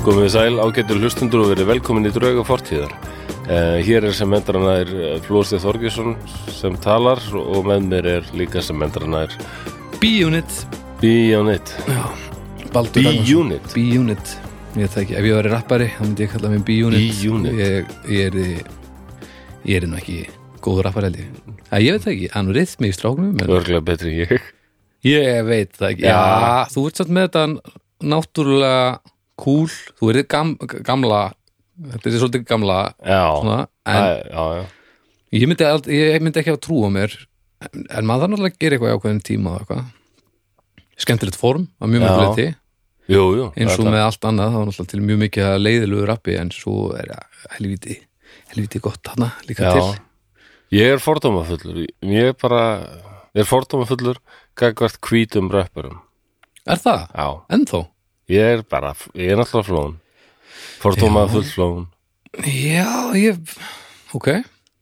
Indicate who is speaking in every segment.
Speaker 1: Komið þið sæl ágættu hlustundur og verið velkomin í drauga fortíðar. Uh, hér er sem endranær Flóstið Þorgesson sem talar og með mér er líka sem endranær
Speaker 2: B-Unit
Speaker 1: B-Unit.
Speaker 2: Baldur Ragnarsson.
Speaker 1: B-Unit.
Speaker 2: B-Unit Ég veit það ekki, ef ég væri rappari þá myndi ég kalla mig B-Unit
Speaker 1: B-Unit.
Speaker 2: Ég, ég er ég er nú ekki góð rappari held ég að Ég veit það ekki, hann rithmi í stráknum en
Speaker 1: Örglega betri en ég.
Speaker 2: Ég veit það ekki, já,
Speaker 1: Já.
Speaker 2: þú ert satt með þetta náttúrulega cool Þú ert gam, gamla þetta er svolítið gamla
Speaker 1: Já.
Speaker 2: svona, en
Speaker 1: Æ, já, já.
Speaker 2: ég myndi, ald, ég myndi ekki að trúa mér en, en maður þarf náttúrulega að gera eitthvað í ákveðin tíma og eitthvað skemmtilegt form að mjög mjög
Speaker 1: Já.
Speaker 2: leti
Speaker 1: Jú, jú.
Speaker 2: eins og
Speaker 1: þetta-
Speaker 2: með allt annað, það var náttúrulega til mjög mikið að leiðilegu rappi en svo er það helviti, helviti gott hana líka
Speaker 1: Já.
Speaker 2: til
Speaker 1: Ég er fordómafullur. Ég er bara, er fordómafullur gagvart hvítum rappurum.
Speaker 2: Er það?
Speaker 1: Já.
Speaker 2: Ennþá?
Speaker 1: Ég er bara, ég er náttúrulega flón. Fordómafull flón.
Speaker 2: Já, ég, ok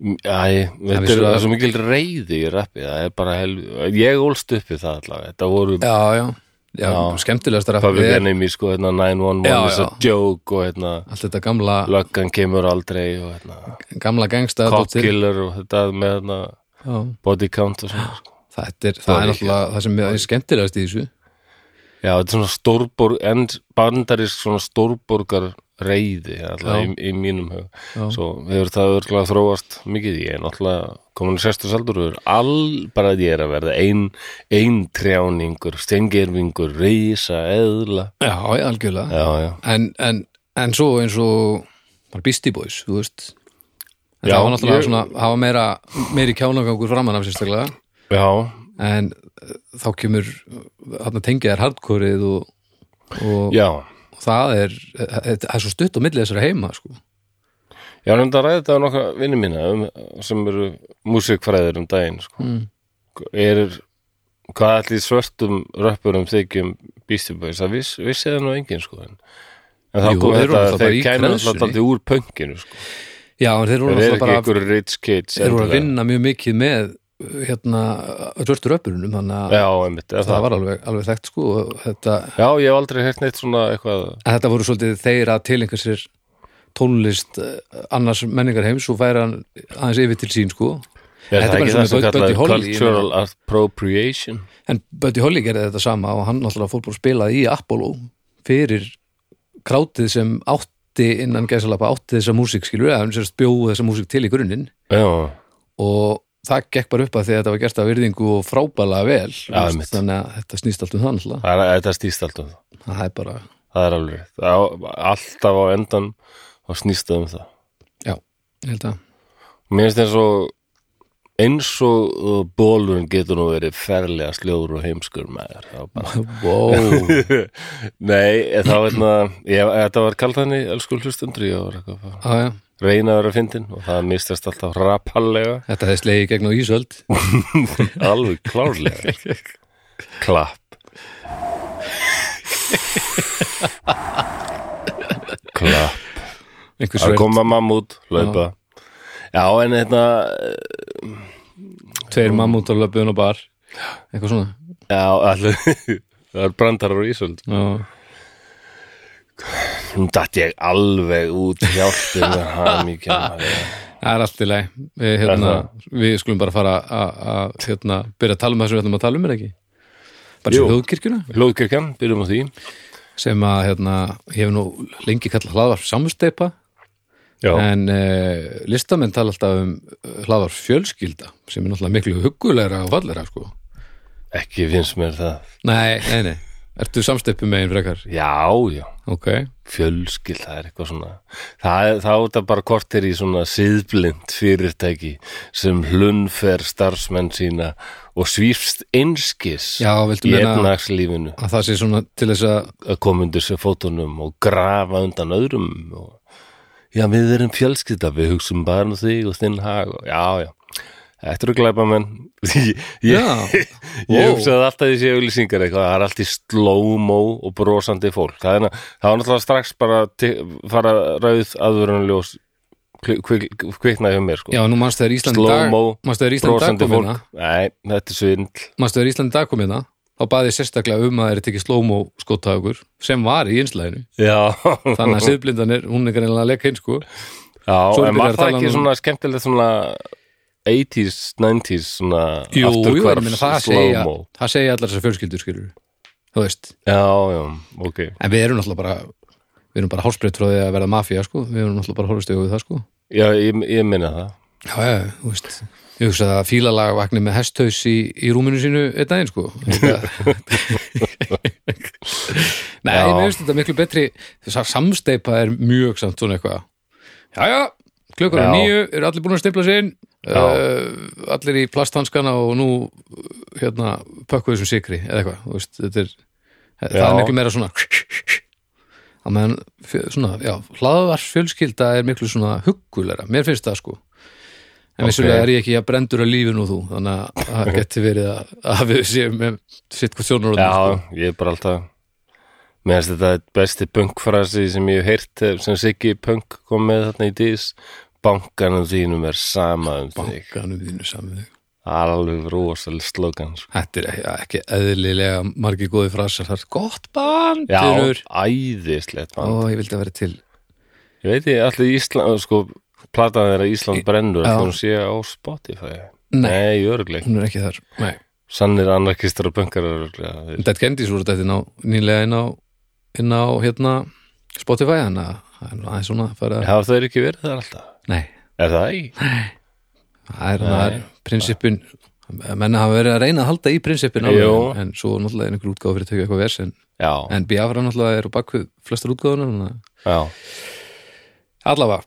Speaker 1: Æ,
Speaker 2: Það
Speaker 1: þetta
Speaker 2: vissi
Speaker 1: er,
Speaker 2: það.
Speaker 1: það er svo mikil reyði í rappi, það er bara hel... Ég ólst upp í það allavega, þetta voru
Speaker 2: Já, já, já,
Speaker 1: Já.
Speaker 2: skemmtilegasta rappi
Speaker 1: Public
Speaker 2: er
Speaker 1: Enemy, sko, hérna 911
Speaker 2: Já,
Speaker 1: is a
Speaker 2: já.
Speaker 1: joke og hérna
Speaker 2: allt þetta gamla,
Speaker 1: Löggan kemur aldrei og hérna
Speaker 2: gamla gangsta
Speaker 1: Cop Killer og þetta með hérna
Speaker 2: Það
Speaker 1: Body Count og svona sko.
Speaker 2: er, það
Speaker 1: er
Speaker 2: er
Speaker 1: ekki-
Speaker 2: náttúrulega það sem er skemmtilegast í þessu
Speaker 1: Já, þetta er svona stórborg, en bandarisk svona stórborgar reyði
Speaker 2: Já.
Speaker 1: allavega í, í mínum hug
Speaker 2: Já.
Speaker 1: Svo hefur það örgulega þróast mikið ég er náttúrulega komin í sérstu saldur og er all bara að ég er að verða ein, ein trjáningur, steingerfingur reisa, eðla
Speaker 2: Já, já, algjörlega
Speaker 1: Já, já,
Speaker 2: en, en, en svo eins og bara Beastie Boys, þú veist en
Speaker 1: Já,
Speaker 2: það var náttúrulega
Speaker 1: ég-
Speaker 2: svona, það var meira meiri kjánagangur framan af sérstaklega
Speaker 1: já,
Speaker 2: en eh, þá kemur eh, þarna tengjaðar hardkorið og, og,
Speaker 1: já.
Speaker 2: og það er eh, það er svo stutt á milli þessara heima sko.
Speaker 1: Ég var nefndi að ræða þetta á nokkra vinni mína um, sem eru músikfræðir um daginn sko.
Speaker 2: mm.
Speaker 1: er, hvað allir svörtum röppurum þykjum Beastie Boys það viss, vissi það nú enginn sko en, en þá
Speaker 2: Jú,
Speaker 1: kom
Speaker 2: þeir voru náttúrulega
Speaker 1: þetta að þeir
Speaker 2: bara í
Speaker 1: kæmur
Speaker 2: krensunni.
Speaker 1: alltaf aldrei úr pönkinu sko.
Speaker 2: já, en þeir voru
Speaker 1: þeir
Speaker 2: náttúrulega
Speaker 1: eru ekki
Speaker 2: bara
Speaker 1: einhver rich kids
Speaker 2: þeir voru að
Speaker 1: endilega.
Speaker 2: vinna mjög mikið með eh, hérna, svörstu röpurunum þannig að
Speaker 1: já, einmitt, eða
Speaker 2: það,
Speaker 1: það
Speaker 2: var alveg, alveg þekkt sko, og þetta,
Speaker 1: já, ég hef aldrei hert neitt svona eitthvað
Speaker 2: að þetta voru svolítið þeir að tilengja sér tónlist eh, annars menningar heims og færa hann aðeins yfir til sín sko Þetta
Speaker 1: er
Speaker 2: er
Speaker 1: það
Speaker 2: bara svona
Speaker 1: ekki það sem
Speaker 2: Bud- Buddy
Speaker 1: kallar
Speaker 2: Holly, ég
Speaker 1: cultural appropriation
Speaker 2: en Buddy Holly gerði þetta sama og hann náttúrulega fór bara að spila í Apollo fyrir krátið sem átti innan gæsalapa átti þessa músík skilur eða hann sérst bjóð þessa músík til í grunninn
Speaker 1: já,
Speaker 2: og það gekk bara upp að því að þetta var gert af virðingu og frábælega vel
Speaker 1: Já,
Speaker 2: veist,
Speaker 1: einmitt.
Speaker 2: þannig að þetta snýst allt um það náttúrulega
Speaker 1: það er, þetta stýst alltaf um það
Speaker 2: það er bara,
Speaker 1: það er alveg rétt. það, á- alltaf á endan og snýst það um það
Speaker 2: já, ég held að
Speaker 1: Mér finnst eins og eins og uh, bólurinn getur nú verið ferlega sljóður og heimskur maður Það var bara-
Speaker 2: wow,
Speaker 1: Nei, eh, þá veitna ég, þetta var kallað henni, elsku hlustundur ég var eitthvað bara
Speaker 2: á, já,
Speaker 1: að reyna að vera fyndin og það mistast alltaf rapallega
Speaker 2: þetta hefði slegið gegn á Ísöld
Speaker 1: alveg klárlega klapp klapp
Speaker 2: einhver
Speaker 1: að
Speaker 2: sverð,
Speaker 1: koma mammút, laupa já, en hérna, þetta
Speaker 2: tveir mammút á löpun og bar eitthvað svona
Speaker 1: já, allir það er brandarar og ísöld
Speaker 2: já,
Speaker 1: Nú datt ég alveg út hjálpið með hamíkjum
Speaker 2: það er allt í lei við, hérna, við skulum bara fara að- að hérna, byrja að tala um það sem við ætlum að tala um er ekki bara
Speaker 1: Jú.
Speaker 2: sem hljóðkirkjuna
Speaker 1: Lóðkirkjan, byrjum á því
Speaker 2: sem að hérna, ég hef nú lengi kallað hlaðvarp samsteipa
Speaker 1: Já,
Speaker 2: en e, listamenn tala alltaf um hlaðvarp fjölskylda sem er náttúrulega miklu hugulegra og fallera sko.
Speaker 1: ekki finnst mér það
Speaker 2: nei, nei, nei, ertu samsteipu megin frekar
Speaker 1: Já, já,
Speaker 2: ok,
Speaker 1: fjölskyld, það er eitthvað svona Það, er- þá er þetta bara kortir í svona síðblind fyrirtæki sem hlunnfer starfsmenn sína og svífst einskis
Speaker 2: já, viltu
Speaker 1: í
Speaker 2: meina
Speaker 1: efnagslífinu
Speaker 2: að það sé svona til þess að
Speaker 1: að koma undir sér fótunum og grafa undan öðrum og já, við erum fjölskylda, við hugsum bara um þig og þinn hag og já, já Þetta eru glæpa menn Ég, ég,
Speaker 2: já,
Speaker 1: ég
Speaker 2: wow.
Speaker 1: hugsaði alltaf þessi auðlýsingar eitthvað, það er allt í slow-mo og brosandi fólk það er, na- það var náttúrulega strax bara til, fara rauð aðvörunljós kvikna hjá mér sko.
Speaker 2: já, nú manst þegar Ísland í dag
Speaker 1: slow-mo,
Speaker 2: manst þegar Ísland í dag
Speaker 1: brosandi
Speaker 2: kom
Speaker 1: fólk
Speaker 2: hérna
Speaker 1: Nei, þetta er svindl
Speaker 2: manst þegar Ísland í dag kom hérna þá baði ég sérstaklega um að þeir tekið slow-mo skottagur sem var í einslæðinu
Speaker 1: Já,
Speaker 2: þannig að siðblindanir, hún er greinlega að leka einn sko Svo
Speaker 1: já
Speaker 2: er
Speaker 1: en
Speaker 2: byrjað að
Speaker 1: var það
Speaker 2: tala
Speaker 1: ekki
Speaker 2: um-
Speaker 1: svona skemmtilegt svona 80s, 90s svona
Speaker 2: Jú, jú, ég
Speaker 1: afturhvarf
Speaker 2: meina það segja
Speaker 1: slow-mo
Speaker 2: það segja allar þessar fjölskyldur skilur þú veist,
Speaker 1: Já, já, ok
Speaker 2: en við erum náttúrulega bara við erum bara hálsbreytt frá því að verða mafía sko við erum náttúrulega bara horfist í augu við það sko
Speaker 1: Já, ég, ég minna það
Speaker 2: Já, já, þú veist Ég hugsa að fílalag vakni með hesthaus í, í rúminu sínu einn daginn, sko Þetta- Nei,
Speaker 1: Já.
Speaker 2: mér finnst þetta miklu betri þessar samsteipa er mjög samt svona eitthvað Já, já, klukkur er
Speaker 1: Já.
Speaker 2: nýju eru allir búin að stempla sig inn
Speaker 1: Já.
Speaker 2: uh, allir í plasthanskana og nú hérna, pökkuðu þessum sikri eða eitthvað, þú veist, þetta er það
Speaker 1: Já.
Speaker 2: er miklu meira svona að meðan, fjö- svona, já, hlaðvarsfjölskylda er miklu svona huggulera, mér finnst það sko en
Speaker 1: Ok.
Speaker 2: vissulega er ég ekki að brendur að lífi nú þú, þannig að það geti verið að, að við séum með sitt sko. hvað sjónur
Speaker 1: Já, ég er bara alltaf Mér finnst þetta besti punkfrasi sem ég hef heyrt eh, sem Siggi Punk kom með þarna í dís Bankanum þínum er sama um þig
Speaker 2: bankanum þínu saman þig
Speaker 1: Alveg rosal slogan sko.
Speaker 2: Þetta er ekki, ekki eðlilega margir góði frasar þar, gott band
Speaker 1: Já,
Speaker 2: Unnur.
Speaker 1: æðislegt
Speaker 2: Ó,
Speaker 1: band
Speaker 2: ég vildi að vera til
Speaker 1: Ég veit ég, allir Ísland, sko platan þeirra Ísland brennur
Speaker 2: Já.
Speaker 1: þá hún sé á Spotify
Speaker 2: Nei,
Speaker 1: Nei, örugglega ekki.
Speaker 2: hún er ekki þar Nei.
Speaker 1: Sannir anarkistar og punkar örugglega þeir-
Speaker 2: Dead Kennedys voru þetta inn á, nýlega inn á, inn á hérna Spotify, þannig að það er nú aðeins svona að fara að,
Speaker 1: Hafa þeir ekki verið þar alltaf?
Speaker 2: nei,
Speaker 1: Er það ekki?
Speaker 2: það er, það er prinsipin menna hafa verið að reyna að halda í prinsipin á
Speaker 1: Jú.
Speaker 2: en, en svo náttúrulega er einhver útgáfa fyrir að tekja eitthvað vers en,
Speaker 1: Já,
Speaker 2: en Biafra náttúrulega er á bakvið flestar útgáfunar þannig að-
Speaker 1: já
Speaker 2: allavega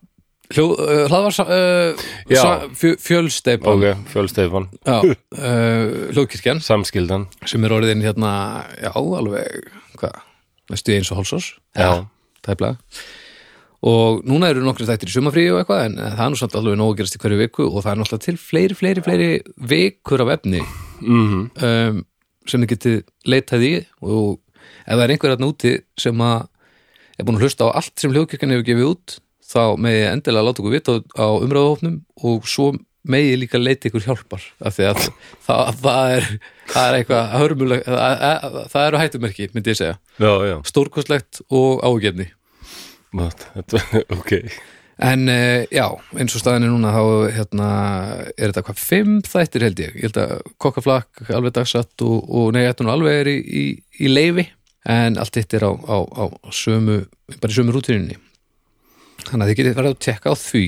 Speaker 2: Hljó, uh, hlaðvar uh,
Speaker 1: Já.
Speaker 2: sa- fjö, fjölsteipan
Speaker 1: Ok, fjölstefan,
Speaker 2: já, uh, hljóðkirkjan
Speaker 1: samskildan
Speaker 2: sem er orðin hérna já, alveg, hvað, næstu eins og hálsás
Speaker 1: Já,
Speaker 2: tæplega og núna eru nokkri þættir í sumafríi og eitthvað en það er nú samt alveg nóg að gerast í hverju viku og það er náttúrulega til fleiri, fleiri, fleiri vikur af efni
Speaker 1: mhm
Speaker 2: um, sem þið getið leitað í og ef það er einhver hérna úti sem að er búin að hlusta á allt sem hljóðkirkjan hefur gefið út þá megið þið endilega láta okkur vita á, á umræðahófnum og svo megið þið líka leita ykkur hjálpar af því að það, það er það er eitthvað hörmuleg það, það eru hættumerki, myndi ég segja
Speaker 1: Já, já
Speaker 2: stórkostlegt og ágefni
Speaker 1: Mat, þetta, ok
Speaker 2: En uh, já, eins og staðan er núna þá hérna, er þetta hvað fimm þættir held ég, ég held að kokkaflakk alveg dagsatt og, og nei, þetta nú alveg er í, í, í leifi en allt þetta er á, á, á sömu bara í sömu rútininni þannig að þið getið verið að tekka á því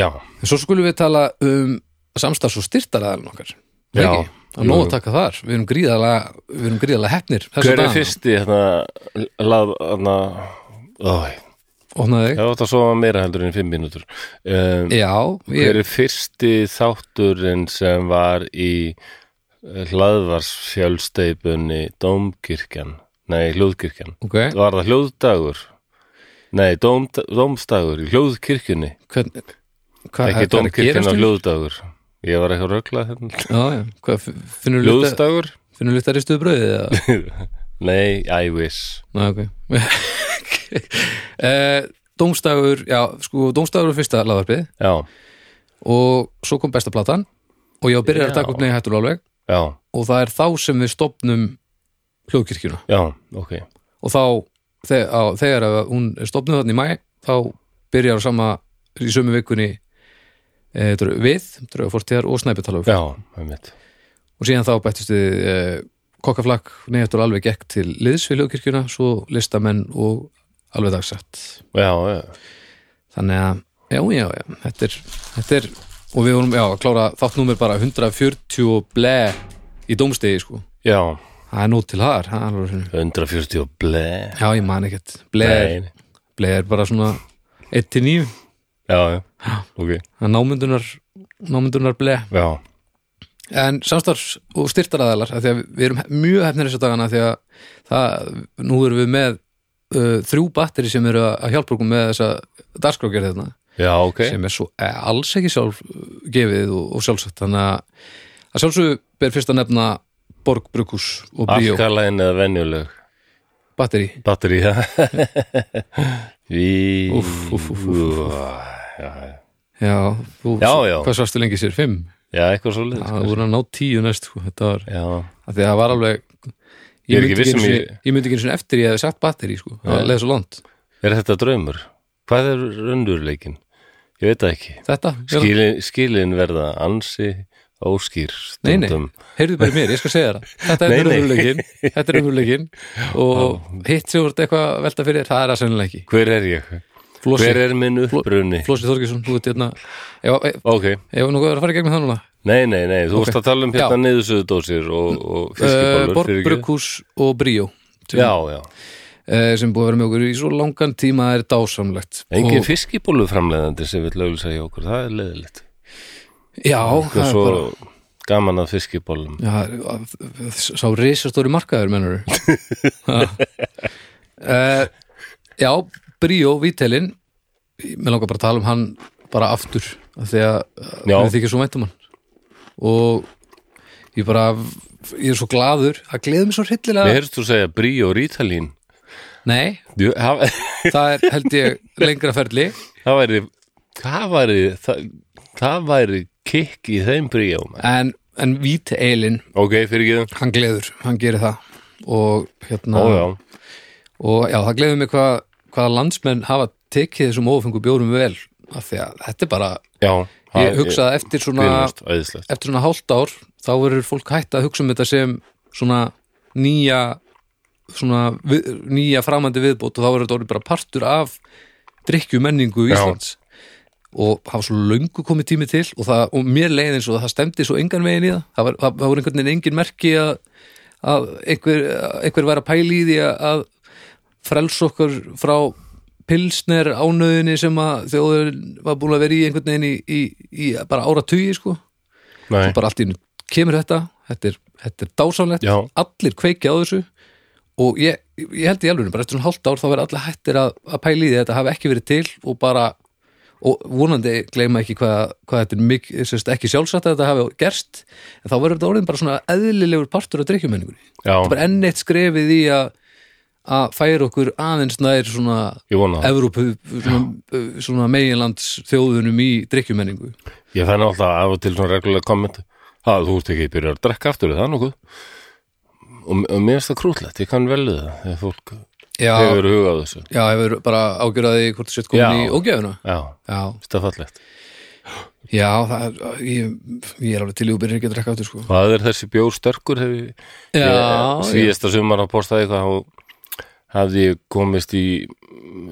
Speaker 1: Já,
Speaker 2: en svo skulum við tala um samstafs og styrtaraðan okkar Er
Speaker 1: Já.
Speaker 2: ekki? og nóg að taka þar, við erum gríðalega við erum gríðalega hefnir
Speaker 1: hver er fyrsti hérna lað, hérna Ói,
Speaker 2: Opnaði,
Speaker 1: ég átt að sofa meira heldur en fimm mínútur um,
Speaker 2: já,
Speaker 1: Hver
Speaker 2: ég,
Speaker 1: er fyrsti þátturinn sem var í hlaðvarsfjölsteipunni Dómkirkjan Nei, hljóðkirkjan
Speaker 2: ok
Speaker 1: Var það hljóðdagur? Nei, dóm, dómstagur í hljóðkirkjunni
Speaker 2: hvern, hva,
Speaker 1: Ekki dómkirkjan og hljóðdagur Ég var eitthvað röglað hérna
Speaker 2: Já, já, hvað, f- finnur lukta,
Speaker 1: Hljóðstagur?
Speaker 2: finnur lukta ristuðu brauðið eða?
Speaker 1: Nei, I wish
Speaker 2: Ná, ok. uh, Dómstagur, já, sko, Dómstagur var fyrsta laðarpið
Speaker 1: Já,
Speaker 2: og svo kom besta platan og ég var byrjar að
Speaker 1: Já.
Speaker 2: taka upp neyja hættur alveg
Speaker 1: já,
Speaker 2: og það er þá sem við stopnum hljóðkirkjuna
Speaker 1: já, ok
Speaker 2: og þá, þeg, á, þegar að hún er stopnuð þannig í mæ, þá byrjar á sama í sömu vikunni e, við, drauga fórtíðar og um. snæpjartalöf
Speaker 1: Já, einmitt
Speaker 2: og síðan þá bættist við eh, kokkaflakk, neyjartur alveg gekk til liðs við hljókirkjuna, svo listamenn og alveg dagsett
Speaker 1: Já, já,
Speaker 2: þannig að, já, já, já, þetta er, þetta er og við vorum, já, að klára þáttnúmer bara 140 og ble í dómstegi, sko
Speaker 1: já
Speaker 2: það er nót til þar, það er alveg hreinu.
Speaker 1: 140 og ble
Speaker 2: já, ég man ekkert, ble, er-
Speaker 1: Nei,
Speaker 2: ble er bara svona 1-9,
Speaker 1: Já, já, ok
Speaker 2: það er námyndunar námyndunar ble
Speaker 1: Já,
Speaker 2: En samstarfs og styrtaraðalar af því að við erum mjög hefnir þessu dagana af því að það, nú erum við með uh, þrjú batteri sem eru að- að hjálpa okkur með þessa dagskrákjörð þarna
Speaker 1: já, ok
Speaker 2: sem er svo eh, alls ekki sjálf uh, gefið og, og sjálfsagt þannig að, að sjálfsög ber fyrst að nefna Borg, Brukus og Bíó
Speaker 1: Alkalæn eða venjuleg
Speaker 2: batteri
Speaker 1: Batteri, já Í
Speaker 2: Úff, úff, úff, úff,
Speaker 1: Já, já.
Speaker 2: Já, þú,
Speaker 1: Já, já.
Speaker 2: hvað svarstu lengi sér? Fimm?
Speaker 1: já, eitthvað svo
Speaker 2: Það voru að ná tíu næst sko, þetta var,
Speaker 1: Já,
Speaker 2: af því að það var alveg
Speaker 1: Ég
Speaker 2: ég
Speaker 1: er ekki
Speaker 2: myndi
Speaker 1: viss
Speaker 2: ekki,
Speaker 1: um
Speaker 2: ekki,
Speaker 1: ég-
Speaker 2: ég... ég myndi ekki einu sinni eftir ég hefði sagt batteri sko.
Speaker 1: Nei.
Speaker 2: það leði svo langt
Speaker 1: Er þetta draumur? Hvað er raunurleikin? Ég veit það ekki.
Speaker 2: þetta, hérna. Skil...
Speaker 1: Skilin, skilin verða ansi óskýr
Speaker 2: Nei, nei.
Speaker 1: stundum.
Speaker 2: heyrðu bara í mér, ég skal segja það þetta er
Speaker 1: Nei, nei.
Speaker 2: umhverfuleikin þetta er umhverfuleikin og hitt sem voru eitthvað að velta fyrir þér, það er það sennilega ekki
Speaker 1: Hver er ég?
Speaker 2: Flossi,
Speaker 1: Hver er minn upprunni?
Speaker 2: Flossi Þorgesson, þú ert hérna ef ef-
Speaker 1: Ok,
Speaker 2: ef nú er að fara í gegn með það núna
Speaker 1: nei, nei, nei, þú
Speaker 2: Ok.
Speaker 1: vorst að tala um hérna
Speaker 2: Já.
Speaker 1: niðursöðudósir og, og
Speaker 2: uh,
Speaker 1: fiskibólur
Speaker 2: Borg, Brukhús og Bríó sem,
Speaker 1: Já, já,
Speaker 2: uh, sem búið að vera með okkur í svo langan tíma það er dásamlegt
Speaker 1: engin
Speaker 2: og,
Speaker 1: fiskibólu framleiðandi sem vil lögulsa í okkur, það er leðilegt
Speaker 2: Já,
Speaker 1: Það er svo gaman að fiskibólum
Speaker 2: Já, að- sá risastóri markaður mennur uh, Já, Bríó Vítelin mér langar bara að tala um hann bara aftur af því að
Speaker 1: Já.
Speaker 2: við þykir svo mæntum hann og ég bara ég er svo gladur, það gleður mig svo hryllilega
Speaker 1: Mér heyrst þú segja brí og rítalín
Speaker 2: Nei,
Speaker 1: Jú, Það
Speaker 2: það er held ég lengra ferli
Speaker 1: það væri, það væri, það, það væri kikk í þeim bríjum
Speaker 2: en, en Vítelin,
Speaker 1: Ok, fyrir ekki
Speaker 2: hann gleður hann gerir það og hérna
Speaker 1: Ó, já,
Speaker 2: og já, það gleður mig hvað hvaða landsmenn hafa tekið þessum ófengu bjórum vel af því að þetta er bara
Speaker 1: já það
Speaker 2: ég hugsaði eftir svona
Speaker 1: grínast, æðislegt
Speaker 2: eftir svona hálft ár þá verður fólk hætt að hugsa um þetta sem svona nýja svona við, nýja framandi viðbót og þá verður þetta orðið bara partur af drikkjumenningu
Speaker 1: Já.
Speaker 2: Íslands og hafa svo löngu komið tími til og, það, og mér leið eins og það stemdi svo engan veginn í það það, var, það, það voru einhvern veginn engin merki að, að einhver, að einhver var að pæla í því að, að frels okkur frá pilsner ánöðinni sem að þjóður var búin að vera í einhvern veginn í, í, í bara áratugi sko
Speaker 1: Nei,
Speaker 2: bara allt í einu kemur þetta þetta er, þetta er dásamlegt,
Speaker 1: Já.
Speaker 2: allir kveikja á þessu og ég, ég held í alveg bara eftir svona hálft ár þá verður allir hættir að, að pæla í því að þetta hafi ekki verið til og bara og vonandi gleyma ekki hvað, hvað þetta er mik, sérst, ekki sjálfsagt að þetta hafi gerst en þá verður þetta orðin bara svona eðlilegur partur af drikkjumenningunni,
Speaker 1: já,
Speaker 2: bara enn eitt skrefið í að að færa okkur aðeins nær svona
Speaker 1: ég vona það
Speaker 2: Evrópu, svona, svona meginlands þjóðunum í drikkjumenningu
Speaker 1: Ég fenni alltaf af og til svona reglulega komment að þú ert ekki byrjar að drekka aftur er það nokkuð og, og mér er það krútlegt, ég kann vel við það þegar fólk
Speaker 2: Já,
Speaker 1: hefur hugað þessu
Speaker 2: Já, hefur bara ágjörðaði hvort þú sett komin
Speaker 1: Já.
Speaker 2: í ógjöfuna
Speaker 1: Já,
Speaker 2: Já,
Speaker 1: stafallegt
Speaker 2: já það, er- ég, ég er alveg til í og byrja ekki að drekka aftur sko
Speaker 1: Hvað er þessi bjór sterkur hef ég
Speaker 2: Já,
Speaker 1: ég, síðasta sumar að postaði eitthvað og hafði ég komist í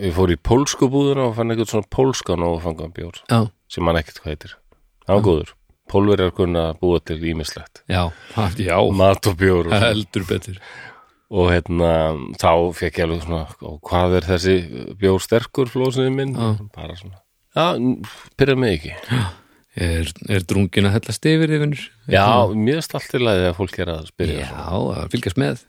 Speaker 1: ég fór í pólsku búðuna og fann eitthvað svona pólskan og fangan bjór
Speaker 2: já,
Speaker 1: sem hann ekkert hvað heitir hann
Speaker 2: Ah.
Speaker 1: var góður, pólverjar kunna að búa til ímislegt
Speaker 2: já, ha, já
Speaker 1: mat og bjór og,
Speaker 2: heldur betur
Speaker 1: og hérna þá fekk ég alveg svona og hvað er þessi bjór sterkur flósinu minn
Speaker 2: Ah.
Speaker 1: bara svona Já, pyrra mig ekki.
Speaker 2: Er, er drungin að hellast yfir yfir
Speaker 1: Já, mjög stallt í lagi þegar fólk er að spyrja.
Speaker 2: já,
Speaker 1: svona.
Speaker 2: að fylgjast með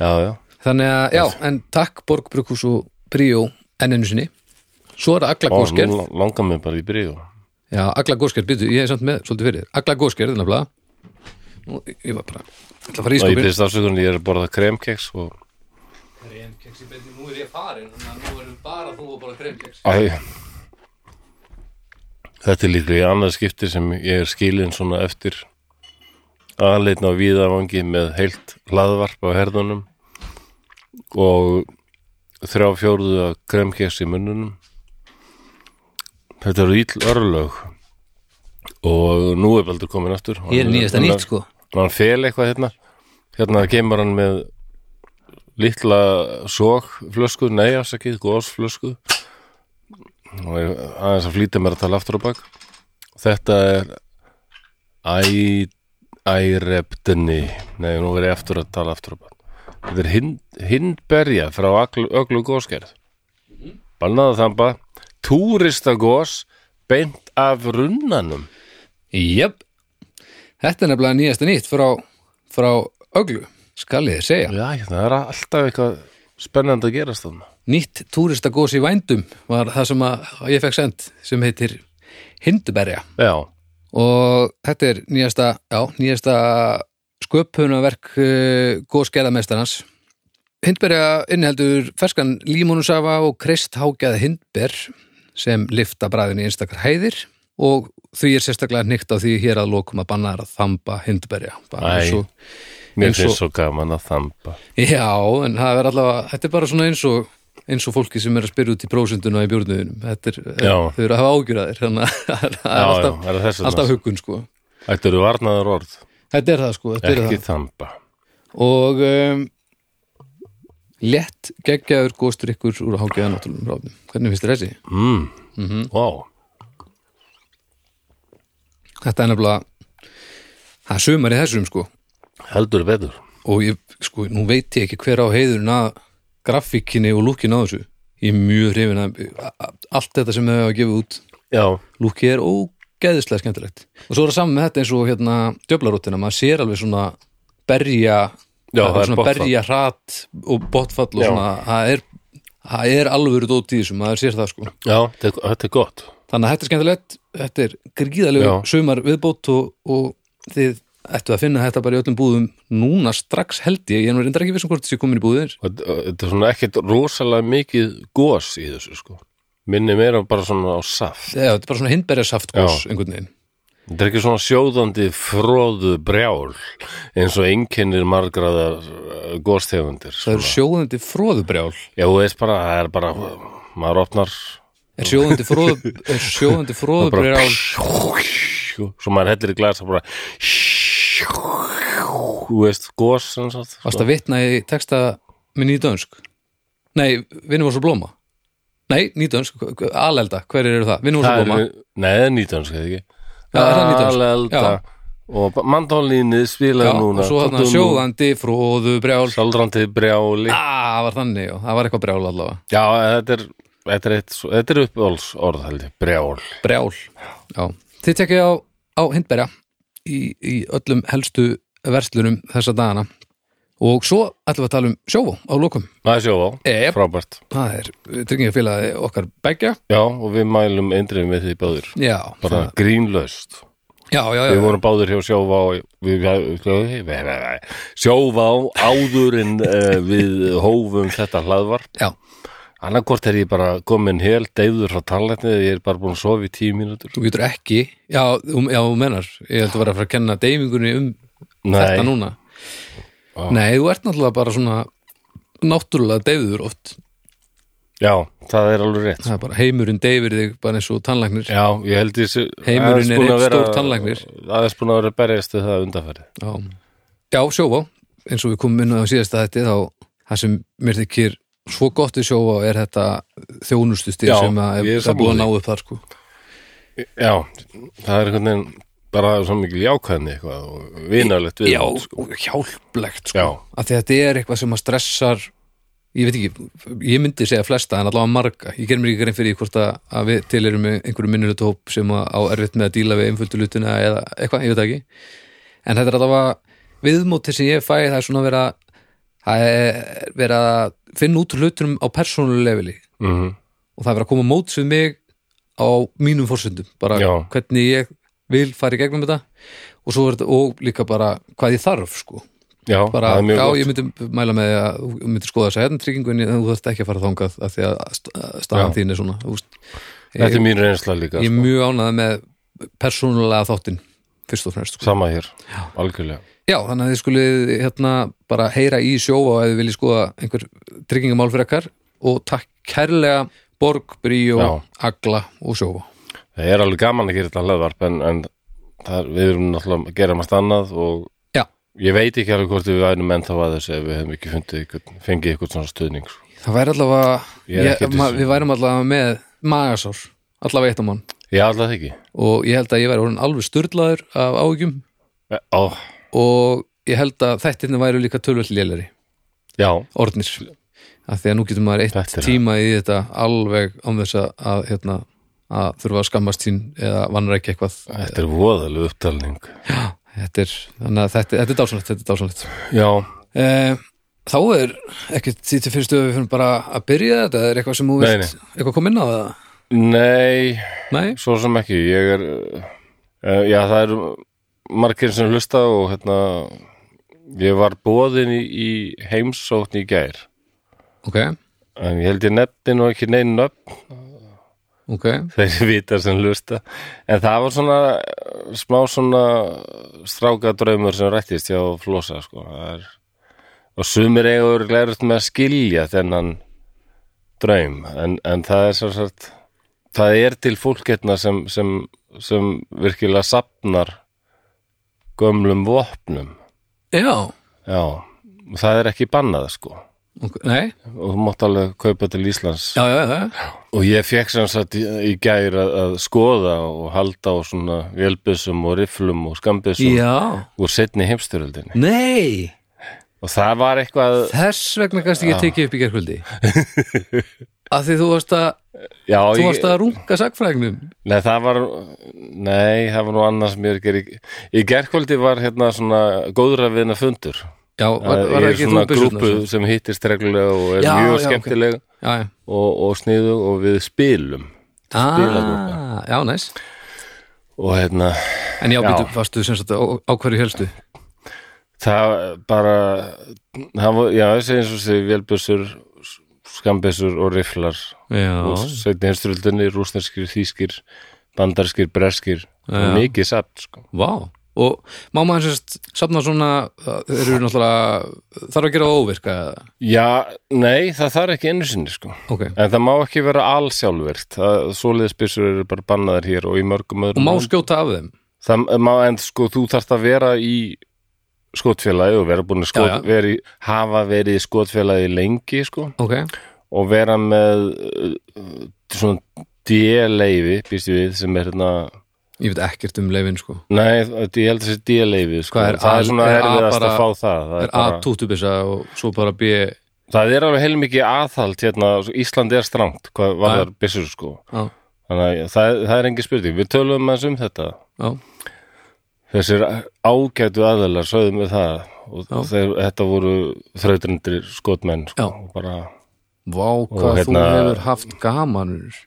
Speaker 1: Já, já.
Speaker 2: Þannig að, já, en takk Borg Brukhús og Bríó enn einu sinni Svo er það Agla
Speaker 1: Ó,
Speaker 2: Góskerð
Speaker 1: nú langar mig bara í byrju.
Speaker 2: Já, Agla Góskerð, býtu, ég er samt með svolítið fyrir þér. Agla Góskerð, nefnilega Nú, ég var bara, ég ætla að fara í
Speaker 1: Og ég
Speaker 2: skopin
Speaker 1: byrðist afsökunni, ég er að borða kremkeks og
Speaker 2: Kremkeks í beinni, nú er ég farin þannig að nú erum bara þú og bara kremkeks
Speaker 1: Æ, þetta er líklega í annað skipti sem ég er skilin svona eftir aðleitna á víðavangi með heilt hlaðvarp á herðunum og þrjá fjórðu að kremkeks í munnunum. Þetta eru íll örlög og nú er Baldur komin aftur.
Speaker 2: Ég er nýjasta nýtt, sko
Speaker 1: og hann fel eitthvað hérna hérna kemur hann með litla sókflösku nei afsakið, góðsflösku og ég aðeins að flýta mér að tala aftur á bak þetta er æ, æreptinni nei, nú verið ég aftur að tala aftur á bak þetta er hind, hindberja frá öglu, öglu góskerð bannaða þamba túristagós beint af runnanum
Speaker 2: Jöp sko. Þetta er nefnilega nýjasta nýtt frá, frá öglu, skal ég þér segja
Speaker 1: já, hérna, það er alltaf eitthvað spennandi að gerast þarna
Speaker 2: Nýtt túristagós í vændum var það sem að ég fekk send sem heitir Hinduberja
Speaker 1: Já,
Speaker 2: og þetta er nýjasta, já, nýjasta sköpunarverk uh, góðskerðamestarnas Hindberja inniheldur ferskan límónusafa og kristhákjað hindber sem lifta bræðin í einstakar hæðir og því er sérstaklega hnykt á því hér að lokum að banna er að þamba hindberja bara
Speaker 1: Æ.
Speaker 2: eins og,
Speaker 1: Mér
Speaker 2: Eins og-
Speaker 1: finnst svo gaman að þamba
Speaker 2: Já, en það er allavega, þetta er bara svona eins og eins og fólki sem er að spyrja út í prósunduna í bjórnuðinum, þetta er,
Speaker 1: Já.
Speaker 2: þau eru að hafa ágjuraðir þannig að það er
Speaker 1: Já,
Speaker 2: alltaf,
Speaker 1: já, er það þess vegna?
Speaker 2: alltaf huggun sko
Speaker 1: Þetta eru varnaðar orð,
Speaker 2: Þetta er það sko, þetta er
Speaker 1: ekki
Speaker 2: það
Speaker 1: þamba
Speaker 2: og um, létt geggjaður góstur ykkur úr hágjaða náttúrulega ráðum, hvernig finnst þér þessi?
Speaker 1: mm. Mm Vá,
Speaker 2: Þetta er nefnilega það er sumar í þessum sko
Speaker 1: heldur betur
Speaker 2: og ég, sko, nú veit ég ekki hver á heiðurinn að grafíkinni og lúkin á þessu ég er mjög hrifin að allt þetta sem þau hafa gefið út
Speaker 1: Já,
Speaker 2: lúkið er ógeðislega skemmtilegt og svo er það saman með þetta eins og hérna djöflarútina, maður sér alveg svona berja,
Speaker 1: Já,
Speaker 2: það
Speaker 1: það er
Speaker 2: er svona
Speaker 1: botnfall.
Speaker 2: berja hrat og botfall og
Speaker 1: Já.
Speaker 2: svona, það er það er alvöru dót í þessu, maður sér það sko
Speaker 1: já þetta er- þetta er gott
Speaker 2: þannig að þetta er skemmtilegt, þetta er gríðalegu
Speaker 1: Já.
Speaker 2: sumar viðbót og, og þið ættu að finna þetta bara í öllum búðum núna strax held ég, ég er nú reyndar ekki vissum hvort þessi komin í búðir
Speaker 1: Og Þetta þetta er svona ekkert rosalega mikið gos í þessu sko Minni meira bara svona á saft
Speaker 2: Já, þetta er bara svona hindberja saftgós einhvern veginn
Speaker 1: Þetta er ekki svona sjóðandi fróðu brjál eins og einkennir margraðar góstegundir
Speaker 2: það er
Speaker 1: svona.
Speaker 2: sjóðandi fróðubrjál
Speaker 1: Já, þú veist bara, það er bara maður opnar
Speaker 2: er sjóðandi, fróðu, er sjóðandi
Speaker 1: bara,
Speaker 2: fróðubrjál
Speaker 1: svo maður hellir í glas og bara þú veist, gos sem sagt,
Speaker 2: Varst að vitna í texta með nýdönsk? Nei, vinnum var svo blóma Nei, nýdönsk, alelda, hverjir eru það? Vinnum var
Speaker 1: það
Speaker 2: svo
Speaker 1: er,
Speaker 2: blóma
Speaker 1: nei, það er nýtönsk eða ekki
Speaker 2: Já, er það nýtönsk?
Speaker 1: Alelda.
Speaker 2: Já.
Speaker 1: og mandólinni
Speaker 2: Já,
Speaker 1: spilaði
Speaker 2: og
Speaker 1: núna
Speaker 2: svo hann sjóðandi fróðubrjál
Speaker 1: saldrandi brjáli
Speaker 2: Ah, var þannig, já, það var eitthvað brjál allavega
Speaker 1: já, þetta er Þetta er, eitt, svo- þetta er uppáhalds orð, held ég, brjál.
Speaker 2: Brjál, já Þið tekja á, á hindberja í, í öllum helstu verslunum þessa dagana og svo ætlum við að tala um sjóvó á lokum
Speaker 1: Það er sjóvá,
Speaker 2: Jep.
Speaker 1: frábært.
Speaker 2: Það er tryggingafélagi okkar begja
Speaker 1: Já, og við mælum eindrið með því báður.
Speaker 2: Já,
Speaker 1: Bara
Speaker 2: það-
Speaker 1: grínlaust.
Speaker 2: já, já, já,
Speaker 1: Við vorum báður hjá sjóvá, við, við- við- við- sjóvá áður en uh, við hófum þetta hlaðvarp.
Speaker 2: já.
Speaker 1: Annarkvort er ég bara komin hel, deyður frá taletni, ég er bara búin að sofa í tíu mínútur.
Speaker 2: Þú getur ekki, já, um, já, þú menar ég held að vera að fara að kenna deymingunni um þetta
Speaker 1: Nei,
Speaker 2: núna Nei, þú ert náttúrulega bara svona náttúrulega deyður oft
Speaker 1: já, það er alveg rétt.
Speaker 2: það er bara heimurinn deyfir þig bara eins og tannlæknir
Speaker 1: Já, ég held ég sé
Speaker 2: Heimurinn
Speaker 1: aðeins
Speaker 2: er
Speaker 1: búin að
Speaker 2: einn
Speaker 1: vera-
Speaker 2: stór tannlæknir.
Speaker 1: Aðeins búin að vera að berjast við það undanfærið
Speaker 2: Já, já sjóvá eins og við komum inn á síðasta þetta þá það sem mér þykir svo gott við sjóvá er þetta þjónustustir
Speaker 1: Já,
Speaker 2: sem að
Speaker 1: ég er
Speaker 2: er, er búið að
Speaker 1: sammála
Speaker 2: ná upp þar sko
Speaker 1: Já, það er einhvern veginn bara svo mikil jákvæðni eitthvað og vinalegt við sko.
Speaker 2: Já, og hjálplegt sko
Speaker 1: Já.
Speaker 2: að þetta er eitthvað sem að stressar ég veit ekki, ég myndi segja flesta en allavega marga, ég ger mér ekki grein fyrir því hvort að, að við til erum með einhverju minnulutóp sem að á erfitt með að díla við einföldu lutina eða eitthvað, ég veit það ekki en þetta er allavega viðmóti sem ég fæ það er svona vera það er vera að finna út úr hlutunum á persónulefili
Speaker 1: mm
Speaker 2: og það er verið að koma móts við mig á mínum forsöndum, bara
Speaker 1: Já.
Speaker 2: hvernig ég vil fara í gegnum þetta og, svo er þetta, og líka bara hvað ég þarf sko.
Speaker 1: já
Speaker 2: bara,
Speaker 1: það er mjög
Speaker 2: já,
Speaker 1: gott
Speaker 2: ég myndi mæla með því að þú myndir skoða þess að hérna tryggingunni en þú þarft ekki að fara þangað af því að st- að staðan
Speaker 1: Já.
Speaker 2: þín er svona úst.
Speaker 1: Þetta er mín reynsla líka
Speaker 2: ég er
Speaker 1: sko.
Speaker 2: mjög ánæða með persónulega þáttinn fyrst og fremst sko.
Speaker 1: Sama hér, algjörlega
Speaker 2: já, þannig að þið skulið hérna bara heyra í sjófa ef þið viljið skoða einhver tryggingamál fyrir ekkar og takk kærlega Borg, Bríó,
Speaker 1: Já.
Speaker 2: Agla og sjófa
Speaker 1: Það er alveg gaman að gera þetta hlaðvarp en, en það, er- við erum náttúrulega að gera margt annað og
Speaker 2: Já.
Speaker 1: ég veit ekki alveg hvort við værum ennþá að þessu ef við hefum ekki fundið ykkur, fengið ykkur svona stuðning sko.
Speaker 2: Það væri allavega,
Speaker 1: Ég er
Speaker 2: ég,
Speaker 1: ekkert
Speaker 2: ma,
Speaker 1: viss.
Speaker 2: við værum allavega með magasár, allavega eitt á mann
Speaker 1: Ég alltaf ekki
Speaker 2: og ég held að ég væri orðin alveg sturlaður af áhugjum
Speaker 1: Ó,
Speaker 2: og ég held að þættirni væri líka tölvöld léleri,
Speaker 1: Já,
Speaker 2: orðnir af því að nú getur maður eitt
Speaker 1: Þetta er það.
Speaker 2: tíma í þetta alveg án þess að, að, hérna, að þurfa að skammast sín eða vannra ekki eitthvað
Speaker 1: þetta er voðalega upptalning
Speaker 2: þetta er, þannig að þetta, þetta er dásanlegt þetta er dásanlegt
Speaker 1: Já,
Speaker 2: Eh, Þá er ekkert því til fyrstu að við fyrir bara að byrja þetta er eitthvað sem þú
Speaker 1: Nei,
Speaker 2: veist, eitthvað kom inn á það
Speaker 1: nei
Speaker 2: Nei,
Speaker 1: Svo sem ekki, ég er uh, Já, það eru margir sem hlusta og hérna ég var boðin í, í heimsókn í gær
Speaker 2: ok
Speaker 1: en ég held ég nefni nú ekki neinn nöfn
Speaker 2: ok,
Speaker 1: þeir vita sem hlusta en það var svona eh, smá svona stráka draumur sem rættist hjá Flosa sko. Það er, og sumir eigur glæðist með að skilja þennan draum en, en það er svo sagt það er til fólk hérna sem, sem, sem virkilega sapnar gömlum vopnum
Speaker 2: já
Speaker 1: já, og það er ekki bannað sko
Speaker 2: ok, nei,
Speaker 1: og þú mátt alveg kaupa til Íslands
Speaker 2: já, já, já, já.
Speaker 1: Og ég fekk sem sagt í, í gær að, að skoða og halda á svona vélbissum og rifflum og skambissum
Speaker 2: já,
Speaker 1: úr setni heimstyröldinni.
Speaker 2: nei
Speaker 1: Og það var eitthvað,
Speaker 2: þess vegna kannski ekki tekið upp í gerkvöldi að því þú varst að
Speaker 1: já,
Speaker 2: þú
Speaker 1: ég,
Speaker 2: varst að runga sagfræðingnum
Speaker 1: nei, það var, nei, það var nú annars mér gerir. Í gærkvöldi var hérna svona góðra viðna fundur.
Speaker 2: já, var,
Speaker 1: Ég
Speaker 2: var
Speaker 1: er
Speaker 2: ekki þú
Speaker 1: svona grúpu sem hittist reglulega og er
Speaker 2: Já, já,
Speaker 1: mjög
Speaker 2: ok.
Speaker 1: skemmtileg
Speaker 2: já, já,
Speaker 1: og, og sniðu og við spilum.
Speaker 2: ah, já, næs
Speaker 1: Og hérna,
Speaker 2: en já,
Speaker 1: Já.
Speaker 2: býtu, varstu sem sagt á, á hverju helstu
Speaker 1: það bara það var, já, þessi eins og þessi vélbjössur skambessur og riflar
Speaker 2: já,
Speaker 1: og sveitin heimsturöldinni, rúsnarskir, þýskir bandarskir, breskir og mikið satt, sko
Speaker 2: vá og má maður sem sagt safna svona uh, þeir eru náttúrulega þarf að gera það óvirka eða?
Speaker 1: Já, nei, það þarf ekki einu sinni, sko
Speaker 2: ok,
Speaker 1: en það má ekki vera allsjálfvirt svoleiðisbyssur eru bara bannaðar hér og í mörgum
Speaker 2: og
Speaker 1: öðrum
Speaker 2: má
Speaker 1: löndum.
Speaker 2: skjóta af þeim
Speaker 1: það má, en sko, þú þarft að vera í skotfélagi og vera búin að skot,
Speaker 2: Já, já.
Speaker 1: Veri, hafa verið í skotfélagi lengi, sko
Speaker 2: ok,
Speaker 1: og vera með uh, svona D-leifi býst ég við sem er hérna
Speaker 2: ég veit ekkert um leifin sko
Speaker 1: nei, þetta- ég held að þessi D-leifi sko.
Speaker 2: Hvað er
Speaker 1: það
Speaker 2: A-
Speaker 1: er svona
Speaker 2: er A
Speaker 1: erfiðast
Speaker 2: bara-
Speaker 1: að fá það það
Speaker 2: er
Speaker 1: er, bara,
Speaker 2: A-tútubissa og svo bara B já,
Speaker 1: það er alveg heilmikið aðhald hérna, Ísland er strangt hvað var það byssur sko þannig að það, það er engin spurning, við töluðum aðeins um þetta
Speaker 2: já,
Speaker 1: þessir ágætu aðalar sögðum við það og
Speaker 2: Já.
Speaker 1: þeir, þetta voru þrautrendir skotmenn
Speaker 2: Já.
Speaker 1: sko, og bara
Speaker 2: vá hvað þú
Speaker 1: hérna-
Speaker 2: hefur haft gamanur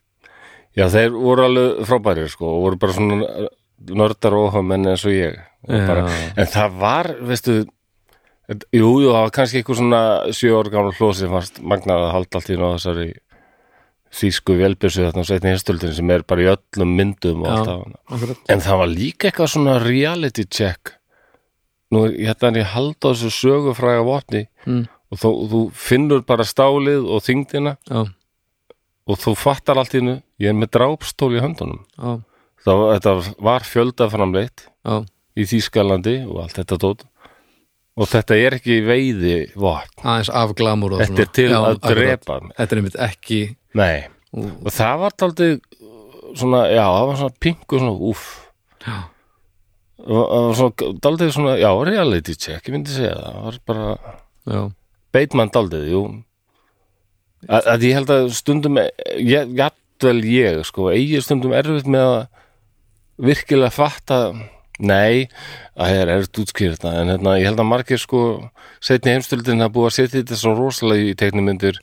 Speaker 1: Já, þeir voru alveg frábærir sko og voru bara svona nördar og óhuga menn eins og ég og
Speaker 2: Já.
Speaker 1: bara, en það var, veistu et- jú, jú, það var kannski eitthvað svona sjö ára gamla hlóð sem fannst magnað að halda allt í náðu þessari þýsku velbjössu þarna á setni hinstöldin sem er bara í öllum myndum og
Speaker 2: Já.
Speaker 1: allt af en það var líka eitthvað svona reality check nú, er- hérna er ég halda á þessu sögufræga vopni
Speaker 2: Mm.
Speaker 1: og þú, þú finnur bara stálið og þyngdina
Speaker 2: já,
Speaker 1: og þú fattar allt í hennu ég er með drápstól í höndunum
Speaker 2: já,
Speaker 1: það, var- þetta var fjöldaframleitt
Speaker 2: já
Speaker 1: í Þýskalandi og allt þetta tótt og þetta er ekki veiði vopn,
Speaker 2: aðeins af glamur og
Speaker 1: þetta
Speaker 2: svona
Speaker 1: er til
Speaker 2: já,
Speaker 1: að
Speaker 2: akkurat.
Speaker 1: drepa mig.
Speaker 2: þetta er einmitt ekki
Speaker 1: nei, og það var taldið svona, já, það var svona pingu svona, úff
Speaker 2: já,
Speaker 1: það var svona, daldið svona, já, reality check ég myndi segja það, það var bara
Speaker 2: já,
Speaker 1: beit mann daldið, jú að, að ég held að stundum ég, jafnvel ég, sko eigi stundum erfitt með að virkilega fatta nei, það er erfitt útskýrta en hérna, ég held að margir sko setni heimstöldin að búa að setja þetta svo rosalega í teiknumyndir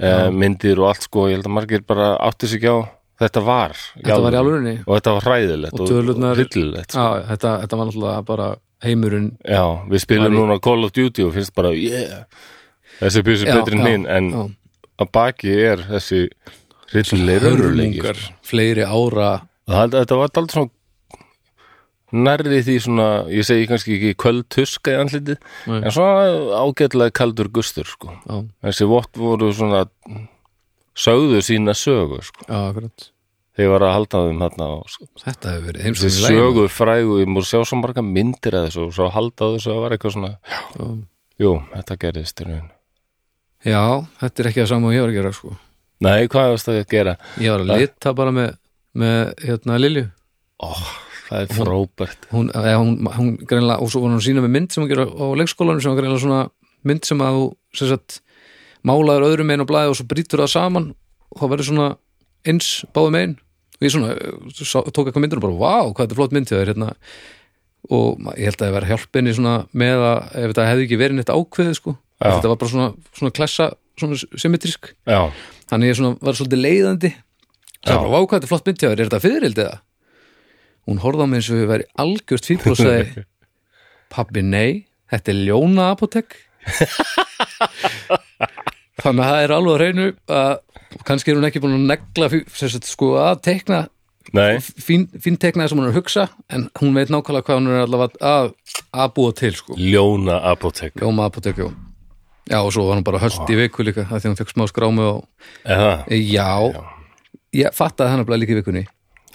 Speaker 1: eh, myndir og allt sko, ég held að margir bara átti sig ekki á þetta var
Speaker 2: Þetta var í alvörunni.
Speaker 1: og þetta var hræðilegt
Speaker 2: Og tölurnar-
Speaker 1: hryllilegt
Speaker 2: já þetta, þetta var náttúrulega bara heimurinn
Speaker 1: Já, við spilum
Speaker 2: Var í-
Speaker 1: núna Call of Duty og finnst bara, yeah þessi byrjus er
Speaker 2: Já,
Speaker 1: betri
Speaker 2: já,
Speaker 1: en minn en
Speaker 2: já.
Speaker 1: að baki er þessi rillilega raunurleiki
Speaker 2: hörmungar fleiri ára
Speaker 1: það, þetta var aldrei svona nærði því svona, ég segi kannski ekki kvöld tuska í andlitið,
Speaker 2: Nei.
Speaker 1: en svona ágætlega kaldur gustur sko.
Speaker 2: já,
Speaker 1: þessi vott voru svona sögðu sína sögu sko.
Speaker 2: já, akkurat
Speaker 1: þegar var að halda á þeim þarna og sko.
Speaker 2: þetta hefur verið
Speaker 1: þessi
Speaker 2: heimsókn í laginu.
Speaker 1: sögu frægu, ég múr sjá svo marga myndir að þessu og svo halda á þessu að var eitthvað svona
Speaker 2: Já.
Speaker 1: jú, þetta gerðist í raun.
Speaker 2: já, þetta er ekki það sama og ég var að gera sko
Speaker 1: Nei, hvað varst það að gera?
Speaker 2: ég var að lita bara með, með hérna Lilju
Speaker 1: Ó, það er frábært
Speaker 2: hún, eða, hún, hún greinlega, og svo var hún að sína með mynd sem hún gerir á á leikskólanum sem var greinlega svona mynd sem að þú sem sagt, málaður öðrum einn og blæði og svo brýtur það saman og það verður svona eins báðum einn og ég svona eh, sá, tók eitthvað myndir og bara, vá, hvað þetta er flott mynd hjá þér hérna og ma- ég held að það vera hjálpinni svona með að ef þetta hefði ekki verið neitt ákveðið sko
Speaker 1: Já.
Speaker 2: þetta var bara svona, svona klessa svona symmetrisk
Speaker 1: Já,
Speaker 2: þannig ég svona var svolítið leiðandi
Speaker 1: Já.
Speaker 2: sagði bara, vá hvað þetta er flott myndið er þetta fyririldið það? hún horfði á mig eins og við væri algjört fíbl og sagði pabbi nei, þetta er ljóna apotek þannig að það er alveg á hreinu að kannski er hún ekki búin að negla fí- sem sagt, sko, að tekna
Speaker 1: Nei,
Speaker 2: fín, fín teknaði sem hún er að hugsa en hún veit nákvæmlega hvað hún er allavega að, að búa til sko.
Speaker 1: ljóna apotek
Speaker 2: Ljóma apotekjó Já, og svo var hún bara höld í viku líka af því hún fekk smá skrámi og
Speaker 1: Eða,
Speaker 2: Já, ég fattaði hann að líka í vikunni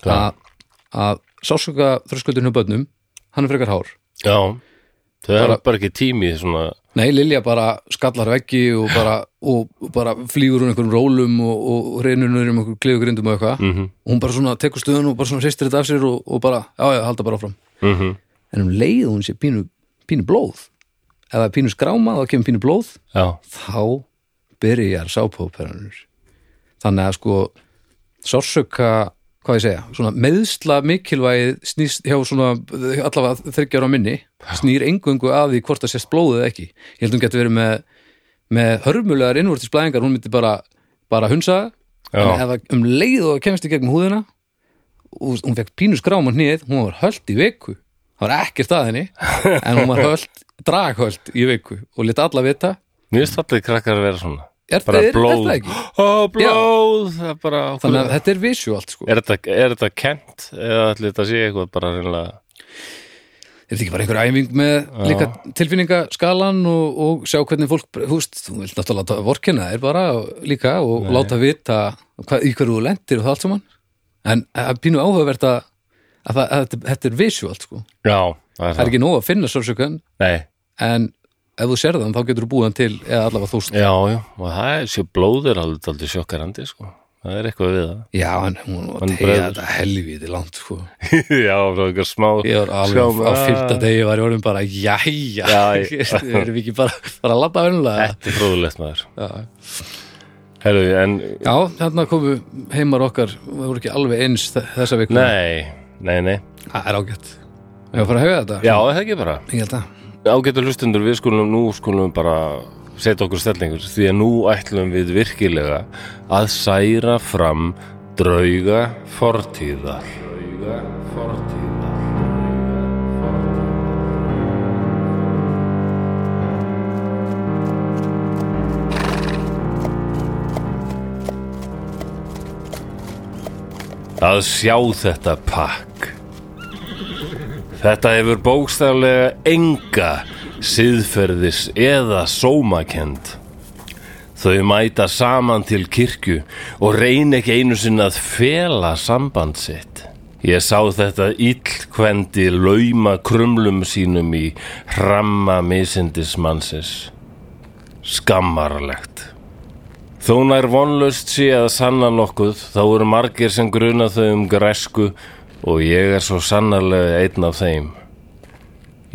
Speaker 1: Hvað?
Speaker 2: að, að sásöka þröskuldinu bönnum, hann er frekar hár
Speaker 1: já Það er
Speaker 2: Bara-
Speaker 1: bara ekki tími í svona
Speaker 2: Nei, Lilja bara skallar veggi og bara, og bara flýgur hún einhverjum rólum og, og reynur hún um einhverjum klefgrindum og eitthvað -hmm. og hún bara svona tekur stöðun og bara svona sýstir þetta af sér og, og bara, já, já, halda bara áfram
Speaker 1: mm -hmm.
Speaker 2: en um leið og hún sé pínu, pínu blóð ef það er pínu skráma, þá kemur pínu blóð
Speaker 1: Já,
Speaker 2: þá byrjar sápóperanur þannig að sko sársöka, hvað ég segja svona meðsla mikilvægið snýst hjá svona eh, allavega þryggjar á minni snýr engungu að því hvort það sést blóð eða ekki, ég held hún getur verið með með hörmulegar innvortisblæðingar hún myndi bara, bara hunsa
Speaker 1: Já.
Speaker 2: en ef það um leið og kemst í gegnum húðina og hún fekk pínu skrám á hnið hún var höllt í viku það var ekkert að henni en hún var höllt, draghöllt í viku og lit alla vita
Speaker 1: mér finnst allir krakkar að vera svona
Speaker 2: Er
Speaker 1: Bara
Speaker 2: það- er- er
Speaker 1: blóð
Speaker 2: það ekki?
Speaker 1: Ó, blóð Það er bara
Speaker 2: Þannig að þetta er visuált sko. Er
Speaker 1: Er þetta, er þetta kent eða ætli þetta sé eitthvað bara reynilega
Speaker 2: þetta ekki bara einhver æfing með líka tilfinningaskalan og, og sjá hvernig fólk, húst, þú vilt náttúrulega láta vorkina er bara og- líka og láta vita hvað, í hverju þú lendir og það allt saman. En það er pínu áhugavert að, að, það, að þetta- þetta er visuált sko.
Speaker 1: Já, það er
Speaker 2: Það er
Speaker 1: það
Speaker 2: ekki nóg að finna sársökan
Speaker 1: Nei,
Speaker 2: en ef þú serð þann þá getur þú búið hann til eða allavega þú
Speaker 1: já, já Og það er, sé blóð er alveg aldrei sjokkarandi sko. Það er eitthvað við
Speaker 2: Já, en hún var
Speaker 1: Hann
Speaker 2: að tegja
Speaker 1: bregður.
Speaker 2: þetta helvíti langt sko.
Speaker 1: það Já, það er eitthvað smá
Speaker 2: Ég var alveg
Speaker 1: Sjáum,
Speaker 2: á
Speaker 1: ah.
Speaker 2: fyrta degi var ég orðin bara, jæja,
Speaker 1: Já, ég-
Speaker 2: erum við ekki bara, bara að labba vennulega?
Speaker 1: Þetta er fróðulegt maður
Speaker 2: Já.
Speaker 1: Herru, en
Speaker 2: Já, þarna komu heimar okkar við voru ekki alveg eins þe- þessa viku
Speaker 1: Nei, nei, nei
Speaker 2: Það er ágætt Ég var bara að hafa þetta
Speaker 1: Já, er það ekki bara
Speaker 2: Ég held að
Speaker 1: Ágættu hlustundur, við skulum nú skulum bara setja okkur stellingur því að nú ætlum við virkilega að særa fram drauga fortíðar Drauga fortíðar Að sjá þetta pakk Þetta hefur bókstaflega enga siðferðis eða sómakend. Þau mæta saman til kirkju og reyn ekki einu sinni að fela samband sitt. Ég sá þetta illkvendi lauma krumlum sínum í hramma misindismansis. Skammarlegt. Þó nær vonlaust sé að sanna nokkuð, þá eru margir sem gruna þau um græsku og ég er svo sannarlega einn af þeim.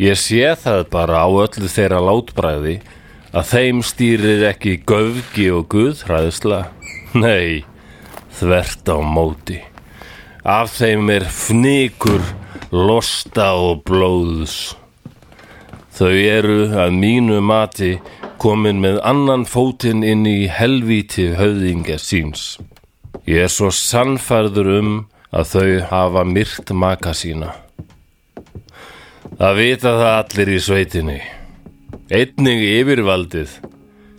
Speaker 1: Ég sé það bara á öllu þeirra látbræði að þeim stýrir ekki göfgi og guðhræðsla. Nei, þvert á móti. Af þeim er fnikur, losta og blóðs. Þau eru að mínu mati komin með annan fótinn inn í helvíti höfðingja síns. Ég er svo sannfærður um að þau hafa myrt maka sína. Það vita það allir í sveitinni. Einnig yfirvaldið.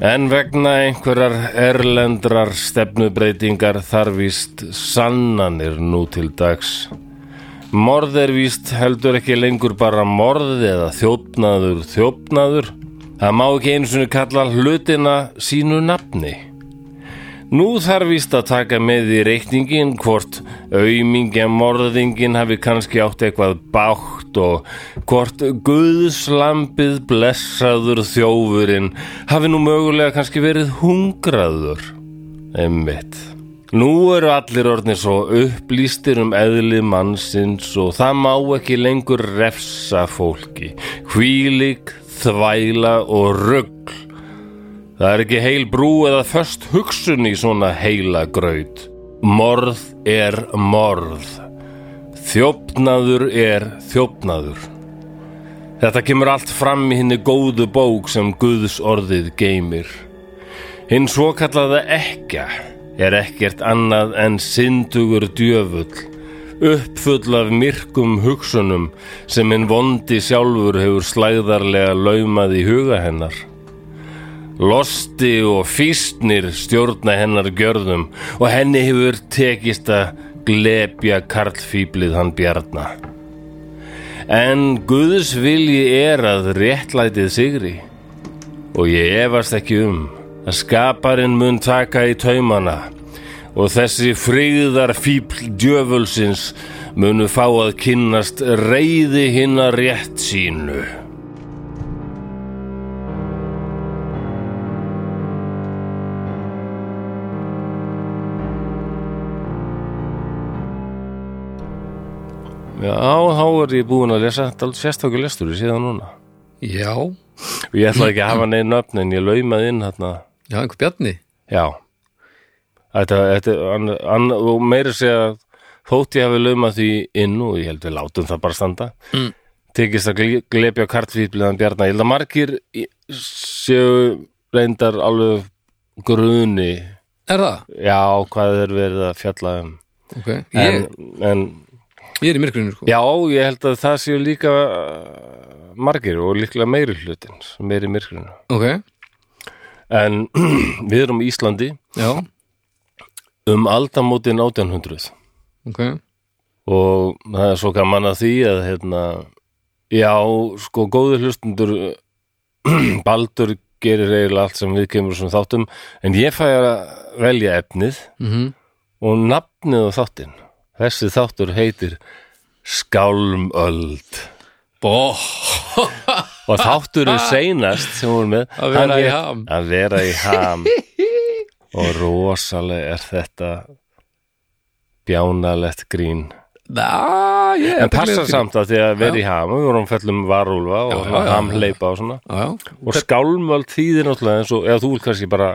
Speaker 1: En vegna einhverjar erlendrar stefnubreitingar þarfist sannanir nú til dags. Morð er víst heldur ekki lengur bara morð eða þjófnaður þjófnaður. Það má ekki einu sinni kalla hlutina sínu nafni. Nú þarf víst að taka með í reikningin hvort aumingja morðingin hafi kannski átt eitthvað bátt og hvort guðslambið blessaður þjófurinn hafi nú mögulega kannski verið hungraður. Einmitt. Nú eru allir orðnir svo upplýstir um eðli mannsins og það má ekki lengur refsa fólki. Hvílik, þvæla og rugg. Það er ekki heil brú eða föst hugsun í svona heila graut. Morð er morð. Þjófnaður er þjófnaður. Þetta kemur allt fram í henni góðu bók sem Guðs orðið geymir. Hinn svo kallaða ekka er ekkert annað en syndugur djöfull, uppfull af myrkum hugsunum sem hinn vondi sjálfur hefur slæðarlega laumað í huga hennar. Losti og físnir stjórna hennar gjörðum og henni hefur tekist að glepja karlfýblið hann bjarna. En Guðs vilji er að réttlætið sigri og ég efast ekki um að skaparinn mun taka í taumana og þessi friðar fíbl djöfulsins munu fá að kynnast reyði hinnar rétt sínu. Já, þá er ég búin að lesa dálítið sérstakur lestur síðan núna.
Speaker 2: Já,
Speaker 1: Og ég ætlaði ekki að hafa neinn nöfn en ég laumaði inn hérna.
Speaker 2: já, einhver bjarni
Speaker 1: Já. Þetta, þetta, an, an, og meira segja þótt ég hafi laumað því inn og ég held við látum það bara standa. Mm. Tekist að gle- glepja kartfýtliðan bjarna. Ég held að margir í- séu reyndar alveg gruni.
Speaker 2: Er það?
Speaker 1: Já, hvað er verið að fjalla um.
Speaker 2: Ok, ég,
Speaker 1: En, en
Speaker 2: ég er í myrkrinu sko
Speaker 1: Já, ég held að það séu líka uh, margir og líklega meiri hlutin sem er í myrkrinu.
Speaker 2: Ok,
Speaker 1: En við erum í Íslandi
Speaker 2: já,
Speaker 1: um aldamótin 1800
Speaker 2: ok
Speaker 1: og það er svo gaman að því að hérna, já, sko góði hlustundur Baldur gerir eiginlega allt sem við kemur svona þáttum, en ég fæ að velja efnið
Speaker 2: mm
Speaker 1: og nafnið á þáttinn. Þessi þáttur heitir Skálmöld.
Speaker 2: Bó,
Speaker 1: og þátturinn seinast sem hún er með
Speaker 2: Að vera
Speaker 1: hann
Speaker 2: í
Speaker 1: hét-
Speaker 2: ham.
Speaker 1: að vera í ham og rosalega er þetta bjánalegt grín
Speaker 2: na, ég
Speaker 1: en passar samt að því að vera í ham við vorum fellum varúlfa og
Speaker 2: Já, já, já.
Speaker 1: hamleipa og svona
Speaker 2: Já, já,
Speaker 1: og skálmöld þýðir náttúrulega eins og eða þú vil kannski bara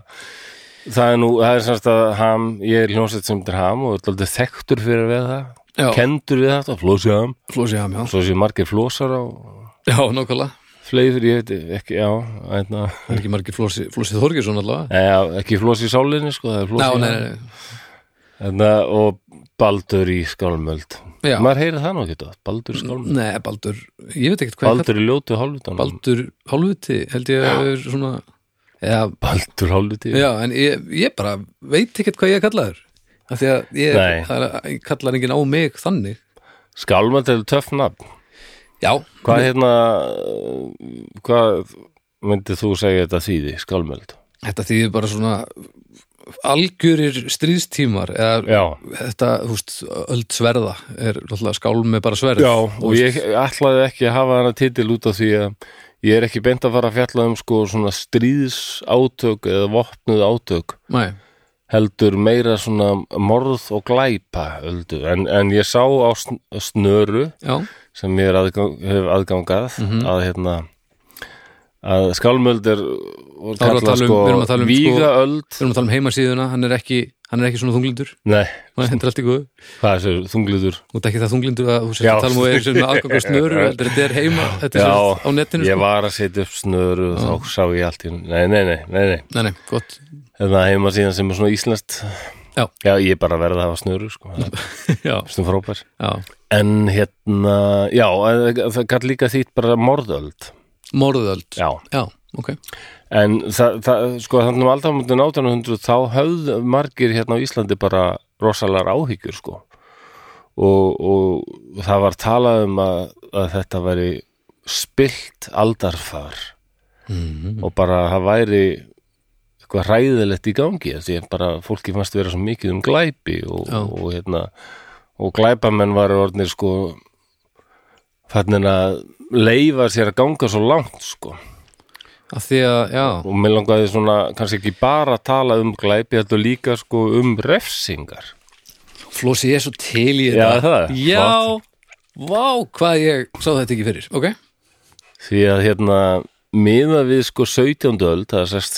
Speaker 1: það er nú, það er semst að ham ég er hljónsett sem þetta er ham og er alltaf þekktur fyrir að vera það
Speaker 2: já,
Speaker 1: kendur við þetta, flósi ham
Speaker 2: flósi ham, já
Speaker 1: svo séu margir flósar á
Speaker 2: Já, nákvæmlega,
Speaker 1: fleifur, ég veit ekki, já einna
Speaker 2: það er ekki margir flósi, flósi Þorgjursson allavega
Speaker 1: Nei, já, ekki flós í sálinni sko, það er flós
Speaker 2: Já,
Speaker 1: í
Speaker 2: nei, nei, nei,
Speaker 1: Þarna, og baldur í skálmöld
Speaker 2: Já.
Speaker 1: maður heyri það nú ekki þetta, baldur í skálmöld
Speaker 2: nei, Baldur Ég veit ekkert hvað ég kallar
Speaker 1: baldur í ljótu hálfutan
Speaker 2: Baldur hálfuti, held ég að er svona Já,
Speaker 1: baldur hálfuti
Speaker 2: já, en ég, ég bara veit ekkert hvað ég er kallaður Af því að ég,
Speaker 1: Nei.
Speaker 2: það er, ég kallar enginn á mig þannig
Speaker 1: skálmöld er töff nafn
Speaker 2: Já,
Speaker 1: hvað hérna uh, hvað myndið þú segja þetta þýði, skálmöld
Speaker 2: þetta þýðir bara svona algjörir stríðstímar eða
Speaker 1: já,
Speaker 2: þetta, þú veist, öld sverða er náttúrulega skál með bara sverð
Speaker 1: já og ég ætlaði ekki að hafa hana titil út af því að ég er ekki beint að fara að fjalla um sko svona stríðsátök eða vopnuð átök
Speaker 2: Nei,
Speaker 1: heldur meira svona morð og glæpa öldu. En, en ég sá á sn- snöru
Speaker 2: já,
Speaker 1: sem ég er aðgang, hef aðgangað
Speaker 2: Mhm.
Speaker 1: að hérna að skálmöld er var
Speaker 2: Þá erum við að
Speaker 1: kallað,
Speaker 2: tala um- við erum að tala um, sko-
Speaker 1: vígaöld
Speaker 2: við erum að tala um heimasíðuna hann er ekki, hann er ekki svona þunglindur
Speaker 1: nei,
Speaker 2: Nei, þetta er allt í góðu,
Speaker 1: hvað er þessu þungliður
Speaker 2: þú ert ekki það þunglindur að þú sérst
Speaker 1: Já.
Speaker 2: að tala um og er sem aðganga snöru heldur þetta er heima, þetta er
Speaker 1: Já,
Speaker 2: sérst á netinu
Speaker 1: ég
Speaker 2: sko.
Speaker 1: var að setja upp snöru og þá sá ég allt í nei, nei, nei, nei, nei.
Speaker 2: Nei, nei, gott,
Speaker 1: þetta heima síðan sem er svona íslenskt
Speaker 2: Já.
Speaker 1: já, ég er bara að verða að hafa snöru sko,
Speaker 2: já,
Speaker 1: sem frábær
Speaker 2: já
Speaker 1: en hérna, já, það gætt líka þýtt bara morðöld
Speaker 2: Morðöld,
Speaker 1: já,
Speaker 2: já, ok
Speaker 1: En það, það sko, þannig um aldamöndin 1800 þá höfðu margir hérna á Íslandi bara rosalar áhyggjur, sko. Og, og það var talað um að, að þetta væri spilt aldarfar og bara það væri eitthvað hræðilegt í gangi af því að bara fólki fannst vera svo mikið um glæpi og,
Speaker 2: Já.
Speaker 1: og hérna og glæpamenn var orðnir sko þannig að leifa sér að ganga svo langt sko
Speaker 2: Af því að, já,
Speaker 1: og mér langaði svona kannski ekki bara að tala um glæpi heldur líka sko um refsingar
Speaker 2: Flósi, ég er svo til í
Speaker 1: Já,
Speaker 2: þetta
Speaker 1: það er flott.
Speaker 2: Já, vá, hvað ég sá þetta ekki fyrir, ok
Speaker 1: því að hérna miða við sko 17. öld það er sest-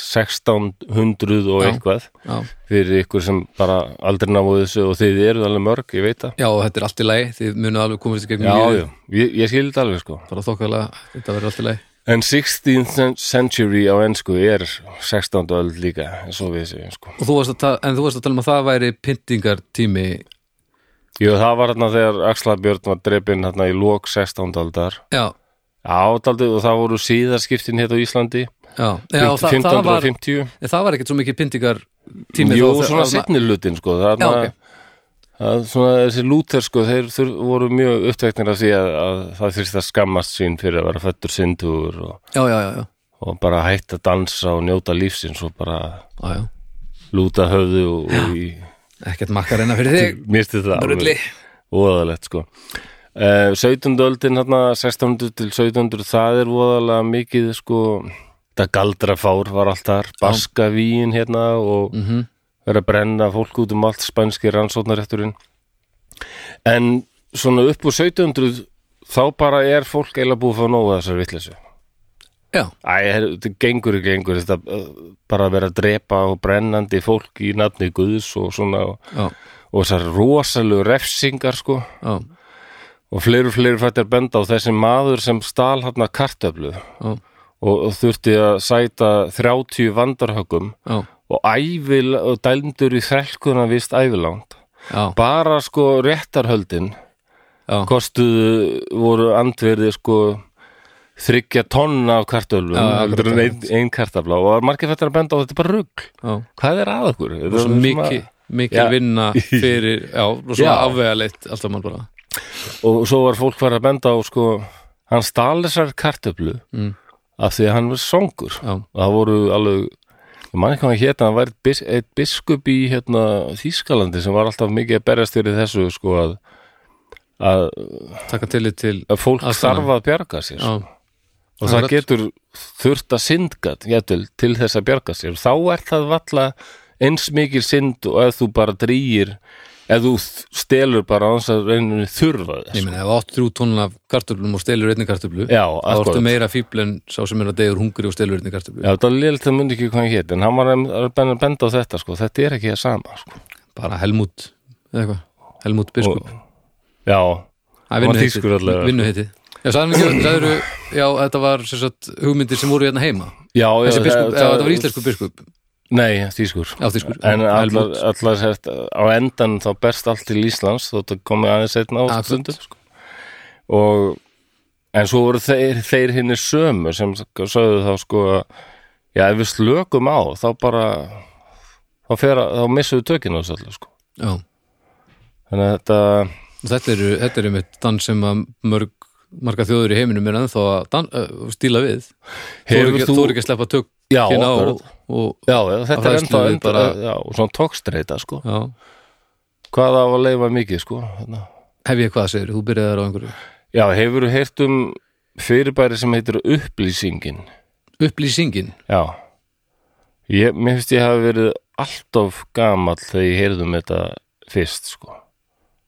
Speaker 1: 1600 og
Speaker 2: Já.
Speaker 1: eitthvað
Speaker 2: Já,
Speaker 1: fyrir ykkur sem bara aldrei náðu þessu og þið eruð alveg mörg, ég veit það
Speaker 2: já og þetta er allt í lagi, þið munið alveg komast í gegnum
Speaker 1: Já,
Speaker 2: lífið.
Speaker 1: já, ég, ég skil þetta alveg sko
Speaker 2: bara þokkalega, þetta verður allt í lagi
Speaker 1: En 16th century á ennsku er 16. öld líka, svo við segjum sko
Speaker 2: og þú varst að tala, en þú varst að tala um að það væri pyntingartími
Speaker 1: Jú, það var hérna þegar Axla Björn var drepinn hérna í lok 16. öldar
Speaker 2: já,
Speaker 1: Já, daldið, og það voru síðarskiptin hérna á Íslandi
Speaker 2: já, já og það, það, var,
Speaker 1: 1550
Speaker 2: en það var ekkert svo mikið pyntingar tími
Speaker 1: Jú,
Speaker 2: þá-
Speaker 1: svona
Speaker 2: að-
Speaker 1: setni lutin sko
Speaker 2: Já,
Speaker 1: það, já,
Speaker 2: ok.
Speaker 1: það, svona, þessi lúter sko þeir, þeir voru mjög uppteknir af því að, að það þyrst að skammast sín fyrir að vera fættur sindur og,
Speaker 2: já, já, já, já,
Speaker 1: og bara hætta að dansa og njóta lífsins og bara
Speaker 2: já, já.
Speaker 1: lúta höfðu og, og í,
Speaker 2: ekkert makkar enna fyrir þig
Speaker 1: misti það alveg.
Speaker 2: Brulli.
Speaker 1: voðalegt sko uh, 17. öldin hérna 1600 til 1700 það er voðalega mikið sko þetta galdrafár var allt þar baskavíin hérna og mm -hmm. verið að brenna fólk út um allt spænski rannsóknarétturinn en svona upp úr 1700 þá bara er fólk eila búið að fá nógu þessar vitleysu
Speaker 2: já,
Speaker 1: Æ, her- þetta gengur ekki gengur þetta eh, bara að vera að drepa og brennandi fólk í nafni guðs og svona og,
Speaker 2: já,
Speaker 1: og þessar rosalegu refsingar sko
Speaker 2: já,
Speaker 1: og fleiri og fleiri fættir benda á þessi maður sem stal hann að kartöflu
Speaker 2: já,
Speaker 1: og og þurfti að sæta 30 vandarhöggum
Speaker 2: já,
Speaker 1: og ævil og dælmdur í þrelkuna vist ævilangt
Speaker 2: já,
Speaker 1: bara sko réttarhöldin
Speaker 2: já.
Speaker 1: kostuðu voru andverði sko þryggja tonna af kartöflum
Speaker 2: Já,
Speaker 1: heldur en
Speaker 2: akkurat.
Speaker 1: ein, ein kartafla og var margir fættir að benda á þetta er bara rugg
Speaker 2: já.
Speaker 1: hvað er að okkur? Þetta
Speaker 2: og svo
Speaker 1: er
Speaker 2: mikið mikil
Speaker 1: Já.
Speaker 2: vinna fyrir, já, og
Speaker 1: Já.
Speaker 2: svona afvegaleitt allt að mann bara,
Speaker 1: og svo var fólk var að benda á sko, hann stal þessar kartöflu
Speaker 2: Mm.
Speaker 1: af því að hann var songur
Speaker 2: já,
Speaker 1: og það voru alveg ég man ekki hvað hann hérna, hann var einn bis, eitt biskup í hérna, Þýskalandi sem var alltaf mikið að berjast fyrir þessu sko, að, að,
Speaker 2: taka tillit til
Speaker 1: að fólk
Speaker 2: Allt
Speaker 1: starfa að bjarga sér
Speaker 2: já,
Speaker 1: og það
Speaker 2: Akkurat.
Speaker 1: getur þurft að syndgat getur, til þess að bjarga sér þá er það valla eins mikil synd og ef þú bara drýir ef þú stelur bara á þess að reyninu þurfa
Speaker 2: ég
Speaker 1: þess
Speaker 2: meina, ef þú átt þrjú tónn af kartöflum og stelur einni kartöflu
Speaker 1: Já,
Speaker 2: þá
Speaker 1: akkurat.
Speaker 2: ertu meira fíbl en sá sem er að deyður hungri og stelur einni kartöflu
Speaker 1: Já, þetta var liðlega það myndi ekki hvað hann hétt en hann var að að benda á þetta sko, þetta er ekki það sama sko.
Speaker 2: bara Helmut, eða eitthvað, Helmut Biskup
Speaker 1: Já,
Speaker 2: Það
Speaker 1: var þýskur allavega.
Speaker 2: Vinnu heiti Já, sagðum ekki, sagður, já, þetta var sem sagt, hugmyndir sem voru hérna heima
Speaker 1: já, já
Speaker 2: Þessi
Speaker 1: það-
Speaker 2: biskup, já, þetta var íslensku biskup
Speaker 1: Nei, þýskur
Speaker 2: Já, þýskur
Speaker 1: En
Speaker 2: Já,
Speaker 1: allar,
Speaker 2: Helmut.
Speaker 1: allar sett, á endan þá berst allt til Íslands þó þetta komið aðeins einna á
Speaker 2: Akkurat.
Speaker 1: stundum sko. og en svo voru þeir, þeir hinni sömu sem sögðu þá sko að já, ef við slökum á þá bara þá, fer, að- þá missum við tökinu á þessu allir sko.
Speaker 2: Já,
Speaker 1: þannig að þetta
Speaker 2: og þetta eru, þetta eru mitt dans sem að mörg, marga þjóður í heiminum er ennþá að dan, uh, stíla við Þú
Speaker 1: Hefur
Speaker 2: ekki,
Speaker 1: þú-
Speaker 2: þú ekki að sleppa tök
Speaker 1: Já,
Speaker 2: hérna
Speaker 1: akkurat.
Speaker 2: og, og
Speaker 1: Já, já, þetta er enda,
Speaker 2: hræðslu við
Speaker 1: enda bara...
Speaker 2: bara-
Speaker 1: já, og svona tókstreita sko.
Speaker 2: já,
Speaker 1: Hvað á að leifa mikið sko? Þarna.
Speaker 2: hef ég hvað segir, þú byrjaði þar á einhverju
Speaker 1: Já, hefur þú heyrt um fyrirbæri sem heitir upplýsingin?
Speaker 2: Upplýsingin,
Speaker 1: Já. Ég, mér finnst ég hafi verið alltof gamall þegar ég heyrði um þetta fyrst sko.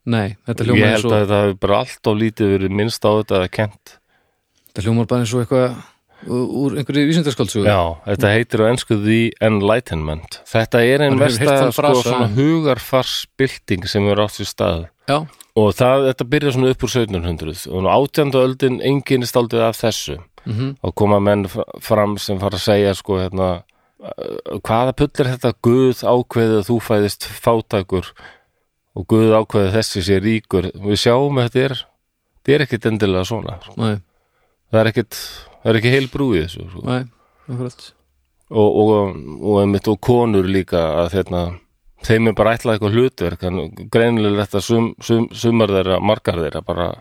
Speaker 2: nei, þetta
Speaker 1: Ég
Speaker 2: hljómar
Speaker 1: held
Speaker 2: eins og
Speaker 1: að þetta hafi bara alltof lítið verið minnst á þetta að kent.
Speaker 2: þetta hljómar bara eins og eitthvað ú- úr einhverju vísindarskáldsögu
Speaker 1: Já, þetta heitir á ennsku The Enlightenment. Þetta er einn
Speaker 2: Maður hefur heyrt
Speaker 1: versta
Speaker 2: þann
Speaker 1: sko,
Speaker 2: frasa,
Speaker 1: svona
Speaker 2: en-
Speaker 1: hugarfarsbylting sem er átt sér stað.
Speaker 2: já,
Speaker 1: og það, þetta byrjar svona upp úr 1700 og nú 18. öldin enginn stáldið af þessu
Speaker 2: mhm,
Speaker 1: og koma menn fr- fram sem fara að segja sko hérna uh, hvaða pull er þetta Guð ákveðið að þú fæðist fátækur og Guð ákveðið þessi sé ríkur við sjáum að þetta er þetta er ekkit endilega svona sko.
Speaker 2: nei,
Speaker 1: það er ekkit, það er ekki heil brúið þessu sko.
Speaker 2: nei, akkurat
Speaker 1: og, og, og, einmitt, og konur líka að hérna, þeim er bara ætlað eitthvað hlutverk en greinilega þetta sum, sum, sumar þeirra, margar þeirra bara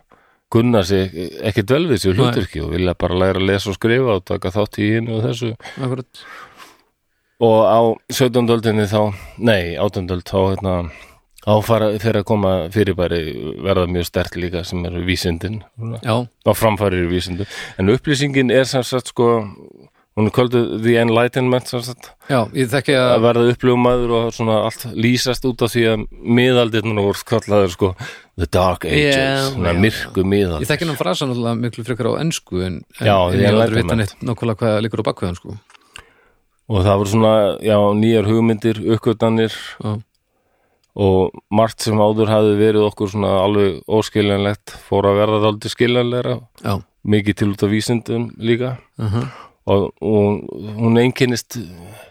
Speaker 1: kunna sig ekkert vel við sér hlutverki og vilja bara læra að lesa og skrifa og taka þátt í hinu og þessu
Speaker 2: akkurat,
Speaker 1: og á 17. öldinni þá nei, 18. öld þá hérna, áfara fyrir að koma fyrirbæri verða mjög stert líka sem eru vísindin
Speaker 2: já,
Speaker 1: á framfærir vísindu en upplýsingin er sem sagt sko hún er kvölduð The Enlightenment sem sagt
Speaker 2: já, ég þekki að
Speaker 1: að verða uppljómaður og svona allt lýsast út af því að miðaldirnar voru kallaður sko The Dark Ages,
Speaker 2: Já,
Speaker 1: svona
Speaker 2: já,
Speaker 1: myrku
Speaker 2: Ég
Speaker 1: miðaldir
Speaker 2: þekki hennan frasa náttúrulega miklu frekar á ennsku en, en,
Speaker 1: Já,
Speaker 2: en
Speaker 1: ég
Speaker 2: ég hef
Speaker 1: lærði
Speaker 2: aldrei vita
Speaker 1: það.
Speaker 2: neitt nákvæmlega hvað liggur á bakveðan sko.
Speaker 1: og það voru svona, já, nýjar hugmyndir, uppgötanir
Speaker 2: Já.
Speaker 1: og margt sem áður hafði verið okkur svona alveg óskiljanlegt fór að verða það aldrei skiljanlegra
Speaker 2: Já,
Speaker 1: mikið til út af vísindum líka
Speaker 2: uh
Speaker 1: og, og hún einkennist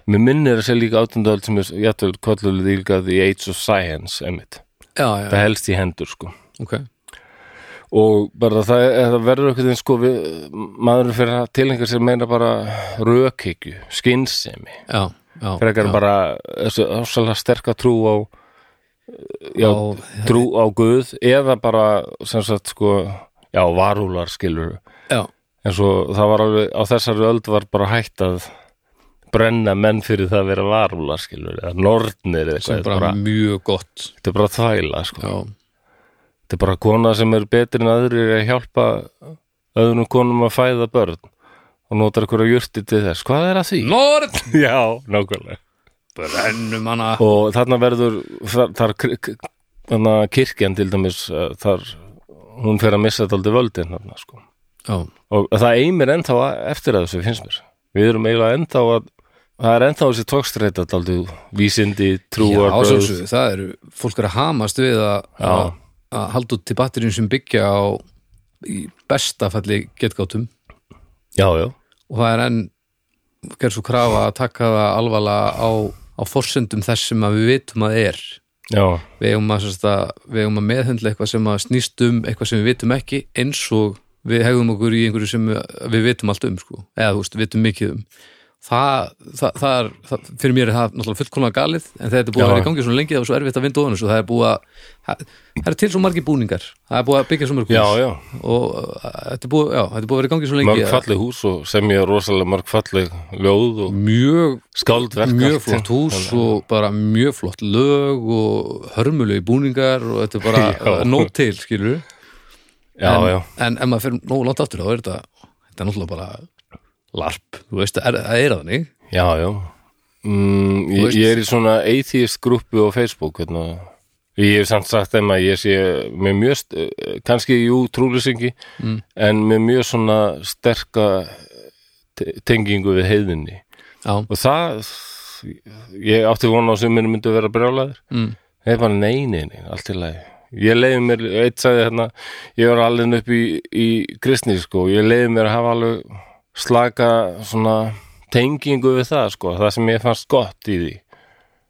Speaker 1: mér minnir að segja líka átundöld sem er jættul kvöllulega líka The Age of Science, emitt
Speaker 2: já, já,
Speaker 1: það helst í hendur sko
Speaker 2: ok
Speaker 1: og bara það, er- það verður einhvern veginn sko við, maðurinn fyrir að tilhengar sér meina bara rökhyggju, skynsemi
Speaker 2: já, já, já.
Speaker 1: frekar já. bara þessu ásalega sterka trú á já,
Speaker 2: Á-
Speaker 1: trú á Guð eða bara sem sagt sko já, varúlar skilur
Speaker 2: já,
Speaker 1: en svo það var alveg, á þessari öld var bara hægt að brenna menn fyrir það að vera varúlar skilur eða nornir eða
Speaker 2: sem
Speaker 1: eitthvað,
Speaker 2: bara,
Speaker 1: þetta er bara,
Speaker 2: mjög gott
Speaker 1: þetta er bara þvæla sko.
Speaker 2: já,
Speaker 1: þetta er bara kona sem er betri en aðrir að hjálpa öðrum konum að fæða börn og notar einhverja jurti til þess, hvað er að því?
Speaker 2: Nord
Speaker 1: Já, nákvæmlega
Speaker 2: brennum hana
Speaker 1: og þarna verður þar, þar kri- k- þarna kirkjan til dæmis eh, þar, hún fer að missa þetta aldrei völdin þarna, sko.
Speaker 2: já,
Speaker 1: og það eimir ennþá að- eftir að þessu finnst mér við erum eiginlega ennþá að það er ennþá þessi tókstreita aldrei vísindi, trúar,
Speaker 2: já sjálfsögðu, það eru fólk er að hamast við að, að, að halda út til batterjum sem byggja á í besta falli getgátum
Speaker 1: já, já,
Speaker 2: og það er enn gerð svo krafa að taka það alvarlega á, á forsendum þess sem að við vitum að er
Speaker 1: já,
Speaker 2: við eigum að, sem sagt að, við eigum að meðhundla eitthvað sem að snýst um eitthvað sem við vitum ekki eins og við hegðum okkur í einhverju sem við, við vitum allt um sko. eða þú veist, vitum mikið um það, það, það er það, fyrir mér er það náttúrulega fullkomlega galið en þetta er búið
Speaker 1: Já.
Speaker 2: að vera í gangi svo lengi það var svo erfitt að vinda ofan þessu það er búið að, það, það er til svo margir búningar það er búið að byggja svo mörg
Speaker 1: já,
Speaker 2: hús
Speaker 1: já.
Speaker 2: og uh, þetta er búið, já, þetta er búið að vera í gangi svo lengi
Speaker 1: mörg falleg hús og semja rosalega mörg falleg ljóð og
Speaker 2: mjög
Speaker 1: skáldverk
Speaker 2: mjög
Speaker 1: allt.
Speaker 2: flott hús og bara mjög flott lög og hörmulegi búningar og þetta er bara
Speaker 1: Já.
Speaker 2: nóg til skilur
Speaker 1: já,
Speaker 2: en,
Speaker 1: já,
Speaker 2: en ef maður fyrir nógu langt aftur þá er þetta, þetta er náttúrulega bara larp, þú veist, það er, það er þannig
Speaker 1: já, já mm,
Speaker 2: Þú
Speaker 1: ég,
Speaker 2: veist-
Speaker 1: ég er í svona atheist grúppu á Facebook hérna. ég hef samt sagt þeim að ég sé með mjög, st- eh, kannski jú trúlýsingi,
Speaker 2: Mm.
Speaker 1: en með mjög svona sterka te- tengingu við heiðinni
Speaker 2: já,
Speaker 1: og það ég átti vona á sem mér myndi vera brjálæður
Speaker 2: mm,
Speaker 1: Það er bara nei, nei, nei, allt í lagi. Ég leiði mér, eitt sagði hérna, ég var alveg hérna upp í, í kristni, sko, og ég leiði mér að hafa alveg slaka svona tengingu við það, sko, það sem ég fannst gott í því.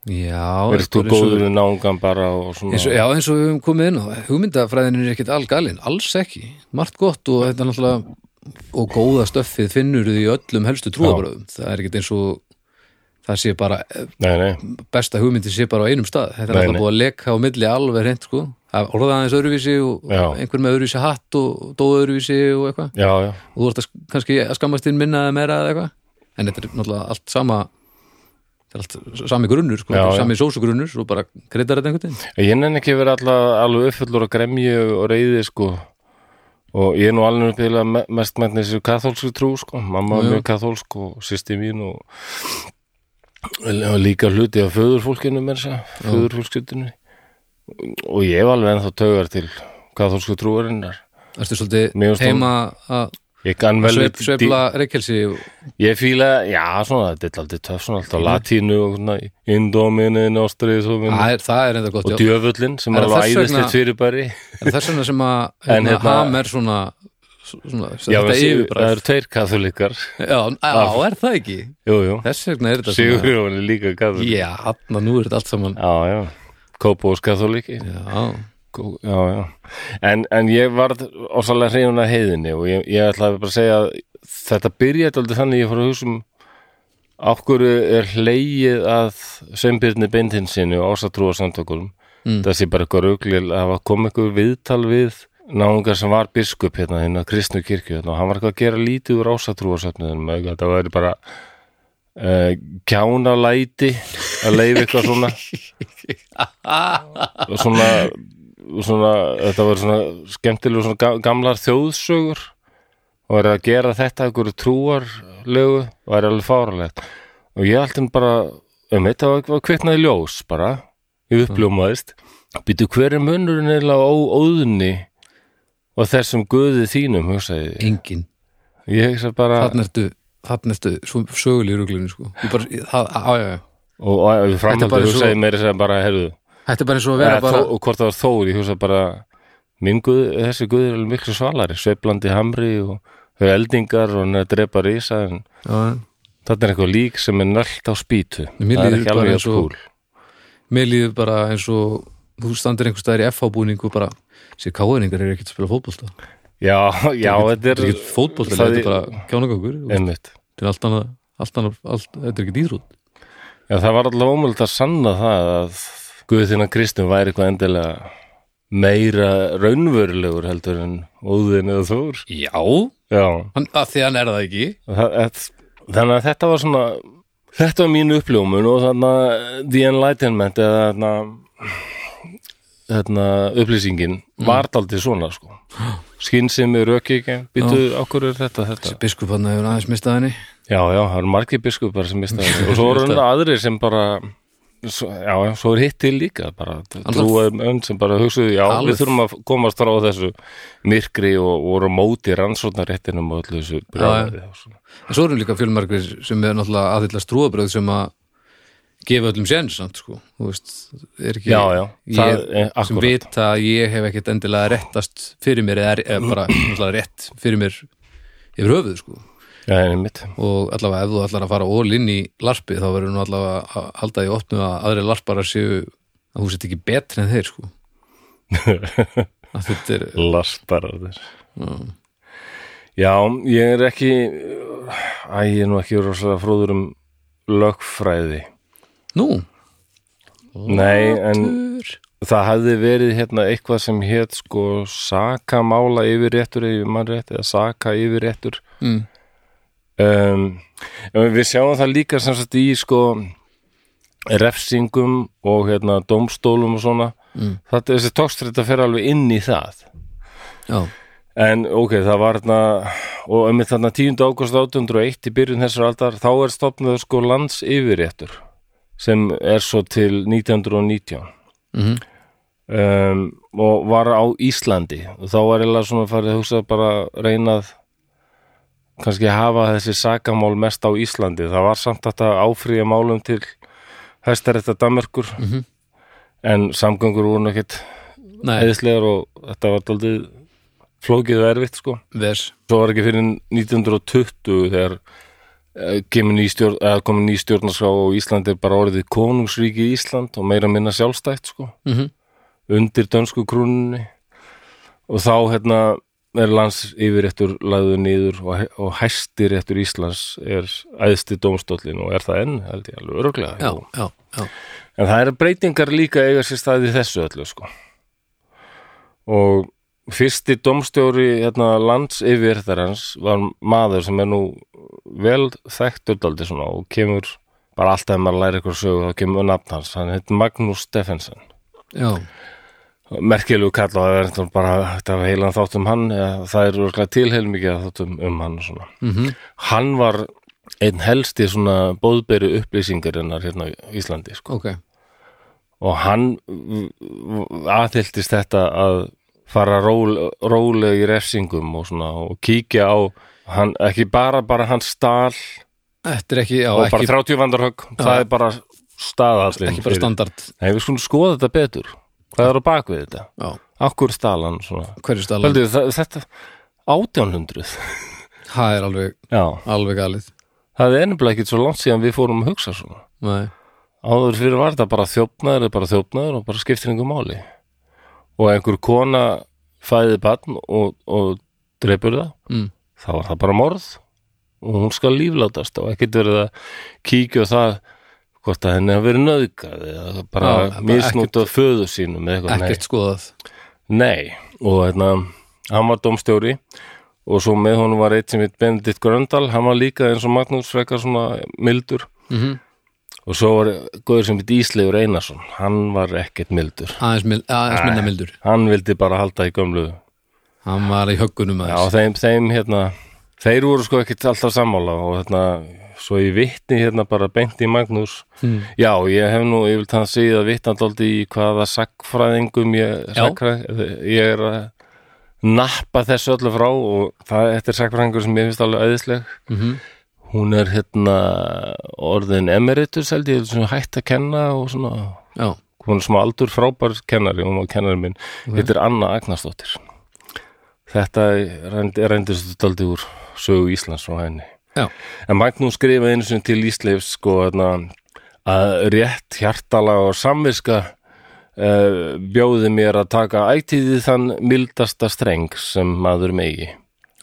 Speaker 2: já
Speaker 1: Verðist þú
Speaker 2: þetta er eins og-
Speaker 1: góður við nángan bara og svona.
Speaker 2: eins og, já, eins og við höfum komið inn á hugmyndafræðin er ekkit allgalinn, alls ekki margt gott og þetta er náttúrulega og góða stöffið finnur því öllum helstu trúabröðum, það er ekkit eins og það sé bara
Speaker 1: Nei, nei,
Speaker 2: besta hugmyndi sé bara á einum stað þetta er
Speaker 1: Nei,
Speaker 2: alltaf
Speaker 1: nei.
Speaker 2: búið að leka á milli alveg reynd sko. að orða aðeins öðruvísi og
Speaker 1: Já.
Speaker 2: einhver með öðruvísi hatt og dóð öðruvísi og eitthvað
Speaker 1: já, já,
Speaker 2: og þú ert að, sk- kannski að skammast inn minna eða meira eða eitthvað en þetta er náttúrulega allt sama þetta er allt sami grunnur sko.
Speaker 1: Já,
Speaker 2: Þetta er
Speaker 1: já.
Speaker 2: sami sósugrunnur og bara greitar þetta einhvern veginn
Speaker 1: Ég nenni ekki að vera alltaf alveg uppfullur að gremju og reyði sko og ég er nú alveg uppfyllega me- mest með þessu kathólsku trú sko, mamma
Speaker 2: Jú,
Speaker 1: er
Speaker 2: jú.
Speaker 1: mjög kathólsk og sýsti mín og, og líka hluti af föðurfólkinu með þess að föðurfólkskjöldinu og ég hef alveg ennþá taugar til kathólsku trúarinnar
Speaker 2: Ertu
Speaker 1: Mér
Speaker 2: svolítið
Speaker 1: finnst hún-
Speaker 2: heima að
Speaker 1: Ég kann vel
Speaker 2: sveif, sveifla reykjelsi
Speaker 1: Ég fíla, já svona, þetta er aldrei töf svona alltaf latínu og svona indóminin, ástrið
Speaker 2: það er, það er enda gott
Speaker 1: Um- og
Speaker 2: já.
Speaker 1: djöfullin sem
Speaker 2: Er
Speaker 1: er
Speaker 2: það
Speaker 1: alveg
Speaker 2: þess vegna-
Speaker 1: æðislegt fyrirbæri
Speaker 2: En þess vegna sem að
Speaker 1: En
Speaker 2: hérna,
Speaker 1: hérna-
Speaker 2: ham er svona, svona
Speaker 1: Já,
Speaker 2: þetta
Speaker 1: en Sigur- það
Speaker 2: yfirbræð
Speaker 1: eru tveir katholikar
Speaker 2: Já, á, er það ekki?
Speaker 1: Jú, jú,
Speaker 2: Þess vegna er þetta svona-
Speaker 1: Sigurjón er líka katholik
Speaker 2: Já, hann nú er þetta allt saman
Speaker 1: Já, já, Kópós katholiki
Speaker 2: Já,
Speaker 1: Kó- Já, já En, en ég varð ósalega hreifun að heiðinni og ég, ég ætlaði bara að segja að þetta byrjaði aldrei þannig að ég fór að hugsa um af hverju er hlegið að Sveinbjörni Beintinn sinni og ásatrúa samtökulum
Speaker 2: Mm.
Speaker 1: það sé bara eitthvað rauglil að hafa komið eitthvað viðtal við náungar sem var biskup hérna hérna á kristnu kirkju hérna, og hann var eitthvað að gera lítið úr ásatrúarsöfniðunum þetta væri bara uh, kjánalæti að leifa eitthvað svona og svona, svona þetta var svona skemmtilega svona ga- gamlar þjóðsögur og er að gera þetta einhverju trúarlegu og er alveg fáralegt og ég alltaf bara um þetta var, var kviknaði ljós bara ég uppljómaðist býtu hver er munurinn eða á óðni og þessum guði þínum hugsaði ég.
Speaker 2: engin
Speaker 1: ég hugsa bara
Speaker 2: Þannig ertu, þannig ertu svo söguleg ruglunni sko Ég bara, ég- það, á, já, já
Speaker 1: og, og
Speaker 2: Þetta er bara
Speaker 1: framhaldur
Speaker 2: svo-
Speaker 1: hugsaði meira sem bara herðu
Speaker 2: Þetta er bara eins og að vera
Speaker 1: eða,
Speaker 2: bara
Speaker 1: þó, og hvort það var Þór, ég hugsa bara minn guð, þessi guð er alveg miklu svalari sveiflandi hamri og þau eru eldingar og hann er að drepa risa en
Speaker 2: já, já.
Speaker 1: þetta er eitthvað lík sem er nölt á spýtu
Speaker 2: Mér
Speaker 1: það er
Speaker 2: líður
Speaker 1: ekki
Speaker 2: bara
Speaker 1: alveg
Speaker 2: eins
Speaker 1: að
Speaker 2: og-
Speaker 1: skúl
Speaker 2: Mér líður bara eins og þú standir einhver staðar í FH búningu bara sér káðningar er ekkert að spila fótbolta
Speaker 1: Já, já, þetta
Speaker 2: þetta er
Speaker 1: er
Speaker 2: ekkert fótbolta,
Speaker 1: það
Speaker 2: þetta er
Speaker 1: er-
Speaker 2: bara kjánagangur þú veist,
Speaker 1: einmitt
Speaker 2: þetta er allt annað, allt annað allt, þetta er ekkert íþrótt
Speaker 1: Já, það var alltaf ómöld að sanna það að Guðina Kristinn væri eitthvað endilega meira raunverulegur heldur en óðin eða þór
Speaker 2: já,
Speaker 1: Já,
Speaker 2: hann, að því hann er það ekki
Speaker 1: það, það, þannig að þetta var svona þetta var mín uppljómun og þannig að The Enlightenment eða þarna, þarna upplýsingin var daldið svona sko skynsemi, rökíkja, býtu, okkur er þetta, þetta
Speaker 2: biskupann hefur aðeins mistað henni
Speaker 1: Já, já, það eru margir biskupar sem mista það og svo eru
Speaker 2: Mista.
Speaker 1: hann aðrir sem bara svo, já, já, svo er hitt til líka bara trúaðum önn sem bara hugsuðu já,
Speaker 2: Alveg.
Speaker 1: við þurfum að komast frá þessu myrkri og voru á móti rannsóknaréttinum og öllu þessu brjálæði og svona.
Speaker 2: en svo erum líka fjölmargir sem er náttúrulega aðhyllast trúabröð sem að gefa öllum séns samt sko þú veist, er ekki
Speaker 1: Já, já, það
Speaker 2: ég,
Speaker 1: er
Speaker 2: sem
Speaker 1: akkurat.
Speaker 2: vita að ég hef ekkert endilega réttast fyrir mér eða, eða bara náttúrulega rétt fyrir mér yfir höfuð sko
Speaker 1: Já, en mitt
Speaker 2: og allavega ef þú ætlar að fara ól inn í larpi þá verður nú allavega að halda í opnu að aðri larparar séu að þú sett ekki betri en þeir sko að þetta er
Speaker 1: Laspararðir Já, ég er ekki Æ, ég er nú ekki rosalega fróður um lögfræði
Speaker 2: nú,
Speaker 1: Nei, en
Speaker 2: dur
Speaker 1: það hafði verið hérna eitthvað sem hétt sko sakamála yfir réttur yfir mannrétt eða saka yfir réttur
Speaker 2: Mm.
Speaker 1: um, en við sjáum það líka sem sagt í sko refsingum og hérna dómstólum og svona mm. þetta þessi tókstrita fer alveg inn í það
Speaker 2: já,
Speaker 1: En ok, það var þarna og um þarna 10. águst 1801 í byrjun þessar aldar, þá er stopnað sko lands yfirréttur sem er svo til 1919
Speaker 2: Mhm.
Speaker 1: um, og var á Íslandi og þá var eiginlega svona farið að hugsa bara reynað kannski hafa þessi sakamál mest á Íslandi það var samt hægt að áfrýja málum til hæstarétta Danmerkur
Speaker 2: Mhm.
Speaker 1: en samgöngur voru nekkit
Speaker 2: nei,
Speaker 1: eðislegar og þetta var daldið flókið og erfitt sko
Speaker 2: vers
Speaker 1: svo var ekki fyrir 1920 þegar eh, kemur ný stjórn, eða komin ný stjórnarskrá og Ísland er bara orðið konungsríki Ísland og meira minna sjálfstætt sko
Speaker 2: mm
Speaker 1: undir dönsku krúnunni og þá hérna er lands yfirréttur lagður niður og, hæ- og hæstiréttur Íslands er æðsti dómstóllin og er það enn held ég alveg öruglega
Speaker 2: já, já, já
Speaker 1: En það eru breytingar líka að eiga sér staði í þessu öllu sko. Og fyrsti domstjóri hérna, lands yfirþarans var maður sem er nú vel þekkt öldaldi svona og kemur bara alltaf ef maður læri eitthvað sögu þá kemur nafn hans, hann heit Magnús Steffensen
Speaker 2: Já,
Speaker 1: merkilegu kall og það er þetta bara þetta var heilan þátt um hann eða, það er örugglega til heilmikið að þátt um, um hann og svona.
Speaker 2: mhm,
Speaker 1: hann var einn helsti svona bóðberi upplýsingarinnar hérna á Íslandi sko.
Speaker 2: ok
Speaker 1: og hann aðhildist þetta að fara ról, rólega í refsingum og svona og kíkja á hann, ekki bara, bara hann stal
Speaker 2: Þetta er ekki, já,
Speaker 1: og
Speaker 2: ekki,
Speaker 1: bara 30 vandarhögg það er bara staðallin
Speaker 2: ekki bara standard
Speaker 1: Nei, við skulum skoða þetta betur hvað er á bak við þetta?
Speaker 2: já,
Speaker 1: Akkur stal hann svona?
Speaker 2: Hverju staðlan,
Speaker 1: Haldið, það, þetta 1800
Speaker 2: það er alveg,
Speaker 1: Já,
Speaker 2: alveg galið
Speaker 1: það er ennibla ekkit svo langt síðan við fórum að hugsa svona
Speaker 2: Nei,
Speaker 1: áður fyrir var þetta bara þjófnaður eða bara þjófnaður og bara skiptir einhver máli og einhver kona fæði barn og, og dreipur það
Speaker 2: Mm.
Speaker 1: þá var það bara morð og hún skal líflátast og ekkert verið að kíkja á það hvort að henni hafi verið nöðgað eða bara
Speaker 2: Já, bara
Speaker 1: misnútað föðu sínum eða eitthvað, nei.
Speaker 2: ekkert skoðað
Speaker 1: Nei, og hérna, hann var domstjóri og svo með honum var eitt sem heit Benedikt Gröndal, hann var líka eins og Magnús frekar svona mildur
Speaker 2: Mhm.
Speaker 1: og svo var góður sem heit Ísleifur Einarsson, hann var ekkert mildur.
Speaker 2: Aðeins, mil, aðeins minna mildur
Speaker 1: Hann vildi bara halda í gömlu.
Speaker 2: Hann var í höggunum
Speaker 1: Já,
Speaker 2: aðeins
Speaker 1: þeim, þeim hérna, þeir voru sko ekkert alltaf sammála og hérna, svo ég vitni hérna bara beint í Magnús.
Speaker 2: Mm.
Speaker 1: Já, ég hef nú, ég vil þannig segja að vitna daldi í hvaða sakfræðingum ég,
Speaker 2: Já.
Speaker 1: sakfræð, ég er að nappa þessu öllu frá og það, þetta er sakfræðingur sem ég finnst alveg æðisleg.
Speaker 2: mm
Speaker 1: Hún er hérna orðin emeritus held ég, sem hætt að kenna og svona,
Speaker 2: Já,
Speaker 1: hún er smá aldur frábær kennari, hún var kennari minn, þetta er Anna Agnarsdóttir. Þetta reynd- reyndist daldi úr sögu Íslands frá henni.
Speaker 2: já,
Speaker 1: En Magnús skrifaði einu sinni til Ísleifs sko, hérna, að rétt hjartala og samviska uh, bjóði mér að taka ætíði þann mildasta streng sem maður megi.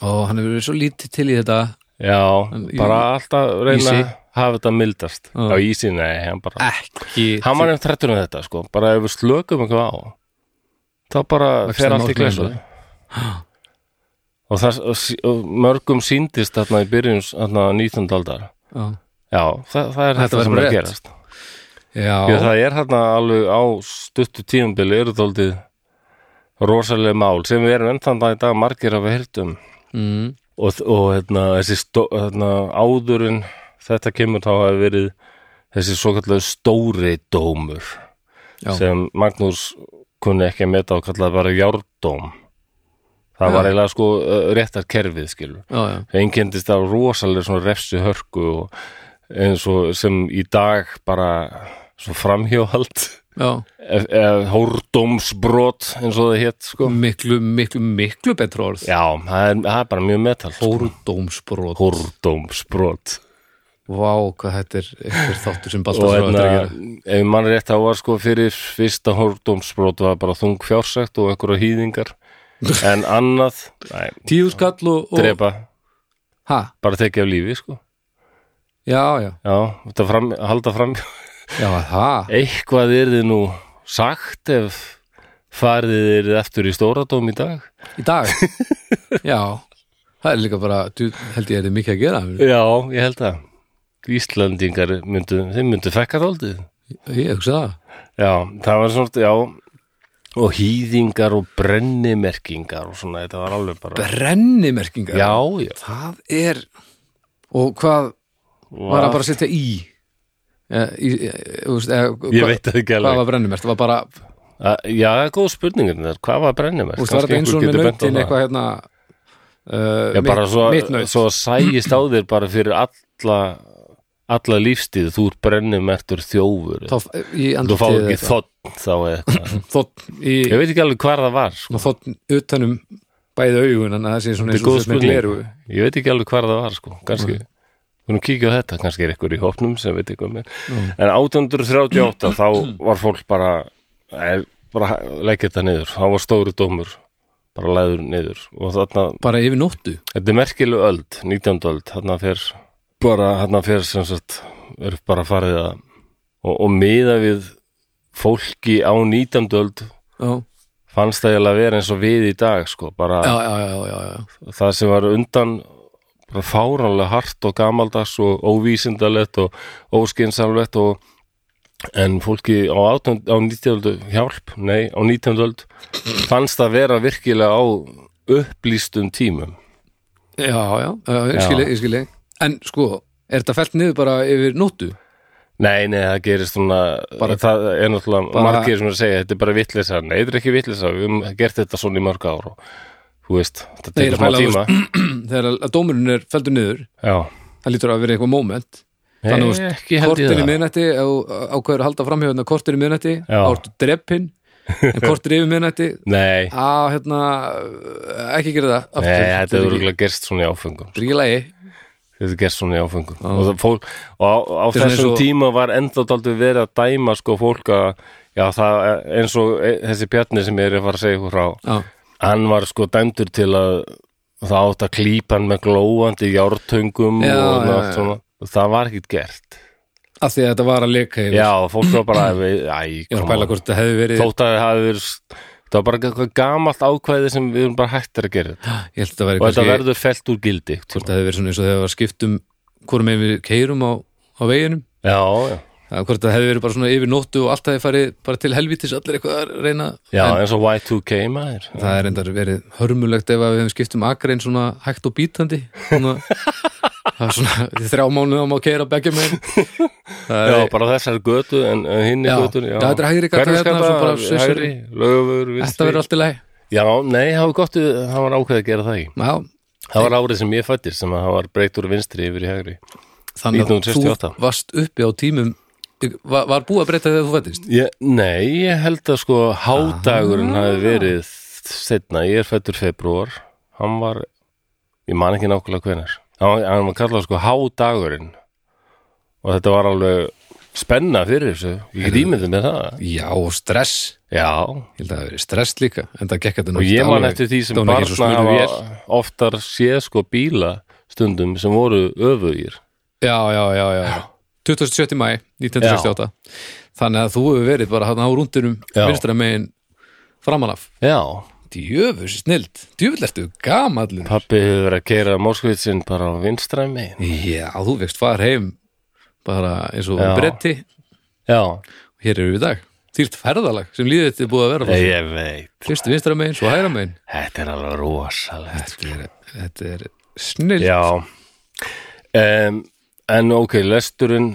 Speaker 2: Ó, hann hefur verið svo lítið til í þetta
Speaker 1: Já,
Speaker 2: í-
Speaker 1: bara alltaf reyna
Speaker 2: Ísi?
Speaker 1: að hafa þetta mildast.
Speaker 2: Já.
Speaker 1: Já, ísi, nei, hann bara...
Speaker 2: ekki
Speaker 1: hann var nefnt trettur um þetta sko bara ef við slökum eitthvað á þá bara
Speaker 2: Vaxta
Speaker 1: fer allt í
Speaker 2: mál-
Speaker 1: glesu
Speaker 2: mál-
Speaker 1: og, það, og, sí- og mörgum síndist þarna í byrjun þarna 19. aldar
Speaker 2: Já,
Speaker 1: já, það, það er
Speaker 2: Þetta
Speaker 1: þetta
Speaker 2: var
Speaker 1: sem
Speaker 2: bara
Speaker 1: er að
Speaker 2: rétt.
Speaker 1: gerast Ég,
Speaker 2: já,
Speaker 1: það er þarna alveg á stuttu tímabili eru þóldið rosalega mál sem við erum ennþanda í dag margir af hirtum
Speaker 2: mm,
Speaker 1: og, og hérna, þessi stó, hérna, áðurinn þetta kemur þá að verið þessi svo kallar stóri dómur
Speaker 2: Já.
Speaker 1: sem Magnús kunni ekki að meta og kallaði bara járdóm það
Speaker 2: Já.
Speaker 1: var eiginlega sko uh, réttar kerfið skilur
Speaker 2: já, já,
Speaker 1: einkendist af rosalega svona refsi hörku og eins og sem í dag bara svo framhjóhald
Speaker 2: já.
Speaker 1: hórdómsbrot eins og það hétt sko
Speaker 2: Miklu, miklu, miklu betra orð
Speaker 1: já, það er, það er bara mjög metal sko.
Speaker 2: Hórdómsbrot
Speaker 1: hórdómsbrot
Speaker 2: Vá, hvað þetta er einhver þáttur sem
Speaker 1: og
Speaker 2: Baltasar
Speaker 1: hérna,
Speaker 2: átti að gera
Speaker 1: ef mann rétt það var sko fyrir fyrsta hórdómsbrot var bara þung fjársækt og einhverja hýðingar en annað, næ,
Speaker 2: Tíu skall og, og
Speaker 1: drepa
Speaker 2: Ha,
Speaker 1: bara tekið af lífi sko
Speaker 2: já, já,
Speaker 1: já, þetta fram, halda fram
Speaker 2: já, það
Speaker 1: eitthvað er þið nú sagt ef farið er þið eftir í stóradóm í dag
Speaker 2: Í dag Já, það er líka bara Þú held ég að þetta er mikið að gera
Speaker 1: já, ég held að Íslandingar myndu, þeim myndu fekka þóldið
Speaker 2: Ég hugsa það
Speaker 1: Já, það var svona, já og hýðingar og brennimerkingar og svona, þetta var alveg bara
Speaker 2: Brennimerkingar
Speaker 1: Já, já
Speaker 2: Það er Og hvað var hann bara að setja í? Eh, í eh, þú veist, eh,
Speaker 1: Ég
Speaker 2: hvað-
Speaker 1: veit það ekki
Speaker 2: Hvað
Speaker 1: alveg
Speaker 2: var brennimert? Það var bara,
Speaker 1: Að- Já, það er góð spurningin þar, hvað var brennimerk?
Speaker 2: þú veist, var þetta eins og með nautin eitthvað hérna uh,
Speaker 1: Já, bara svo,
Speaker 2: mitt naut
Speaker 1: svo sægist á þér bara fyrir alla alla lífstíð, þú ert brennimertur þjófur
Speaker 2: þá, í
Speaker 1: Þú fáið
Speaker 2: andlitið
Speaker 1: ekki
Speaker 2: eitthvað.
Speaker 1: þótt þá eða eitthvað
Speaker 2: þótt í,
Speaker 1: Ég veit ekki alveg hvar það var sko.
Speaker 2: og þótt utanum um bæði augun þannig að það sé svona
Speaker 1: Þetta
Speaker 2: eins
Speaker 1: er
Speaker 2: og
Speaker 1: góð
Speaker 2: þú sért með
Speaker 1: spurning
Speaker 2: gleru Mm.
Speaker 1: Ég veit ekki alveg hvar það var sko. kannski, við erum kíkja á þetta kannski er ykkur í hópnum sem veit eitthvað mér
Speaker 2: Mm.
Speaker 1: en 1838 þá var fólk bara, eh, bara leggja þetta niður, þá var stóri dómur bara læður niður og þarna,
Speaker 2: bara yfir nóttu
Speaker 1: þetta er merkileg öld 19. öld, þarna fer bara, þarna fer sem sagt er bara farið að og, og miða við fólki á 19. öld
Speaker 2: já,
Speaker 1: fannst það eiginlega að vera eins og við í dag sko, bara
Speaker 2: já, já, já, já, já.
Speaker 1: það sem var undan bara fáránlega hart og gamaldags og óvísindalegt og óskinsamlegt og en fólki á, 18, á 19. öld hjálp, nei, á 19. öld fannst að vera virkilega á upplýstum tímum
Speaker 2: já, já, já, ég skil, ég skil en sko, er þetta fælt niður bara yfir nóttu?
Speaker 1: Nei, nei, það gerist svona
Speaker 2: Bara-
Speaker 1: það er náttúrulega
Speaker 2: Bara-
Speaker 1: margir sem er að segja þetta er bara vitleysa, nei, þetta er ekki vitleysa við höfum gert þetta svona í mörg ár og þú veist, þetta
Speaker 2: Nei, ég er
Speaker 1: tekur
Speaker 2: að pæla,
Speaker 1: smá tíma
Speaker 2: þegar að dómurinn er fældur niður
Speaker 1: Já,
Speaker 2: það lítur að vera eitthvað moment
Speaker 1: nei,
Speaker 2: Þannig, þú veist,
Speaker 1: ekki held
Speaker 2: kortir
Speaker 1: ég
Speaker 2: í
Speaker 1: það
Speaker 2: miðnætti og ákveður að halda framhjóðna kortir í miðnætti,
Speaker 1: Já.
Speaker 2: ártu dreppin en kortir yfir miðnætti
Speaker 1: Nei,
Speaker 2: að hérna ekki gera það aftur.
Speaker 1: nei, þetta er
Speaker 2: ekki-
Speaker 1: örgulega gerst svona í áfengum
Speaker 2: þetta er ekki lægi
Speaker 1: Þetta gerst svona í áfengum og, það fólk, og á, á
Speaker 2: er svona eins
Speaker 1: þessum
Speaker 2: og-
Speaker 1: tíma var ennþá daldið verið að dæma sko fólk að já, það, eins og e, þessi Bjarni sem ég er að fara að segja ykkur frá
Speaker 2: já,
Speaker 1: hann var sko dæmdur til að það átt að klípa hann með glóandi jártöngum
Speaker 2: Já,
Speaker 1: og
Speaker 2: já,
Speaker 1: nátt
Speaker 2: já.
Speaker 1: svona það var ekkit gert
Speaker 2: af því að þetta var að leka yfir
Speaker 1: Já, fólk var bara við, æ,
Speaker 2: ég var að
Speaker 1: come on.
Speaker 2: pæla hvort þetta hefði verið
Speaker 1: þótt að það hafi verið það var bara eitthvað gamalt ákvæði sem við erum bara hættir að gera þetta
Speaker 2: ég held að þetta væri
Speaker 1: og þetta
Speaker 2: kannski
Speaker 1: verður felt úr gildi
Speaker 2: hvort þetta hefði verið svona eins og þegar var skiptum hvorum einu við keirum á, á veginum
Speaker 1: Já, já,
Speaker 2: að hvort þetta hefði verið bara svona yfir nóttu og allt hefði farið bara til helvítis allir eitthvað að reyna
Speaker 1: já
Speaker 2: en
Speaker 1: eins og Y2K maður
Speaker 2: það er endar verið hörmulegt ef að við hefum skiptum akrein svona hægt og bítandi svona, það er svona í þrjá mánuð á má keira begja megin það
Speaker 1: Já,
Speaker 2: er
Speaker 1: bara þessari götu en en hinni
Speaker 2: Já.
Speaker 1: götun Já,
Speaker 2: Já, þetta er hægri gata hérna, svo bara
Speaker 1: Hverfiskata,
Speaker 2: sussur.
Speaker 1: hægri, lögur,
Speaker 2: Þetta
Speaker 1: vinstri
Speaker 2: verður allt í lagi
Speaker 1: Já, nei, það var gott við- það var ákveð að gera það ekki
Speaker 2: Já,
Speaker 1: Það var árið sem ég fættist sem að það var breytt úr vinstri yfir í hægri
Speaker 2: þannig að þú
Speaker 1: 1968.
Speaker 2: varst uppi á tímum var, var búið að breyta þegar þú fættist
Speaker 1: ég, Nei, ég held að sko hádagurinn hafi verið setna, ég er fættur februar hann var, ég man ekki nákvæmlega hvenar hann, var- hann var kallað sko hádagurinn og þetta var alveg spenna fyrir þessu ég get ímyndið með það
Speaker 2: Já, og stress
Speaker 1: já,
Speaker 2: Ég held að það hafi verið stress líka En það gekk þetta nú
Speaker 1: og ég
Speaker 2: ekkert
Speaker 1: man
Speaker 2: alveg-
Speaker 1: eftir því sem
Speaker 2: þetta var nú ekki eins og
Speaker 1: barna
Speaker 2: smurður vél.
Speaker 1: hafa oftar séð sko bíla stundum sem voru öfugir
Speaker 2: Já, já, já, já, já. 27. mæ 1968 Þannig að þú hefur verið bara hann á rúndinum
Speaker 1: Já.
Speaker 2: vinstra megin framanaf
Speaker 1: já,
Speaker 2: Djöfus snild, djöfull ertu gamallur
Speaker 1: pappi hefur verið að kera morskvitsin bara á vinstra megin
Speaker 2: Já, þú vext far heim bara eins og
Speaker 1: Já.
Speaker 2: bretti
Speaker 1: já,
Speaker 2: Hér eru við í dag, þýrt ferðalag sem líðið þetta er búið að vera
Speaker 1: Nei, ég veit
Speaker 2: Fyrst vinstra megin, svo hægra megin
Speaker 1: þetta er alveg rosalegt
Speaker 2: Þetta er, þetta er snild
Speaker 1: já um, en ok, lesturinn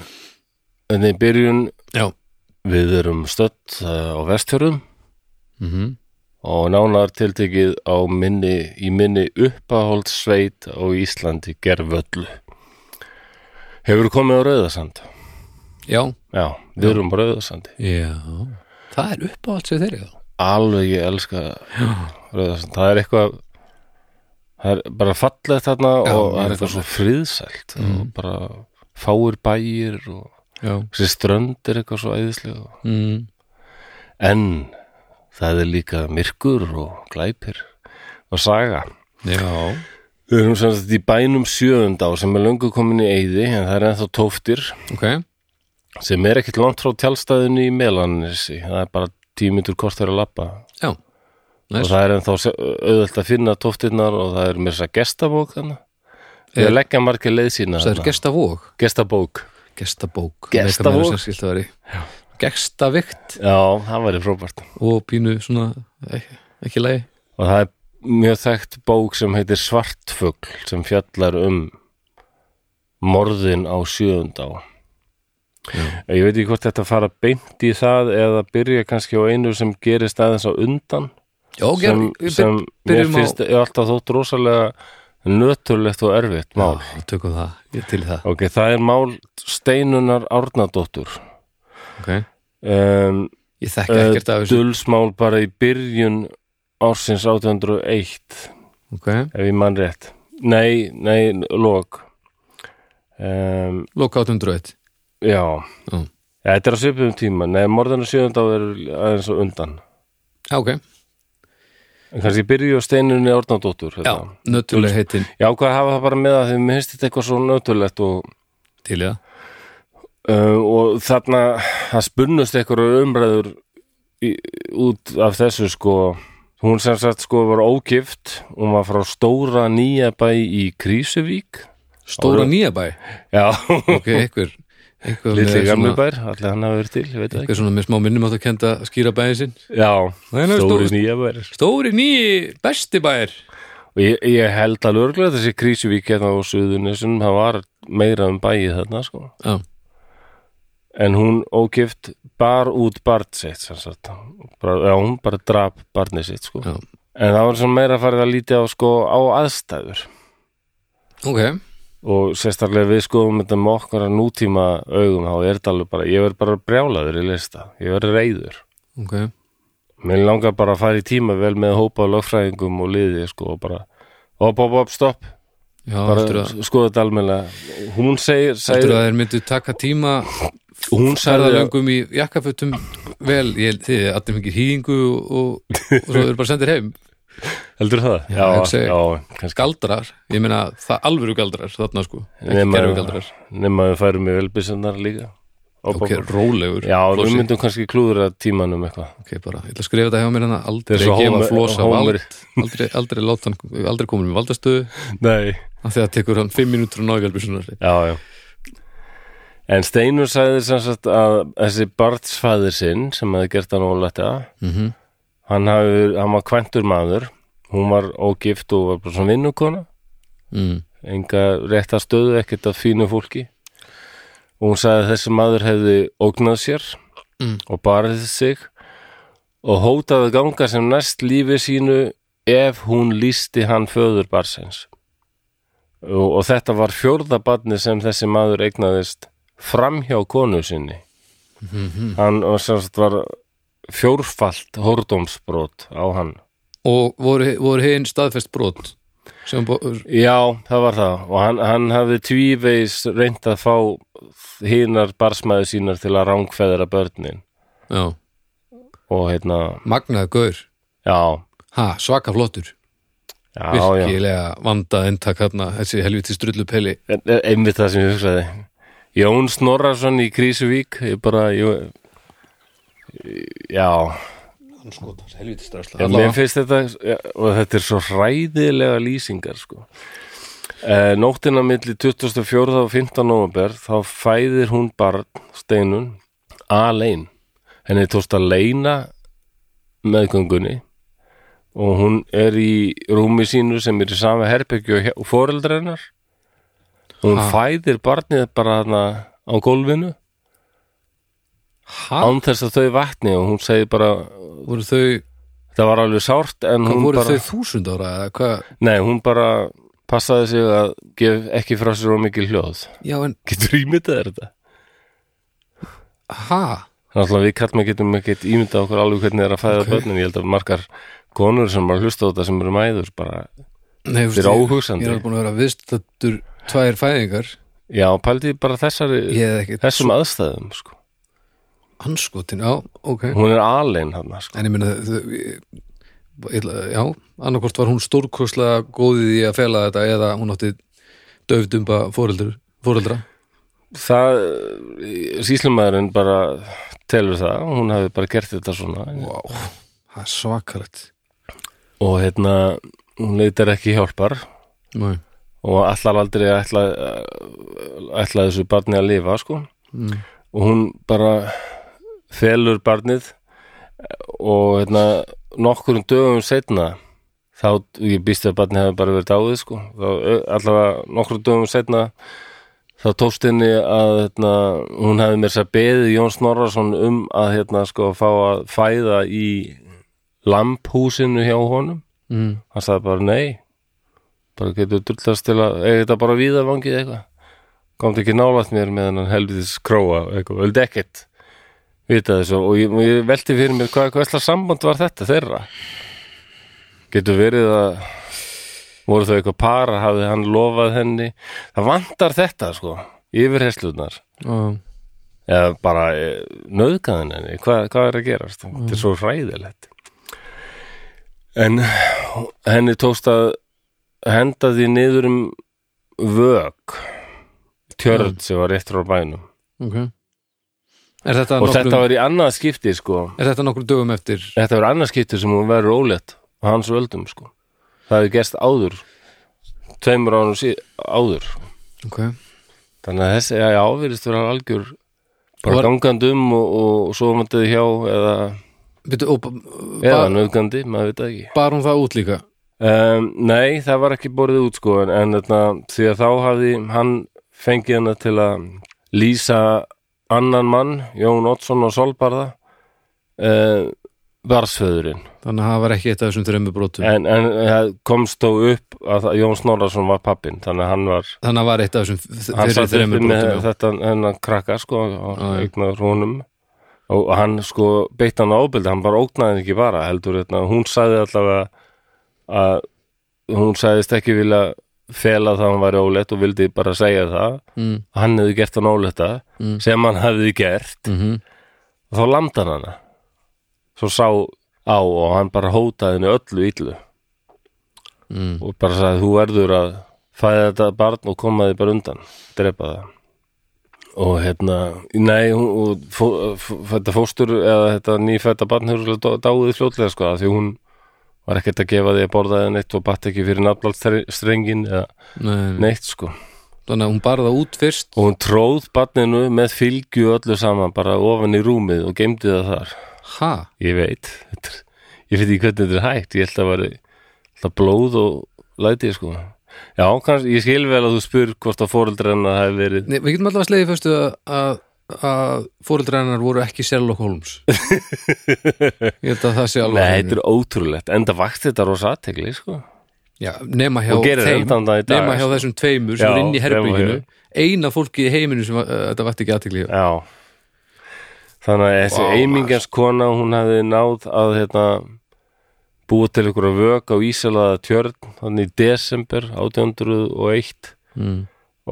Speaker 1: en í byrjun
Speaker 2: Já,
Speaker 1: við erum stödd uh, á vestfjörðum
Speaker 2: Mhm.
Speaker 1: og nánar tiltekið á minni, í minni uppahóldsveit á Íslandi gervöllu hefur komið á Rauðasand
Speaker 2: já,
Speaker 1: já, við erum á Rauðasandi
Speaker 2: já Það er uppáhalds við þeirri þá
Speaker 1: alveg ég elska Rauðasand, það er eitthvað það er bara fallegt þarna
Speaker 2: Já,
Speaker 1: og það er Mhm.
Speaker 2: mjög
Speaker 1: eitthvað svo friðsælt og bara fáir bæir og
Speaker 2: Já,
Speaker 1: þessi strönd er eitthvað svo æðislega
Speaker 2: mm.
Speaker 1: en það er líka myrkur og glæpir og saga
Speaker 2: já.
Speaker 1: Við erum sem sagt í bænum sjöðundá sem er löngu komin í eyði en það er ennþá tóftir
Speaker 2: ok
Speaker 1: sem er ekkit langt frá tjálstæðinu í Melanessi það er bara tímyndur kortur að lappa
Speaker 2: Já,
Speaker 1: og
Speaker 2: Næs.
Speaker 1: það er ennþá sjá- auðvelt að finna tóftirnar og það er mér þess að gestabók þannig
Speaker 2: Er-
Speaker 1: Við leggja margir leið sína
Speaker 2: það er
Speaker 1: þarna.
Speaker 2: gestavóg
Speaker 1: gestabók
Speaker 2: Gestabók
Speaker 1: Gestabók.
Speaker 2: Gestavikt
Speaker 1: Já, það væri frábært
Speaker 2: og pínu svona ekki, ekki lægi
Speaker 1: og það er mjög þekkt bók sem heitir Svartfugl sem fjallar um morðin á sjöðundá ég veit ekki hvort þetta fara beint í það eða byrja kannski á einu sem gerist aðeins á undan
Speaker 2: Já,
Speaker 1: sem,
Speaker 2: gerð- við
Speaker 1: sem mér
Speaker 2: byrjum á-
Speaker 1: finnst á... alltaf þótt rosalega nöturlegt og erfitt mál
Speaker 2: Já, tökum það, ég til í það
Speaker 1: ok, það er mál Steinunar Árnadóttur
Speaker 2: okay.
Speaker 1: um,
Speaker 2: Ég þekki ekkert af þessu
Speaker 1: dulsmál bara í byrjun ársins 1801
Speaker 2: okay.
Speaker 1: ef ég mann rétt nei, nei, lók um,
Speaker 2: Loka 801
Speaker 1: já
Speaker 2: Mm.
Speaker 1: Ja, þetta er á svipum tíma nei, morðan og sjöðundá er aðeins og undan
Speaker 2: Já, ok,
Speaker 1: en kannski byrju á steinunni orðnandóttur
Speaker 2: já, nötuleg heitin
Speaker 1: já, hvað hafa það bara með það því mér finnst þetta eitthvað svo nötulegt og,
Speaker 2: til í það
Speaker 1: uh, og þarna það spunnust eitthvað umræður í, út af þessu sko hún sem sagt sko var ógift hún var frá stóra nýja bæ í Krísuvík
Speaker 2: Stóra
Speaker 1: Ára-
Speaker 2: nýjabæ,
Speaker 1: já,
Speaker 2: ok, einhver einhver með
Speaker 1: litli
Speaker 2: svona-
Speaker 1: gamlubær allir hann hafa verið til, ég veit það
Speaker 2: einhver svona með smá minnum átt að kenda skýra bæðin sinn
Speaker 1: Já,
Speaker 2: Nei, nei,
Speaker 1: stóri
Speaker 2: stóri-
Speaker 1: nýja bæri
Speaker 2: Stóri nýji besti bæir
Speaker 1: Og ég, ég held alveg örglega þessi Krísuvík hérna á Suðunisum, það var meira um bæið þarna sko
Speaker 2: Já,
Speaker 1: En hún ógift bar út barn sitt sem sagt bara, Já, hún bara drap barnið sitt sko
Speaker 2: Já.
Speaker 1: En það var svona meira farið að lítið á sko á aðstæður
Speaker 2: ok,
Speaker 1: Og sérstaklega við skoðum þetta með okkar að nútíma augum þá er þetta alveg bara, ég verð bara brjálaður í lista, ég verð reyður
Speaker 2: ok
Speaker 1: Mér langar bara að fara í tíma vel með hópa af lögfræðingum og liði sko og bara, hopp, hopp, hopp, stopp
Speaker 2: Já, heldur
Speaker 1: bara
Speaker 2: að,
Speaker 1: skoða þetta almennilega hún segir,
Speaker 2: heldur
Speaker 1: segir
Speaker 2: að þeir myndu taka tíma
Speaker 1: hún sagði
Speaker 2: ferðalöngum í jakkafötum vel, ég, þið er allir mikið hýðingu og, og svo eru bara sendir heim
Speaker 1: heldur það?
Speaker 2: Já, ég segi.
Speaker 1: já, kannski
Speaker 2: galdrar, ég meina það alvöru galdrar þarna sko, ekki
Speaker 1: Nema-
Speaker 2: gerfi galdrar
Speaker 1: nema við færum í velbyssunar líka Ó,
Speaker 2: ok,
Speaker 1: bó, bó.
Speaker 2: rólegur
Speaker 1: já,
Speaker 2: flosi.
Speaker 1: við myndum kannski klúðra tímanum eitthvað
Speaker 2: ok, bara, ég ætla að skrifa þetta hjá mér hana
Speaker 1: Þetta er
Speaker 2: aldrei
Speaker 1: svo
Speaker 2: gefa
Speaker 1: Homer-
Speaker 2: flosa
Speaker 1: Homer.
Speaker 2: vald aldrei, aldrei láta hann, aldrei komin með valdastöðu
Speaker 1: nei,
Speaker 2: af því að það tekur hann fimm mínútur og náðgjálfur svona
Speaker 1: já, já en Steinur sagði sem sagt að þessi barnsfæðir sinn sem hefði gert hann ólætta
Speaker 2: mm
Speaker 1: hann, hafi, hann var kvæntur maður hún var ógift og var bara svona vinnukona
Speaker 2: mm.
Speaker 1: enga rétta stöðu ekkert af fínu fólki og hún sagði að þessi maður hefði ógnað sér
Speaker 2: Mm.
Speaker 1: og barðið sig og hótaði að ganga sem næst lífi sínu ef hún lísti hann föður barsins og, og þetta var fjórða barni sem þessi maður eignaðist framhjá konu sinni hann var, sem sagt var fjórfalt hórdómsbrot á hann
Speaker 2: og voru, voru hinn staðfest brot sem bó-
Speaker 1: Já, það var það og hann, hann hafði tvívegis reynt að fá hinar barsmæðu sínar til að rángfeðra börnin
Speaker 2: já,
Speaker 1: og hérna,
Speaker 2: magnaði gaur
Speaker 1: já,
Speaker 2: ha, svaka flottur,
Speaker 1: já, já
Speaker 2: virkilega vandað eintak hérna, þessi helviti strullupeli
Speaker 1: En- en- einmitt það sem ég hugsaði Jón Snorrason í Krísuvík ég bara, ég já,
Speaker 2: hann skotar, helviti stressla
Speaker 1: ég, mér finnst þetta já, og þetta er svo hræðilega lýsingar sko Eh, Nóttina milli 24. og 15. november þá fæðir hún barn steinun alein henni tókst að leina meðgöngunni og hún er í rúmi sínu sem er í sama herbyggju og foreldrar hennar og hún
Speaker 2: Ha.
Speaker 1: fæðir barnið bara hana á gólfinu
Speaker 2: ha,
Speaker 1: án þess að þau vatni og hún segir bara
Speaker 2: voru þau
Speaker 1: það var alveg sárt en
Speaker 2: hvað
Speaker 1: hún
Speaker 2: voru
Speaker 1: bara
Speaker 2: þau þúsund ára eða hvað,
Speaker 1: Nei, hún bara passaði sig að gef ekki frá sér og mikil hljóð.
Speaker 2: já en,
Speaker 1: Getur ímyndað þér þetta?
Speaker 2: ha
Speaker 1: Þannig að við kallum getum ekki ímyndað okkur alveg hvernig er að fæða
Speaker 2: Ok.
Speaker 1: börnin. Ég held að margar konur sem bara hlusta á þetta sem eru mæður bara,
Speaker 2: Nei,
Speaker 1: Þetta er
Speaker 2: veistu,
Speaker 1: óhugsandi.
Speaker 2: ég er alveg búin að vera viðstættur tvær fæðingar
Speaker 1: já, pældi bara þessari,
Speaker 2: ég hef ekki
Speaker 1: þessum aðstæðum, sko.
Speaker 2: anskotin, já, ok
Speaker 1: Hún er alein hann, sko.
Speaker 2: en ég meina þau- þau- ég ætla- já, annarkvort var hún stórkoslega góðið í að fela þetta eða hún átti döfdumba fóreldur, fóreldra
Speaker 1: Það, síslumæðurinn bara telur það, hún hafi bara gert þetta svona.
Speaker 2: wow, það er svakalegt
Speaker 1: Og hérna, hún leitar ekki hjálpar
Speaker 2: Nei.
Speaker 1: og allar aldrei að ætla, ætla þessu barni að lifa, sko.
Speaker 2: Mm.
Speaker 1: og hún bara felur barnið og hérna nokkurum dögum setna þá, ég býst að barnið hefði bara verið dáið sko, þá ö, allavega nokkurum dögum setna þá tókst henni að hérna, hún hefði mér sér beðið Jón Snorrason um að hérna sko fá að fæða í lampúsinu hjá honum
Speaker 2: Mm.
Speaker 1: hann sagði bara nei bara getur dullast til að eða þetta bara víða vangið eitthvað komst ekki nálægt mér með hennan helvitis króa eitthvað, vildi ekkert vita þessu og ég, og ég velti fyrir mér hvað, hvað slags samband var þetta þeirra getur verið að voru þau eitthvað para hafði hann lofað henni það vantar þetta sko yfirherslunar
Speaker 2: Já.
Speaker 1: eða bara nöðgæðan henni hvað, hvað er að gerast,
Speaker 2: Mm.
Speaker 1: þetta er svo hræðilegt en henni tókst að henda því niður um vög
Speaker 2: Mm.
Speaker 1: tjörn sem var rétt frá bænum
Speaker 2: ok er þetta,
Speaker 1: og
Speaker 2: nokkrum,
Speaker 1: þetta var í annað skipti sko
Speaker 2: er þetta nokkrum dögum eftir
Speaker 1: þetta var annað skipti sem hún verður ólétt á hans völdum sko það hefði gerst áður tveimur ánum sí, áður
Speaker 2: ok,
Speaker 1: þannig að þessi já, áfyrist vera algjör bara
Speaker 2: Var-
Speaker 1: gangandi um og, og svo mandaði hjá eða
Speaker 2: Bittu, og,
Speaker 1: Eða
Speaker 2: bar,
Speaker 1: nöðgandi, maður veit það ekki
Speaker 2: bar hún það út líka
Speaker 1: um, Nei, það var ekki borðið út sko en, en þarna, því að þá hafði hann fengið hana til að lýsa annan mann Jón Oddsson og Solbarða uh, varsföðurinn
Speaker 2: þannig að það var ekki eitt af þessum þreymur brotum
Speaker 1: en, en það komst þó upp að það- Jón Snorrason var pappin þannig að hann var
Speaker 2: þannig að það var eitt af þessum fyrir
Speaker 1: hann satt uppi
Speaker 2: þreymur
Speaker 1: með
Speaker 2: brotum já.
Speaker 1: þetta hennan krakka sko og
Speaker 2: Já, já.
Speaker 1: eignar honum og hann sko beitt hann ábyldi, hann bara ógnaði ekki bara heldur hérna, hún sagði allavega að hún sagðist ekki vilja fela það að hann væri ólétt og vildi bara segja það
Speaker 2: mm,
Speaker 1: hann hefði gert hann ólétta
Speaker 2: Mm.
Speaker 1: sem hann hefði gert
Speaker 2: mm
Speaker 1: og þá landa hann hana svo sá á og hann bara hótaði henni öllu illu
Speaker 2: mm.
Speaker 1: og bara sagði þú verður að fæða þetta barn og koma því bara undan drepa það og hérna, nei hún, og fó, fó, þetta fóstur eða þetta nýfætta barn hefur dá- dáið fljótlega sko, af því hún var ekkert að gefa því að borða eða neitt og batt ekki fyrir nafnaldstrengin eða
Speaker 2: Nei, nei.
Speaker 1: neitt sko
Speaker 2: þannig að hún bar það út fyrst
Speaker 1: og hún tróð barninu með fylgju öllu saman bara ofan í rúmið og geimdi það þar
Speaker 2: ha,
Speaker 1: ég veit, þetta er, ég veit ekki hvernig þetta er hægt ég held að vera alltaf blóð og læti sko já, kannski, ég skil vel að þú spyr hvort að fóreldra hennar hafi verið
Speaker 2: Nei, við getum allavega slegið fyrstu að, að fóreldra hennar voru ekki Sherlock Holmes ég held að það sé alveg
Speaker 1: Nei,
Speaker 2: á
Speaker 1: þetta
Speaker 2: hreinu.
Speaker 1: er ótrúlegt, enda vakt þetta rosa aðtegli sko
Speaker 2: Já, nema hjá
Speaker 1: Og gerir
Speaker 2: þeim
Speaker 1: endan það í dag,
Speaker 2: nema hjá
Speaker 1: sko.
Speaker 2: þessum tveimur sem
Speaker 1: Já,
Speaker 2: er inn í herbyginu
Speaker 1: nema
Speaker 2: eina fólki í heiminu sem uh, þetta vætti ekki aðtekli
Speaker 1: já þannig að þessi
Speaker 2: Vá,
Speaker 1: wow,
Speaker 2: maður.
Speaker 1: eimingjans kona hún hafi náð að hérna búa til ykkur að vök á Ísalaða tjörn þannig í desember 1801
Speaker 2: mm.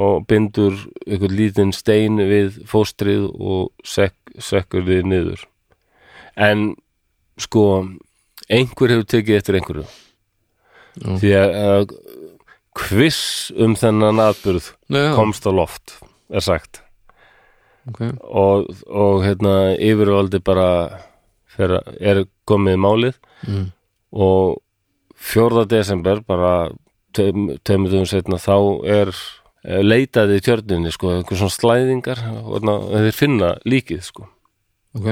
Speaker 1: og bindur ykkur lítinn stein við fóstrið og sek, sekkur þið niður en sko einhver hefur tekið eftir einhverju
Speaker 2: Já.
Speaker 1: því að uh, kviss um þennan atburð
Speaker 2: Já,
Speaker 1: komst á loft er sagt
Speaker 2: ok
Speaker 1: og, og hérna yfirvaldi bara fyrir, er komið í málið
Speaker 2: mm.
Speaker 1: og 4. desember bara tveim- tveimur dögum setna þá er eh, leitaði í tjörninni sko, einhver svona slæðingar og þeir finna líkið sko
Speaker 2: Ok,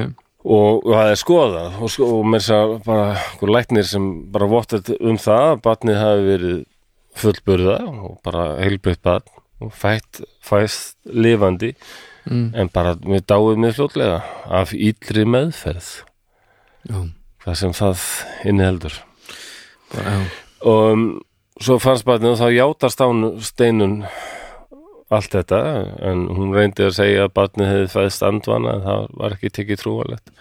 Speaker 1: og, og það er skoðað og, sko, og mér sér bara einhver læknir sem bara vottar um það að barnið hafi verið fullburða og bara heilbreytt barn og fætt, fæst lifandi
Speaker 2: Mm.
Speaker 1: en bara mér dáið mér fljótlega af íllri meðferð
Speaker 2: já,
Speaker 1: hvað sem það inniheldur
Speaker 2: bara, já.
Speaker 1: og um, svo fannst barnið og þá játar stánu steinun allt þetta en hún reyndi að segja að barnið hefði fæðst andvana en það var ekki tekið trúalegt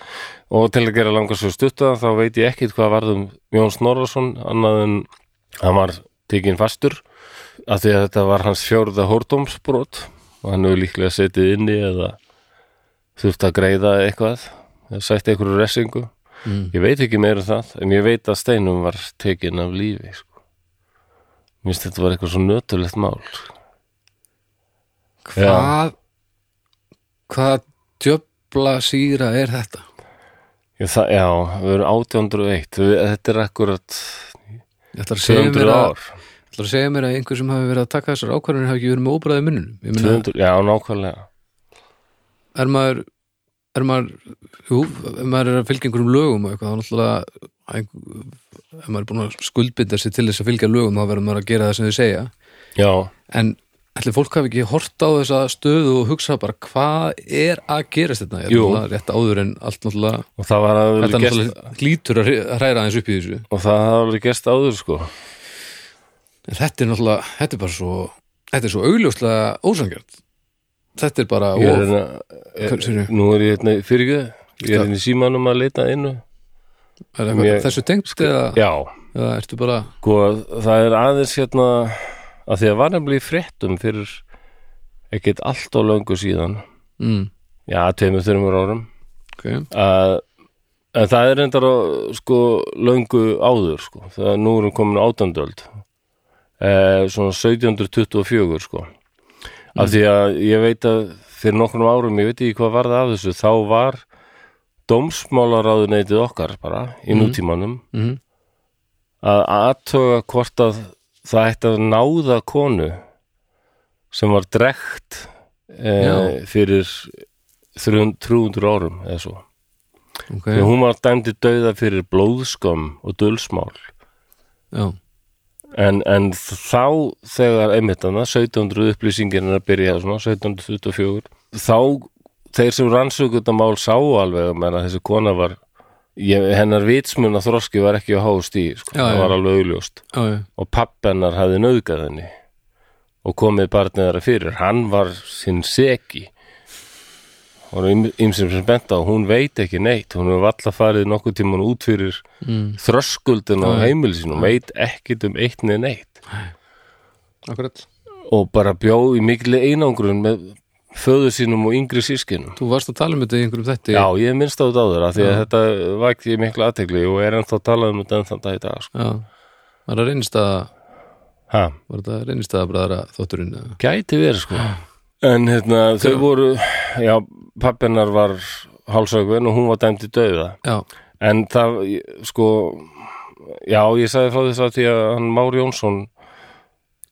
Speaker 1: og til að gera langar svo stutta þá veit ég ekkit hvað varðum Jón Snorrason annað en hann var tekinn fastur af því að þetta var hans fjórða hórdómsbrot og hann hefur líklega setið inni eða þurft að greiða eitthvað eða sætt einhverju resingu
Speaker 2: Mm.
Speaker 1: Ég veit ekki meira um það, en ég veit að steinum var tekin af lífi, sko. Mér finnst þetta var eitthvað svo nöturlegt mál. sko.
Speaker 2: Hvað Hvað djöfla síra er þetta?
Speaker 1: Ég, það, já, við erum 1801, við, þetta er akkurat
Speaker 2: Ég ætla að segja mér
Speaker 1: 200
Speaker 2: að,
Speaker 1: ár.
Speaker 2: ætlar að, segja mér að einhver sem hafi verið að taka þessar ákvarðanir hafi ekki verið með óbræði munnunum Ég meina,
Speaker 1: 200, já, nákvæmlega.
Speaker 2: er maður er maður, jú, ef maður er að fylgja einhverjum lögum og eitthvað, þá náttúrulega einhver- ef maður er búin að skuldbinda sig til þess að fylgja lögum, þá verður maður að gera það sem þau segja
Speaker 1: Já,
Speaker 2: en ætli fólk hafi ekki hort á þessa stöðu og hugsa bara hvað er að gerast þetta Ég er
Speaker 1: Jú.
Speaker 2: náttúrulega rétt áður en allt náttúrulega
Speaker 1: og það var að vera
Speaker 2: þetta
Speaker 1: gest,
Speaker 2: náttúrulega glítur að hre- að hræra aðeins upp í þessu
Speaker 1: og það var að vera gest áður, sko.
Speaker 2: en þetta er náttúrulega, þetta er bara svo þetta er svo augljóslega ósangjart þetta er bara
Speaker 1: Ég er
Speaker 2: of,
Speaker 1: hérna,
Speaker 2: Hvað segirðu?
Speaker 1: ég, nú er ég hérna, fyrir ekki, ég er hérna í símanum að leita innu.
Speaker 2: er eitthvað,
Speaker 1: ég- Sko,
Speaker 2: þessu tengt eða,
Speaker 1: Já,
Speaker 2: eða ertu bara
Speaker 1: Sko, það er aðeins hérna að því að var nefnilega í fréttum fyrir ekkert allt á löngu síðan
Speaker 2: mm,
Speaker 1: já, tveimur, þreimur árum
Speaker 2: okay.
Speaker 1: að, en það er endar á sko löngu áður sko, þegar nú erum komin átandöld eh, svona 1724 sko
Speaker 2: Mm.
Speaker 1: af því að ég veit að fyrir nokkrum árum, ég veit ekki hvað var það af þessu þá var dómsmálaráðuneytið okkar bara í nútímanum
Speaker 2: mm,
Speaker 1: að aðtöga hvort að það ætti að náða konu sem var drekt e,
Speaker 2: Já.
Speaker 1: fyrir 300 300 árum eða svo.
Speaker 2: ok,
Speaker 1: Þegar hún var dæmdi dauða fyrir blóðskömm og dulsmál.
Speaker 2: já,
Speaker 1: En, en þá þegar einmittana, 1700 upplýsingirinn er að byrja svona, 1724 þá þeir sem rannsöku þetta mál sáu alveg að menna þessi kona var ég, hennar vitsmuna þroski var ekki á hást í sko,
Speaker 2: Já,
Speaker 1: það
Speaker 2: já.
Speaker 1: var alveg augljóst
Speaker 2: já, já,
Speaker 1: og pappennar hafði nauðgað henni og komið barnið þeirra fyrir hann var sinn seki og ymsum sem benta á hún veit ekki neitt, hún hefur alltaf farið nokkuð tíman út fyrir
Speaker 2: mm,
Speaker 1: þröskuldin
Speaker 2: Já,
Speaker 1: á
Speaker 2: já.
Speaker 1: heimil sín og veit ekkit um eitt neð neitt
Speaker 2: akkurat
Speaker 1: og bara bjó í mikli einangrun með föður sínum og yngri sískinum
Speaker 2: þú varst að tala um þetta í einhverjum þetta
Speaker 1: Já, ég minnst á þetta áður af því að þetta vakti ég mikla aðtegli og er ennþá talað um þetta ennþá dag í dag sko.
Speaker 2: já, var það reynist að
Speaker 1: Ha,
Speaker 2: var þetta reynist að bræðra þótturinn eða?
Speaker 1: gæti verið sko En hérna, þau voru já, pappinar var hálsögvin og hún var dæmd í dauða
Speaker 2: já,
Speaker 1: en það, ég- sko já, ég sagði frá þess að því að hann Már Jónsson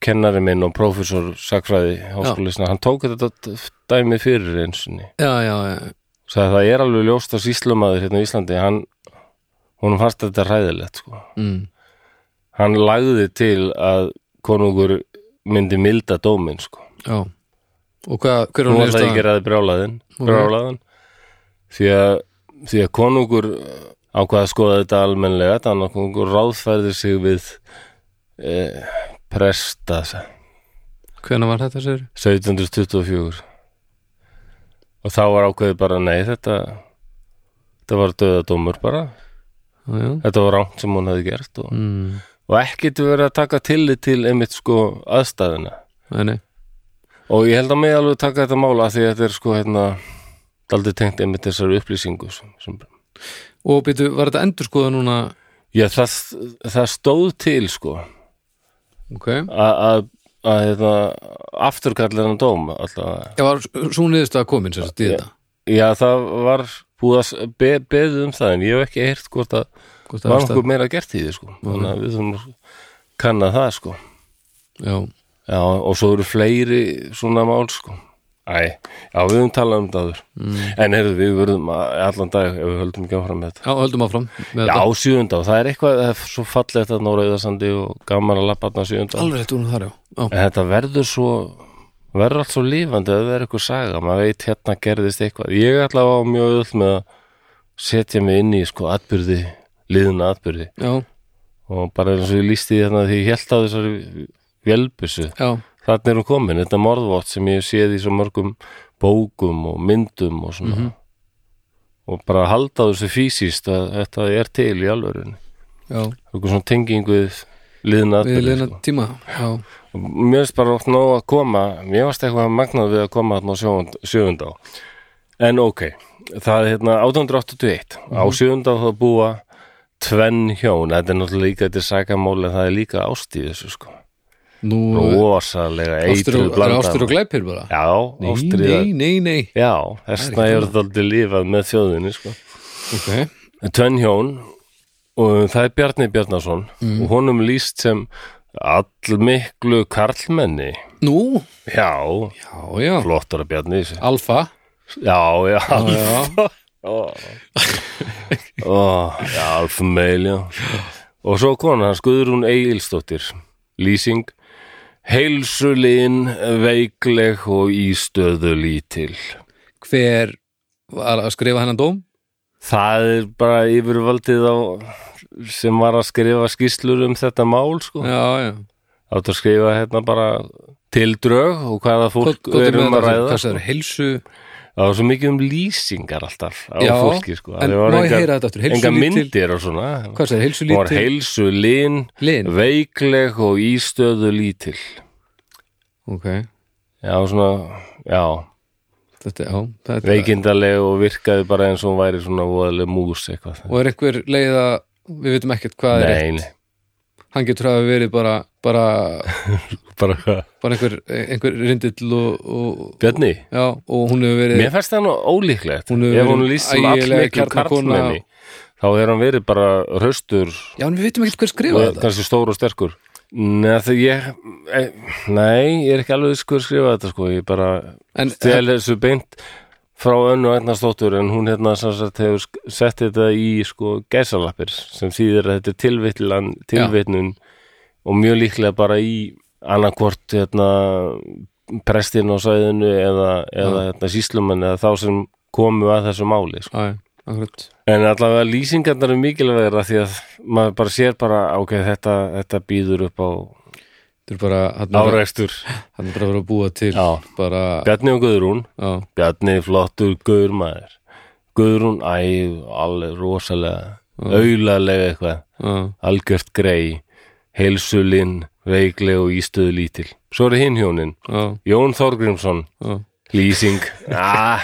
Speaker 1: kennari minn og prófessor sakfræði háskólisna, hann tók þetta d- dæmi fyrir einsinni
Speaker 2: já, já, já,
Speaker 1: sagði það er alveg ljóst að síslumaður hérna í Íslandi, hann hún fannst þetta ræðilegt, sko
Speaker 2: mm,
Speaker 1: hann lagði til að konungur myndi milda dóminn, sko
Speaker 2: já og hvað, hver var
Speaker 1: Nú var það ekki
Speaker 2: niðurstaðan?
Speaker 1: ræði brjálaðin
Speaker 2: Ok.
Speaker 1: brjálaðan því að, því að konungur ákvað að skoða þetta almennlega þannig að konungur ráðfærði sig við eh, presta
Speaker 2: hvenær var þetta sér?
Speaker 1: 1724 og þá var ákveðið bara nei þetta þetta var döðadómur bara
Speaker 2: já, já.
Speaker 1: þetta var rangt sem hún hefði gert og,
Speaker 2: Mm.
Speaker 1: og ekkit verið að taka tillit til einmitt sko aðstæðina
Speaker 2: Nei, nei.
Speaker 1: og ég held að mig alveg taka þetta mála því að þetta er sko hérna daldið tengt einmitt þessari upplýsingu sem, sem,
Speaker 2: og býtu, var þetta endur skoða núna
Speaker 1: já það, það stóð til sko
Speaker 2: ok, ég
Speaker 1: að- að að hérna afturkallir hann dóm alltaf
Speaker 2: var svo niðurstaða komin sér þetta í þetta
Speaker 1: já það var búið að s- be, beðið um það en ég hef ekki heyrt hvort að
Speaker 2: Hvort
Speaker 1: var
Speaker 2: það
Speaker 1: okkur meira gert í því sko þannig að við þurfum að kanna það sko
Speaker 2: Já,
Speaker 1: já og svo eru fleiri svona mál sko Æ, já við höfum talað um það mm. en heyrðu við verðum að allan dag ef við höldum ekki áfram með þetta
Speaker 2: já, höldum áfram með
Speaker 1: Já,
Speaker 2: þetta.
Speaker 1: sjöunda og það er eitthvað það er svo fallegt að Nóraðarsandi og gaman að lappa þarna sjöunda
Speaker 2: Alveg rétt úr þar, já, já.
Speaker 1: en þetta verður svo verður allt svo lífandi að það er eitthvað saga maður veit hérna gerðist eitthvað ég ætla að á mjög öll með að setja mig inn í sko atbyrði liðna atbyrði
Speaker 2: já,
Speaker 1: og bara eins og ég lísti því þannig að ég held á þessari vélbussu
Speaker 2: já,
Speaker 1: þannig er hún komin, þetta morðvott sem ég hef séð í svo mörgum bókum og myndum og svona og bara halda á þessu fysiskt að þetta er til í alvörunni
Speaker 2: já
Speaker 1: eitthvað svona tenging við liðna
Speaker 2: Við
Speaker 1: atbyrði
Speaker 2: leina
Speaker 1: sko.
Speaker 2: tíma, já,
Speaker 1: mér finnst bara oft nóg að koma mér varst eitthvað magnað við að koma þarna á sjöfund, sjöfundá en ok, það er hérna 1881 á
Speaker 2: Mhm.
Speaker 1: sjöfundá þá búa tvenn hjón, þetta er náttúrulega líka þetta er sakamál en það er líka ást í þessu sko
Speaker 2: nú
Speaker 1: rosalega
Speaker 2: Ástur
Speaker 1: eitruð
Speaker 2: og, það er
Speaker 1: blanda
Speaker 2: ástur og glæpir bara
Speaker 1: já, ástriða
Speaker 2: Nei, nei, nei, nei
Speaker 1: já, þessna er þetta aldrei lífað með þjóðinni sko
Speaker 2: Ok,
Speaker 1: tvenn hjón og það er Bjarni Bjarnason
Speaker 2: Mm.
Speaker 1: og honum líst sem allmiklu karlmenni
Speaker 2: nú,
Speaker 1: já,
Speaker 2: já, já
Speaker 1: flottur að Bjarni í þessu.
Speaker 2: Alfa,
Speaker 1: já, já,
Speaker 2: já, já,
Speaker 1: Ó. Ó, já alfa meil, já og svo kona hans Guðrún Egilsdóttir lýsing heilsulinn veikleg og ístöðu lítil
Speaker 2: hver var að skrifa hennan dóm
Speaker 1: það er bara yfirvaldið á sem var að skrifa skýslur um þetta mál sko
Speaker 2: Já, já,
Speaker 1: áttu að skrifa hérna bara tildrög og hvaða fólk
Speaker 2: Hvað- hvað er
Speaker 1: er um
Speaker 2: með
Speaker 1: að
Speaker 2: þetta?
Speaker 1: ræða
Speaker 2: Hvað
Speaker 1: sko.
Speaker 2: sagður, heilsu
Speaker 1: það var svo mikið um lýsingar alltaf á
Speaker 2: Já,
Speaker 1: fólki sko.
Speaker 2: en
Speaker 1: Það voru
Speaker 2: má ég
Speaker 1: engar-
Speaker 2: heyra þetta aftur? Heilsu
Speaker 1: engar
Speaker 2: lítil-
Speaker 1: myndir og svona
Speaker 2: Hvað sagður, heilsu
Speaker 1: hún var
Speaker 2: lítið
Speaker 1: heilsu lin,
Speaker 2: Lin.
Speaker 1: veikleg og ístöðu lítil
Speaker 2: Ok,
Speaker 1: já svona, já
Speaker 2: þetta, já, þetta
Speaker 1: veikindaleg og virkaði bara eins og hún væri svona voðaleg mús eitthvað
Speaker 2: Og er einhver leið að, við veitum ekkert hvað er
Speaker 1: nei, nei,
Speaker 2: Hann getur að hafa verið bara, bara,
Speaker 1: bara hvað
Speaker 2: bara einhver, einhver rindill og, og,
Speaker 1: Bjarni,
Speaker 2: já, og hún hefur verið
Speaker 1: mér fannst það nú
Speaker 2: Eh,
Speaker 1: ólíklegt
Speaker 2: Hún hefur
Speaker 1: ef hún
Speaker 2: verið
Speaker 1: lýst sem
Speaker 2: ægilega
Speaker 1: allmiklu
Speaker 2: kjarnakona.
Speaker 1: karlmenni þá er hann verið bara hraustur
Speaker 2: Já, en við veitum ekkert hver skrifa
Speaker 1: og
Speaker 2: þetta
Speaker 1: kannski stór og sterkur Nei, það ég eh, Nei, ég er ekki alveg skur skrifað þetta sko, ég bara
Speaker 2: En,
Speaker 1: stel þessu beint frá önnu einnastóttur en hún hérna sem sagt hefur sk- sett þetta í sko gæsalappir sem þýðir að þetta er tilvitlan, tilvitnun og mjög líklega bara í annarkvort hérna prestin á sæðinu eða, eða hérna, síslumann eða þá sem komu að þessu máli sko.
Speaker 2: Æ, akkurat
Speaker 1: En allavega lýsingarnar er mikilvægir að því að maður bara sér bara ok, þetta, þetta býður upp á
Speaker 2: Þetta er bara, hann er bara,
Speaker 1: árekstur.
Speaker 2: hann er bara að vera að búa til
Speaker 1: Já.
Speaker 2: bara,
Speaker 1: Bjarni og Guðrún,
Speaker 2: já,
Speaker 1: Bjarni flottur Guður maður. Guðrún, æ, alveg rosalega, aulalega eitthvað,
Speaker 2: já,
Speaker 1: algjört grei, heilsulinn, veikleg og ístöðu lítil. Svo eru hinn hjónin,
Speaker 2: já,
Speaker 1: Jón Þorgrímsson,
Speaker 2: já
Speaker 1: lýsing, ah,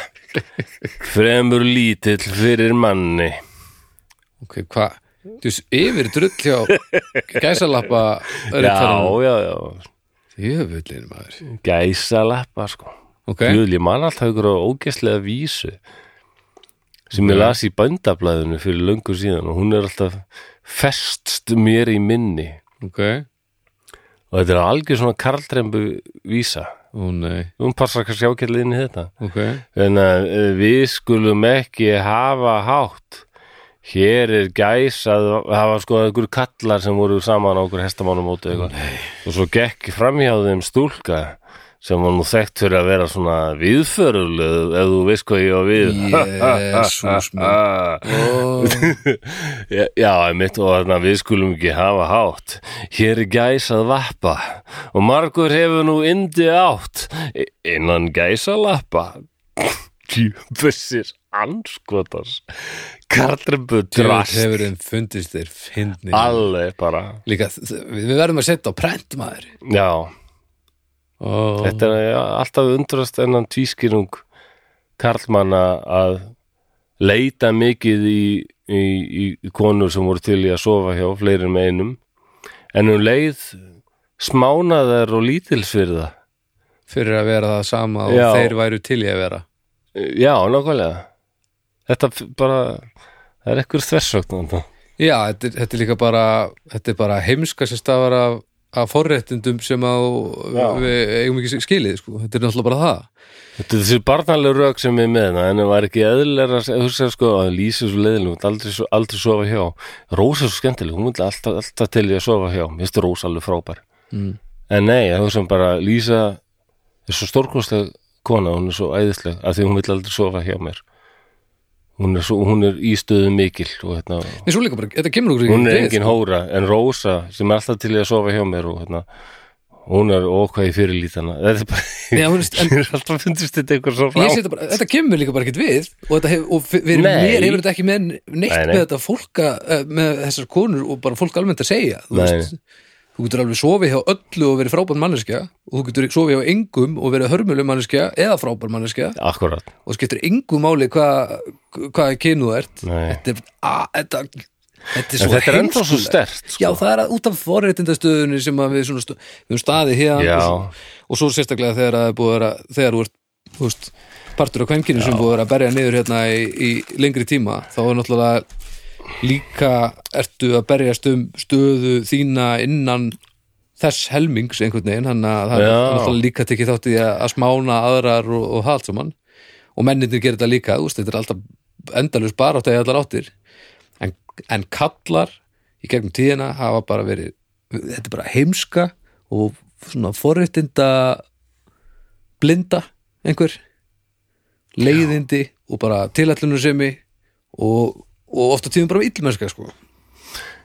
Speaker 1: fremur lítill fyrir manni.
Speaker 2: Ok, hvað? Þú veist, yfir drull hjá gæsalappa
Speaker 1: Já,
Speaker 2: rittarinn.
Speaker 1: já, já,
Speaker 2: Jöfullin maður.
Speaker 1: gæsa lappa sko
Speaker 2: Ok,
Speaker 1: Jöðl, ég man alltaf ykkur á ógæslega vísu sem ég las í bændablaðinu fyrir löngu síðan og hún er alltaf festst mér í minni
Speaker 2: ok.
Speaker 1: og þetta er algjör svona karltrembu vísa
Speaker 2: Ó nei,
Speaker 1: hún passar kannski ákjærlega inn í þetta
Speaker 2: ok.
Speaker 1: en að eh, við skulum ekki hafa hátt hér er gæs að hafa sko einhver kallar sem voru saman á okkur hestamánum móti eitthvað og svo gekk framhjá þeim stúlka sem var nú þekkt fyrir að vera svona viðförulegu ef þú veist hvað ég á við
Speaker 2: Jésús minn. Ó,
Speaker 1: Já, Já, einmitt og þarna við skulum ekki hafa hátt. Hér er gæs að vappa og margur hefur nú indi átt E, I- innan gæsa lappa. Djúfessir anskotars. kartrembu
Speaker 2: Drast.
Speaker 1: drast
Speaker 2: hefur þeim um fundist þeir fyndni
Speaker 1: alveg bara
Speaker 2: líka, þ- þ- við verðum að setja á prent maður
Speaker 1: já,
Speaker 2: oh.
Speaker 1: þetta er ja, alltaf undrast ennan tvískýrung karlmanna að leita mikið í, í, í konur sem voru til í að sofa hjá fleiri með einum en um leið smánaðar og lítilsvirða
Speaker 2: fyrir að vera það sama og
Speaker 1: Já.
Speaker 2: þeir væru til í að vera
Speaker 1: já, nákvæmlega þetta f- bara það er ekkur þversögn þarna.
Speaker 2: já, þetta, er- þetta er líka bara þetta er bara heimska sem stafar af, af forréttindum sem að
Speaker 1: Já.
Speaker 2: við eigum ekki skilið sko. þetta er náttúrulega bara það
Speaker 1: Þetta er þessi barnalegu rök sem við með hana en það var ekki eðlera að hugsa sko að lýsa svo leiðinu, aldrei, svo- aldrei sofa hjá Rósa er svo skemmtileg, hún myndi alltaf, alltaf til ég að sofa hjá, mér finnst Rósa alveg frábær
Speaker 2: Mm.
Speaker 1: en nei, það hugsa hún bara lýsa er svo stórkostleg kona, hún er svo æðisleg að því hún vill aldrei sofa hjá mér hún er, svo, hún er í stöðu mikil og hérna,
Speaker 2: En svo líka bara, þetta kemur okkur
Speaker 1: hún er
Speaker 2: við.
Speaker 1: engin hóra en Rósa sem er alltaf til ég að sofa hjá mér og hérna hún er okkvæði fyrirlítana þetta er bara,
Speaker 2: Já, hún veist, en-
Speaker 1: Mér er alltaf fundist þetta eitthvað svo
Speaker 2: Ég sé þetta, bara, þetta kemur líka bara ekkert við og, þetta hef, og við erum
Speaker 1: Nei.
Speaker 2: mér hefur þetta ekki með neitt
Speaker 1: Nei, nei.
Speaker 2: með þetta fólka eh, með þessar konur og bara fólk almennt að segja þú,
Speaker 1: Nei,
Speaker 2: þú getur alveg sofið hjá öllu og verið frábær manneskja og þú getur sofið hjá engum og verið hörmuleg manneskja eða frábær manneskja
Speaker 1: Akkurat,
Speaker 2: og skiptir engum máli hvað hva kynu þú ert
Speaker 1: Nei.
Speaker 2: þetta, er- a, þetta, þetta er
Speaker 1: en
Speaker 2: svo
Speaker 1: þetta er ennþá svo
Speaker 2: heimskulegt.
Speaker 1: stert sko.
Speaker 2: Já, það er að út af forréttindastöðunni sem að við, svona, stu- við höfum staðið hér
Speaker 1: Já.
Speaker 2: og, svo- og svo sérstaklega þegar að það er búið að vera, þegar þú ert þú veist, partur af kvenkinu sem búið að vera að berja niður hérna í, í lengri tíma þá er náttúrulega líka ertu að berjast um stöðu þína innan þess helmings einhvern veginn hann að það er
Speaker 1: Já.
Speaker 2: náttúrulega líka tekið þátt í að, að smána aðrar og, og halt saman og mennirnir gerir þetta líka þú veist, þetta er alltaf endalus barátt að ég allar áttir en, en kallar í gegnum tíðina hafa bara verið þetta er bara heimska og svona forréttinda blinda einhver leiðindi og bara tilætlunarsemi og, og ofta tíðum bara illmennska sko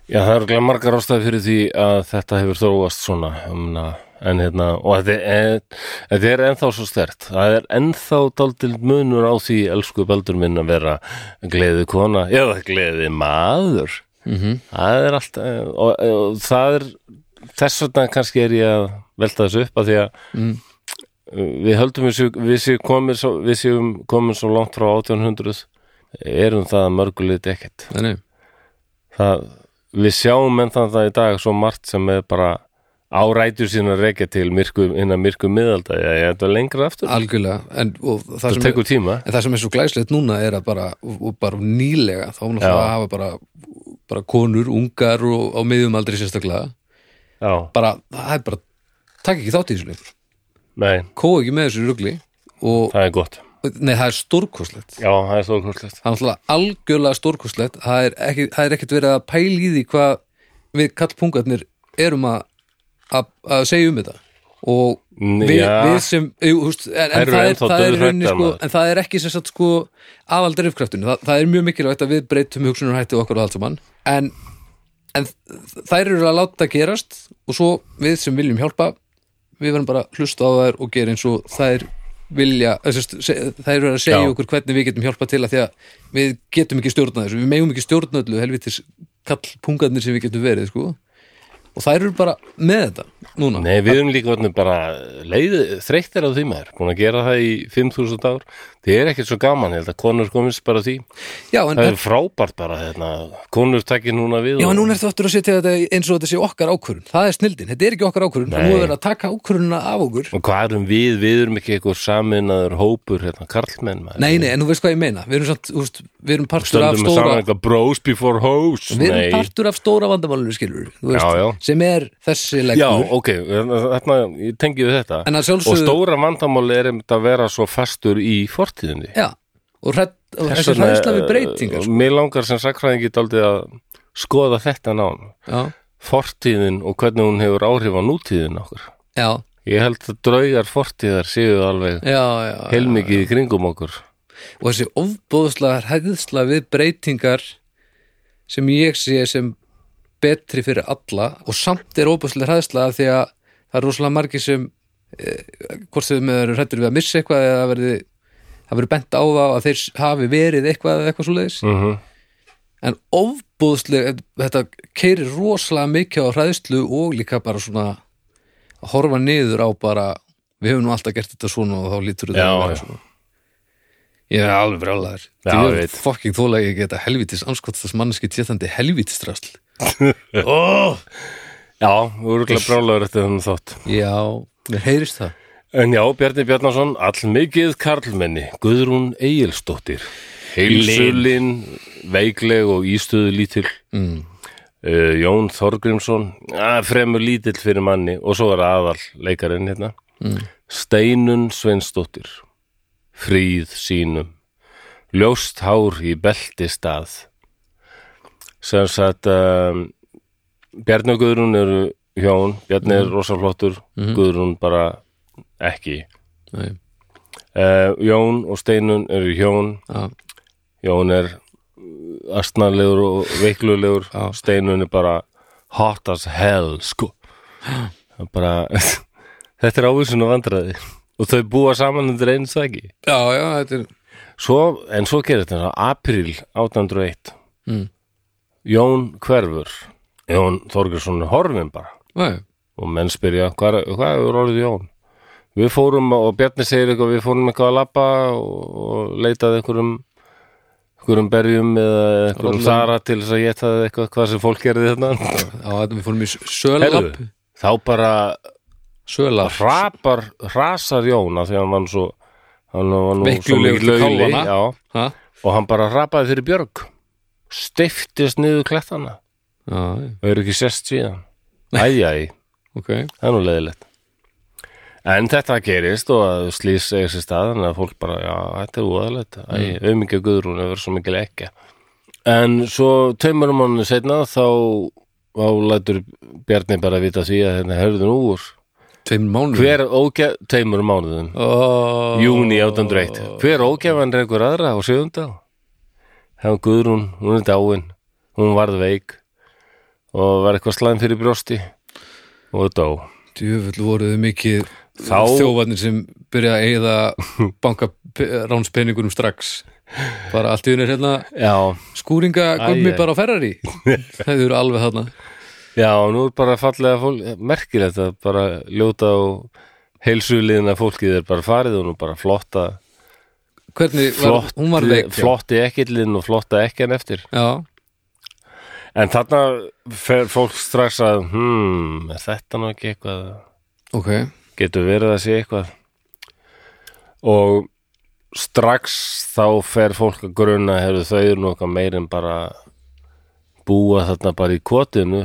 Speaker 1: Já, það eru glæð margar ástæði fyrir því að þetta hefur þróast svona um, en hérna, og þetta er, eh, þetta er ennþá svo stert það er ennþá daldil munur á því elsku baldur minn að vera gleði kona, eða gleði maður
Speaker 2: mm -hmm.
Speaker 1: það er allt eh, og, og það er þess vegna kannski er ég að velta þessu upp að því að
Speaker 2: Mm.
Speaker 1: við höldum við, séu- við, séu komin svo, við séum komin svo langt frá 1800 erum það að mörgulit ekkert
Speaker 2: þannig
Speaker 1: það, við sjáum enn þannig það í dag svo margt sem er bara árætur sín að rekja til myrku, innan myrku miðalda, ég ég ætla lengra aftur
Speaker 2: algjörlega en, og það
Speaker 1: það
Speaker 2: sem
Speaker 1: tekur tíma
Speaker 2: En það sem er svo glæslegt núna er að bara, og og bara nýlega, þá náttúrulega
Speaker 1: Já.
Speaker 2: hafa bara, bara konur, ungar og á miðjum aldrei sérstaklega,
Speaker 1: já,
Speaker 2: bara, það er bara, takk ekki þátt í þessu lengur,
Speaker 1: nei,
Speaker 2: kó ekki með þessu rugli og,
Speaker 1: það er gott
Speaker 2: nei, það er stórkostlegt,
Speaker 1: já, það er stórkostlegt
Speaker 2: það er náttúrulega algjörlega stórkostlegt, það er, ekki, það er ekkert verið að pæla í því hvað við kallpungarnir erum að, að, að segja um þetta og
Speaker 1: N-
Speaker 2: við,
Speaker 1: Mm, já.
Speaker 2: við sem jú, húst, en,
Speaker 1: Þær
Speaker 2: en,
Speaker 1: eru
Speaker 2: það er,
Speaker 1: ennþá
Speaker 2: það er
Speaker 1: dauðhræddar,
Speaker 2: rauninni, sko,
Speaker 1: maður.
Speaker 2: en það er ekki sem sagt sko aðaldreifkraftinu, það, það er mjög mikilvægt að við breytum hugsunarhætti okkar og allt saman en, en þær eru að láta gerast og svo við sem viljum hjálpa við verðum bara að hlusta á þær og gera eins og þær vilja, eh, sem sagt, se- þær eru að segja
Speaker 1: Já.
Speaker 2: okkur hvernig við getum hjálpa til að því að við getum ekki stjórnað þessu, við megum ekki stjórna öllu helvitis kallpungarnir sem við getum verið sko og þær eru bara með þetta núna
Speaker 1: nei, við erum líka orðnir bara leið, þreyttir á því maður, búin að gera það í 5000 ár, það er ekkert svo gaman ég held að konur komist bara að því
Speaker 2: Já, en,
Speaker 1: það er frábært bara, hérna, konur takkir núna við
Speaker 2: Já,
Speaker 1: og-
Speaker 2: en núna ertu aftur að setja þetta eins og þetta sé okkar ákvörun. Það er snildin, þetta er ekki okkar ákvörun, það
Speaker 1: Nei.
Speaker 2: nú er verið að taka ákvörunna af okkur.
Speaker 1: og hvað erum við, við erum ekki eitthvað saminaður hópur, hérna, karlmenn maður.
Speaker 2: Nei, nei, en þú veist hvað ég meina. Við erum, samt, úst, við erum partur af
Speaker 1: stöndum við saman
Speaker 2: stóra...
Speaker 1: eitthvað bros before hoes
Speaker 2: Við erum
Speaker 1: Nei.
Speaker 2: partur af stóra vandamálunum, skilur. Þú veist,
Speaker 1: Já, já.
Speaker 2: Sem er þessi
Speaker 1: Já,
Speaker 2: leggur.
Speaker 1: ok, þarna, ég tengi við þetta
Speaker 2: En að
Speaker 1: og
Speaker 2: sjálfsögðu...
Speaker 1: stóra vandamáli er einmitt að vera svo fastur í fortíðinni
Speaker 2: Já, og, hrætt, og
Speaker 1: Þess
Speaker 2: þessi
Speaker 1: vegna,
Speaker 2: hræðsla við breytingar. sko.
Speaker 1: eh, Mér langar sem sakfræðingi daldið að skoða þetta nán
Speaker 2: Já,
Speaker 1: fortíðin og hvernig hún hefur áhrif á nútíðin okkur
Speaker 2: já,
Speaker 1: Ég held að draugar fortíðar séu alveg
Speaker 2: já, já.
Speaker 1: heilmikið í kringum okkur
Speaker 2: og þessi ofbóðslega hæðsla við breytingar sem ég sé sem betri fyrir alla og samt er ofbóðslega hæðsla því að það er rosalega margir sem eh, hvort þau með eru hrættur við að missa eitthvað eða það verði, það verði bent á það að þeir hafi verið eitthvað eða eitthvað svoleiðis
Speaker 1: mm -hmm.
Speaker 2: en ofbúðslega þetta keirir rosalega mikið á hræðslu og líka bara svona að horfa niður á bara við höfum nú alltaf gert þetta svona og þá lítur þetta
Speaker 1: Já,
Speaker 2: að vera
Speaker 1: já.
Speaker 2: svona ég er alveg brjálæður
Speaker 1: Já,
Speaker 2: Því
Speaker 1: ég
Speaker 2: er
Speaker 1: veit.
Speaker 2: fokking þólega ekki þetta helvitis anskotast þess manneski tétandi helvitis drasl
Speaker 1: Já, úruglega brálaður eftir þannig þátt.
Speaker 2: já, mér heyrist það
Speaker 1: En já, Bjarni Bjarnason, allmikið karlmenni, Guðrún Egilsdóttir, heilsulinn, veikleg og ístöðu lítil,
Speaker 2: mm.
Speaker 1: uh, Jón Þorgrímsson, að fremur lítill fyrir manni og svo er aðal leikarinn hérna,
Speaker 2: Mm.
Speaker 1: Steinun Sveinsdóttir, fríð sínum, ljóst hár í belti stað. Sem sagt, um, Bjarni og Guðrún eru hjón, Bjarni er rosaflottur, Guðrún bara ekki.
Speaker 2: nei,
Speaker 1: Uh, Jón og Steinun eru hjón
Speaker 2: já,
Speaker 1: Jón er uh, astnalegur og veiklulegur
Speaker 2: Já.
Speaker 1: Steinun er bara hot as hell sko Það er bara, þetta er ávísun og vandræði og þau búa saman undir einu sæki
Speaker 2: já, já, þetta er
Speaker 1: svo, en svo gerir þetta april 1801
Speaker 2: Mm.
Speaker 1: Jón hverfur Jón Þorgersson er horfin bara
Speaker 2: nei,
Speaker 1: og menn spyrja hvað, hvað er orðið Jón? Við fórum og Bjarni segir eitthvað, við fórum eitthvað að labba og, og leitaði einhverjum einhverjum berjum eða einhverjum
Speaker 2: Rollum.
Speaker 1: þara til þess að ég það eitthvað hvað sem fólk gerði þarna
Speaker 2: já, þetta við fórum í sölalapp
Speaker 1: Herðu, þá bara
Speaker 2: sölalapp,
Speaker 1: rapar, rasar Jón af því að hann var nú svo hann var nú svo
Speaker 2: Veiklulegur
Speaker 1: mikill
Speaker 2: til
Speaker 1: lauli,
Speaker 2: kálfanna.
Speaker 1: já,
Speaker 2: hæ?
Speaker 1: og hann bara rapaði fyrir Björg stiftist niður klettana
Speaker 2: já, já,
Speaker 1: og eru ekki sest síðan æjæj
Speaker 2: ok
Speaker 1: það er nú leiðilegt en þetta gerist og að slýs segja sér stað þannig að fólk bara, já, þetta er úðalegt mm. auðmingja guðrún hefur svo mikil ekki en svo tveimur mánu setna þá þá lætur Bjarni bara vita því að hérna hörðu nú úr
Speaker 2: tveim mánuð
Speaker 1: hver ógæ, tveimur mánuðum
Speaker 2: oh,
Speaker 1: júni 1801, hver ógæfan er einhver aðra á sjöfundá það var Guðrún, hún er dáin hún varð veik og var eitthvað slæm fyrir brjósti og dó
Speaker 2: Djöfull voruðu mikið
Speaker 1: Þá-
Speaker 2: þjófarnir sem byrja að eyða banka ránspenningunum strax bara allt í unir hérna
Speaker 1: já,
Speaker 2: skúringa gummi
Speaker 1: Æ, æ.
Speaker 2: bara á Ferrari það eru alveg þarna
Speaker 1: Já, nú er bara fallega fólk, eh, merkilegt að bara ljóta og heilsuliðina fólkið er bara farið og nú bara flotta,
Speaker 2: hvernig var,
Speaker 1: flott,
Speaker 2: hún var veik já.
Speaker 1: flotti ekkillin og flotta ekkin eftir.
Speaker 2: já,
Speaker 1: En þarna fer fólk strax að, hmm, er þetta nú ekki eitthvað,
Speaker 2: ok
Speaker 1: getur verið að sé eitthvað. Og strax þá fer fólk að gruna, hefur þau eru nú eitthvað meir en bara búa þarna bara í kotinu,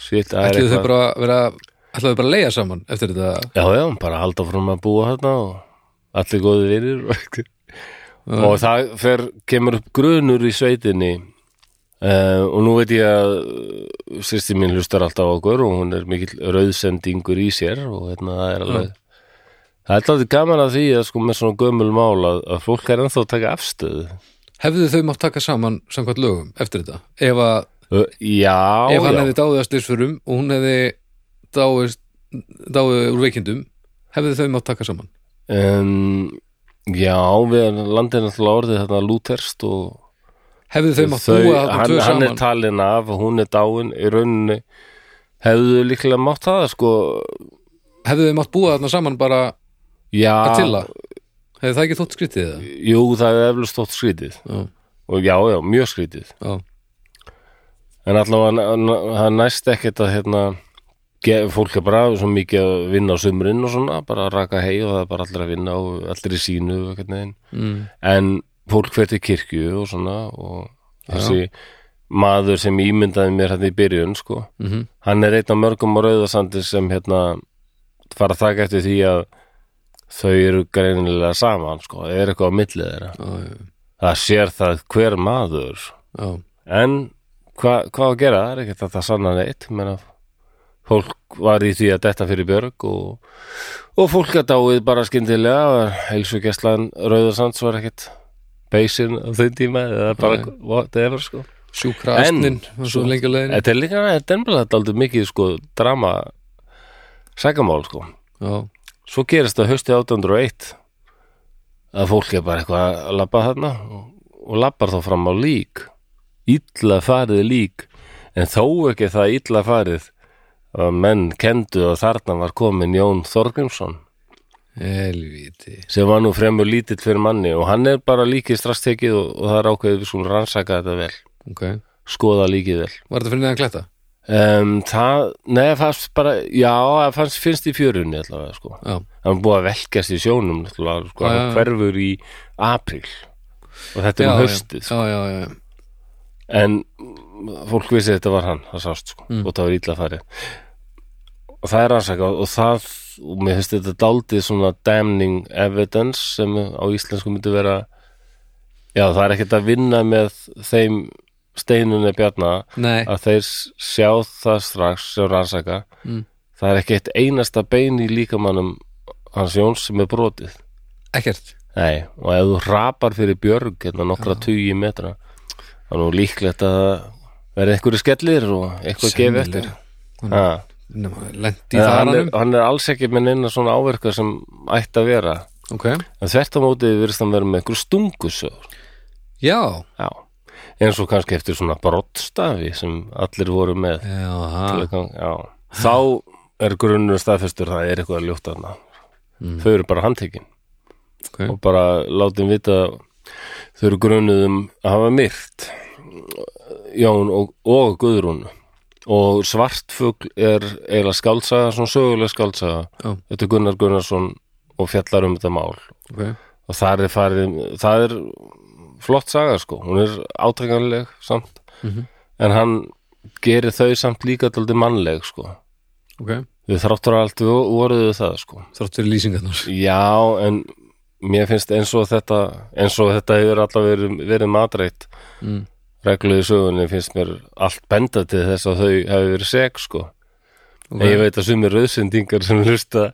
Speaker 1: sýtt að
Speaker 2: ætlaðu þau bara að vera ætlaðu þau bara að leiða saman eftir þetta
Speaker 1: Já, já, bara halda frum að búa þarna og allir góði vinir og- og það fer, kemur upp grunur í sveitinni uh, og nú veit ég að sýsti mín hlustar alltaf á okkur og hún er mikill rauðsendingur í sér og hérna það er alveg það er alltaf gaman að því að sko með svona gömul mál að, að fólk er ennþá að taka afstöðu
Speaker 2: hefðu þau mátt taka saman samkvæmt lögum eftir þetta ef að
Speaker 1: Ö, Já,
Speaker 2: ef hann
Speaker 1: já,
Speaker 2: hefði dáið að slýsförum og hún hefði dáið, dáið úr veikindum hefði þau mátt taka saman
Speaker 1: um, já við erum landið náttúrulega orðið þarna lúterst og
Speaker 2: hefði þau mátt
Speaker 1: Þau-
Speaker 2: búa þarna
Speaker 1: hann,
Speaker 2: tvö
Speaker 1: hann er
Speaker 2: saman
Speaker 1: talin af og hún er dáin í rauninni hefðu líklega mátt það sko
Speaker 2: hefðu þið mátt búa þarna saman bara
Speaker 1: já,
Speaker 2: að tilla hefði það ekki þótt skrítið það
Speaker 1: jú það er eflust þótt skrítið
Speaker 2: já,
Speaker 1: og já, já, mjög skrítið
Speaker 2: já,
Speaker 1: en allavega hann, hann næst ekkert að hérna ge- fólk er bara svo mikið að vinna á sumrin og svona, bara að raka hei og það er bara allir að vinna og allir í sínu og einhvern veginn.
Speaker 2: mm,
Speaker 1: en fólk fer til kirkju og svona og þessi maður sem ímyndaði mér hérna í byrjun sko
Speaker 2: mm
Speaker 1: hann er einn af mörgum á rauðasandi sem hérna fara að taka eftir því að þau eru greinilega saman sko, það er eitthvað á milli þeirra
Speaker 2: já, já,
Speaker 1: það sér það hver maður
Speaker 2: já,
Speaker 1: en hva, hvað á að gera, það er ekkert að það sanna neitt menn að fólk var í því að detta fyrir björg og, og fólk að dáið bara skyndilega heilsugjastlan rauðasands var ekkert beisin á þeim tíma eða bara,
Speaker 2: Nei.
Speaker 1: whatever sko
Speaker 2: sjúkra
Speaker 1: En-
Speaker 2: astnin var svo lengi að leiðin
Speaker 1: Þetta er líka, þetta er ennbæðlega daldið mikið sko drama sagamál sko.
Speaker 2: já,
Speaker 1: Svo gerist það haustið 1801 að fólk er bara eitthvað að labba þarna og, og labbar þá fram á lík illa farið lík en þó ekki það illa farið að menn kendu að þarna var komin Jón Þorgrímsson
Speaker 2: Helvíti
Speaker 1: sem var nú fremur lítill fyrir manni og hann er bara líkið strax tekið og, og það er ákveðið við skulum rannsaka þetta vel
Speaker 2: Ok,
Speaker 1: skoða líkið vel
Speaker 2: var þetta fyrir neðan kletta?
Speaker 1: um, það, neða fannst bara já, það fannst, finnst í fjörunni allavega sko,
Speaker 2: Já,
Speaker 1: hann er búið að velkast í sjónum allavega, sko,
Speaker 2: Já,
Speaker 1: hann
Speaker 2: já.
Speaker 1: hverfur í apríl og þetta er
Speaker 2: já,
Speaker 1: um
Speaker 2: já,
Speaker 1: haustið
Speaker 2: já, já, já.
Speaker 1: en fólk vissi þetta var hann það sást sko,
Speaker 2: Mm.
Speaker 1: og það var illa farið og það er rannsaka og það, og mér finnst þetta daldið svona damning evidence sem á íslensku myndi vera já, það er ekkert að vinna með þeim steinunni bjarna
Speaker 2: Nei,
Speaker 1: að þeir s- sjá það strax sem rannsaka
Speaker 2: Mm.
Speaker 1: það er ekki eitt einasta bein í líkamannum hans Jóns sem er brotið
Speaker 2: ekkert
Speaker 1: Nei, og ef þú rapar fyrir björg hérna nokkra tugi metra þá er nú líklegt að verði einhverju skellir og eitthvað gefi eftir
Speaker 2: Sennilega.
Speaker 1: ha,
Speaker 2: Nema, Lendi í
Speaker 1: en hann, er,
Speaker 2: þaranum
Speaker 1: hann er alls ekki með neina svona áverka sem ætti að vera
Speaker 2: Ok,
Speaker 1: en þvert á móti virðist hann vera með einhverju stungusögur
Speaker 2: já
Speaker 1: já, eins og kannski eftir svona brottstafi sem allir voru með
Speaker 2: Já,
Speaker 1: Til
Speaker 2: ha.
Speaker 1: að gang- já. þá er grunnur staðfestur það er eitthvað að ljóta þarna
Speaker 2: Mm.
Speaker 1: þau eru bara handtekin
Speaker 2: ok
Speaker 1: og bara látum vita þau eru grunuð um að hafa myrt Jón og, og Guðrún og svartfugl er eiginlega skálsaga, svona söguleg skálsaga
Speaker 2: Já.
Speaker 1: þetta er Gunnar Gunnarsson og fjallar um þetta mál
Speaker 2: Ok,
Speaker 1: og það er farið, það er flott saga sko, hún er átakanleg samt,
Speaker 2: Mhm.
Speaker 1: en hann gerir þau samt líka daldi mannleg sko,
Speaker 2: ok
Speaker 1: við þráttur allt vo- voruðu það sko
Speaker 2: Þrátt fyrir lýsingarnar
Speaker 1: Já, en mér finnst eins og þetta eins og þetta hefur alltaf verið, verið matreitt
Speaker 2: mm.
Speaker 1: regluði sögunni finnst mér allt benda til þess að þau hafi verið seg sko
Speaker 2: Ok.
Speaker 1: en ég veit að sumir rauðsendingar sem hlusta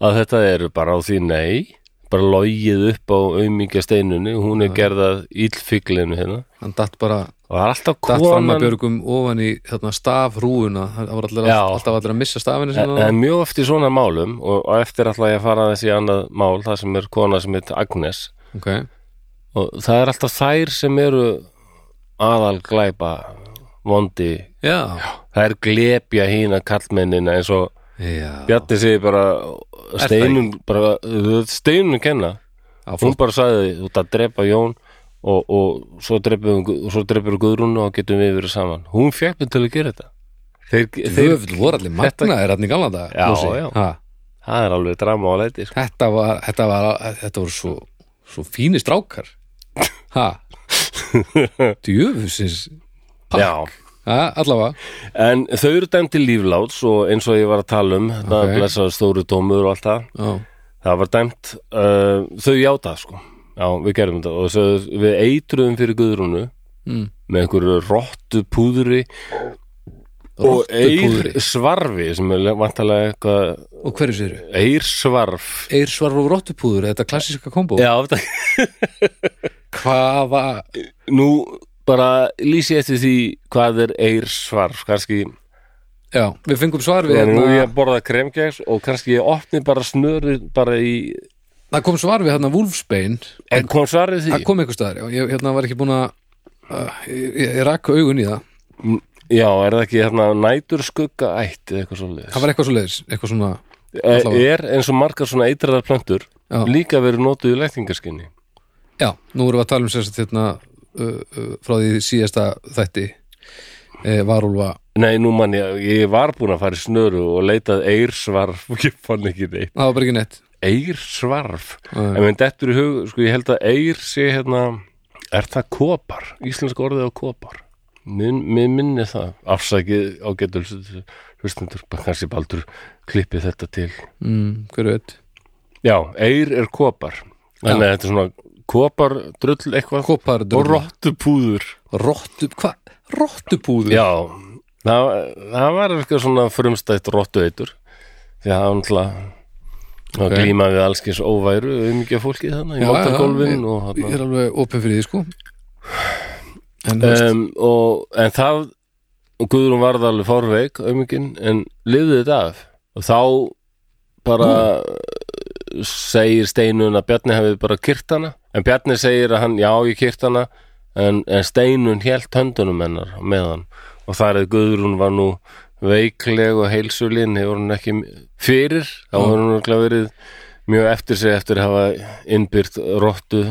Speaker 1: að þetta eru bara á því nei bara logið upp á aumingja steinunni hún er gerðað illfiglinu hérna
Speaker 2: Hann datt bara
Speaker 1: og það er alltaf
Speaker 2: datt fram að
Speaker 1: konan
Speaker 2: björgum ofan í þarna, stafrúuna Það var allir,
Speaker 1: Já.
Speaker 2: alltaf allir að missa stafinu
Speaker 1: en,
Speaker 2: sinna
Speaker 1: en mjög oft í svona málum og, og eftir alltaf ég að fara þessi annað mál það sem er kona sem heit Agnes
Speaker 2: Ok,
Speaker 1: og það er alltaf þær sem eru aðal glæpa vondi,
Speaker 2: já
Speaker 1: það er glepja hína kallmennina eins og
Speaker 2: Já,
Speaker 1: Bjarni segir bara
Speaker 2: það
Speaker 1: steinun, bara steinun kenna,
Speaker 2: á
Speaker 1: hún
Speaker 2: flott
Speaker 1: bara sagði þú ert að drepa Jón og, og svo drepur hún- svo drepur Guðrún og getum við verið saman, hún fekk mig til að gera þetta þeir, þeir,
Speaker 2: Þau voru allir magnaðir hann í gamla dag
Speaker 1: Já, já. það er alveg drama á leiti sko.
Speaker 2: Þetta var, þetta var, þetta voru svo, svo fínir strákar Ha Djöfusins
Speaker 1: já,
Speaker 2: Ha, allavega
Speaker 1: en þau eru dæmt til lífláts og eins og ég var að tala um okay. það
Speaker 2: Ok.
Speaker 1: blessaður stóru dómur og allt það
Speaker 2: Já,
Speaker 1: það var dæmt uh, þau játa sko já, við gerðum þetta og þess, við eitruðum fyrir guðrúnu
Speaker 2: Mm.
Speaker 1: með einhverju rottu púðri og
Speaker 2: Rottupúðri.
Speaker 1: eir svarfi sem er vantalega eitthvað
Speaker 2: Og hverju séru?
Speaker 1: eir svarf
Speaker 2: Eirsvarf og rottupúður, þetta klassíska kombo
Speaker 1: já, þetta-
Speaker 2: Hvaða
Speaker 1: nú bara lýsi ég eftir því hvað er eir svarf kannski,
Speaker 2: Já, við fengum svar við
Speaker 1: nú
Speaker 2: hérna
Speaker 1: ég borða kremkeks og kannski ég opni bara snöru bara í,
Speaker 2: Það kom svar við hérna Wolfsbane
Speaker 1: en kom svarið því
Speaker 2: Það kom einhver staðar, já, ég hérna var ekki búin að uh, ég, ég- ég rakka augun í það
Speaker 1: já, er það ekki hérna nætur skugga ætt eða eitthvað svo
Speaker 2: Það var eitthvað svo leiðis, eitthvað svona Allavega.
Speaker 1: Eh, er eins og margar svona eitraðar plöntur
Speaker 2: Já.
Speaker 1: líka verið notuð í lækningaskinni
Speaker 2: Já, nú erum við að tala um sérst hérna uh, uh, frá því síðasta þætti uh, Varúlfa
Speaker 1: Nei, nú mann, ég, ég var búin að fara í snöru og leitað eirsvarf og ég fann ekki neitt
Speaker 2: Það var bara ekki neitt
Speaker 1: Eirsvarf
Speaker 2: Nei.
Speaker 1: En menn dettur í hug, sko, ég held að eir sé hérna, er það kopar? Íslensk orðið á kopar Minn, minn minni það, afsakið á getur hlustendur, kannski baldur klippið þetta til
Speaker 2: mm, Hver veit
Speaker 1: Já, eir er kopar Þannig að þetta er svona kopar drull eitthvað og
Speaker 2: Kópardrömmar
Speaker 1: rottupúður
Speaker 2: Rottu, hvað? Rottupúður
Speaker 1: Já, það, það var eitthvað svona frumstætt rottu eitur því að hann alltaf
Speaker 2: Ok.
Speaker 1: okay. glíma við allskins óværu um ekki að fólki þannig, í
Speaker 2: Já, já,
Speaker 1: mótargólfin
Speaker 2: ég-
Speaker 1: og,
Speaker 2: Ég
Speaker 1: þarna.
Speaker 2: er alveg opin fyrir því sko En þú veist,
Speaker 1: um, og en það og Guðrún varð alveg fórveik aumingin, en lifði þetta af og þá bara segir Steinun að Bjarni hefði bara kyrt hana en Bjarni segir að hann, já ég kyrt hana en, en steinun hélt höndunum hennar á meðan og þar eða Guðrún var nú veikleg og heilsulinn hefur hún ekki m- fyrir þá hefur hún örugglega verið mjög eftir sig eftir að hafa innbyrt rottu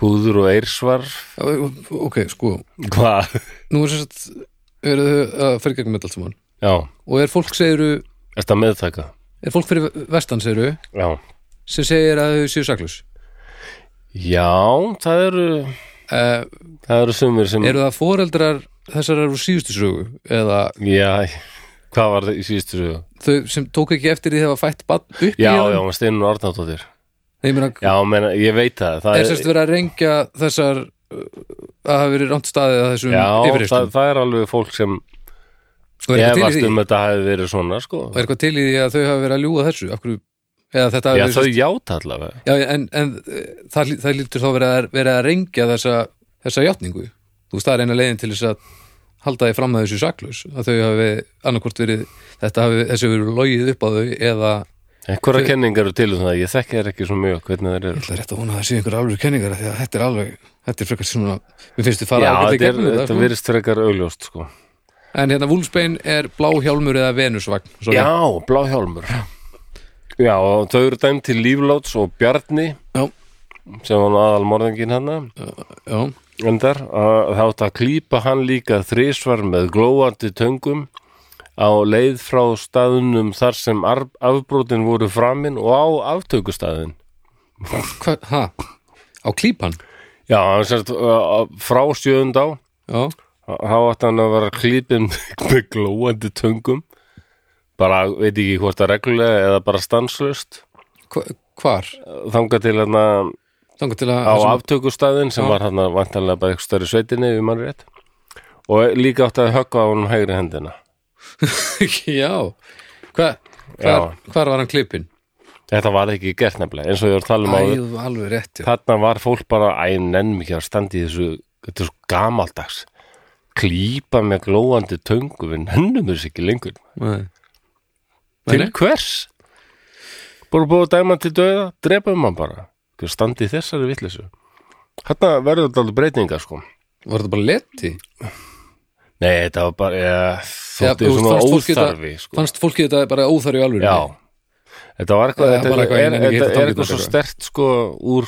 Speaker 1: púður og eirsvarf
Speaker 2: Já, ok, sko,
Speaker 1: hvað?
Speaker 2: nú er sem sagt eru þau að fyrir gegnum með allt saman
Speaker 1: Já,
Speaker 2: og er fólk segiru,
Speaker 1: þetta meðtaka
Speaker 2: er fólk fyrir vestan segiru
Speaker 1: Já,
Speaker 2: sem segir að þau séu saklaus
Speaker 1: Já það eru
Speaker 2: uh,
Speaker 1: það eru sumir sem
Speaker 2: eru það foreldrar þessar eru síðustu sögu eða
Speaker 1: Já, hvað var það í síðustu sögu?
Speaker 2: þau sem tók ekki eftir því þegar var fætt bann upp í
Speaker 1: Já,
Speaker 2: honum?
Speaker 1: já, hún steinun orðnáttúttir
Speaker 2: Nei, ég meina,
Speaker 1: Já, meina, ég veit það, það
Speaker 2: er sérst verið að rengja þessar uh, að hafa verið rámt staðið að þessum
Speaker 1: Já, það,
Speaker 2: yfirreistum
Speaker 1: það er alveg fólk sem
Speaker 2: og er eitthvað,
Speaker 1: efast
Speaker 2: til í því,
Speaker 1: um að þetta hefði verið svona sko.
Speaker 2: og er eitthvað til í því að þau hafa verið að ljúga þessu af hverju, eða þetta hafi
Speaker 1: Já,
Speaker 2: verið
Speaker 1: þau játa allavega
Speaker 2: Já, en, en eh, það, lí- það lítur þá verið að, verið að rengja þessa, þessa játningu. Þú veist, það er eina leiðin til þess að halda því fram að þessu saklaus, að þau hafi annarkvort verið, þetta hafi, þessi hafi verið logið upp á þau eða,
Speaker 1: Einhverja
Speaker 2: Þau-
Speaker 1: kenningar eru til um það, ég þekki þær ekki svo mjög hvernig þær
Speaker 2: ég
Speaker 1: eru
Speaker 2: ætla rétt að vona að það sé einhver alveg kenningar, af því að þetta er alveg, þetta er frekar svona, mér finnst þið
Speaker 1: Já,
Speaker 2: fara ágætlega í
Speaker 1: þetta, er,
Speaker 2: gegnum
Speaker 1: þetta
Speaker 2: sko.
Speaker 1: virðist frekar augljóst sko.
Speaker 2: En hérna, Vúlsbein er blá hjálmur eða venusvagn, svo
Speaker 1: Já, bláhjálmur Já, og þau eru dæm til Lífláts og Bjarni
Speaker 2: Já.
Speaker 1: sem var nú aðal morðingin hana
Speaker 2: já,
Speaker 1: endar að þátt að klípa hann líka þrisvar með glóandi töngum á leið frá staðunum þar sem arf- afbrotin voru framin og á aftökustaðin
Speaker 2: hva, ha, á klípan,
Speaker 1: Já, hann sérst uh, frá sjöðund á
Speaker 2: já,
Speaker 1: þá átt hann að vera klípin með glóandi töngum bara veit ekki hvort það reglulega eða bara stanslust
Speaker 2: hva, hvar,
Speaker 1: þangað til hann
Speaker 2: þangar til að,
Speaker 1: á
Speaker 2: þessum-
Speaker 1: aftökustæðin sem
Speaker 2: Já.
Speaker 1: var hann vantanlega bara eitthvað stærri sveitinni ef ég mann rétt og líka átt að höggva á hann hægri hendina
Speaker 2: já, hva, hvar, hvar var hann klipin?
Speaker 1: þetta var ekki gert nefnilega eins og ég var að tala um
Speaker 2: Æ,
Speaker 1: áður
Speaker 2: alveg rétt, já.
Speaker 1: þarna var fólk bara æ, nenn mikið að standa í þessu þetta er svo gamaldags klípa með glóandi töngu við nennum þessu ekki lengur
Speaker 2: Nei. Nei,
Speaker 1: til
Speaker 2: nei.
Speaker 1: hvers? bara búið að dæma hann til döða drepum hann bara Hver standi í þessari vitleysu þarna verður þetta alveg breytinga sko
Speaker 2: Var þetta bara leti?
Speaker 1: nei, þetta var bara ja, þótti
Speaker 2: þú veist,
Speaker 1: svona
Speaker 2: fannst fólki
Speaker 1: óþarfi sko.
Speaker 2: Fannst fólki þetta bara óþarfi alveg?
Speaker 1: Já, þetta var eitthvað,
Speaker 2: Eða
Speaker 1: þetta
Speaker 2: bara
Speaker 1: er,
Speaker 2: eitthvað, ég
Speaker 1: er,
Speaker 2: nenni
Speaker 1: er,
Speaker 2: ekki hitta
Speaker 1: er
Speaker 2: tónleika
Speaker 1: eitthvað svo
Speaker 2: eitthvað.
Speaker 1: stert sko úr,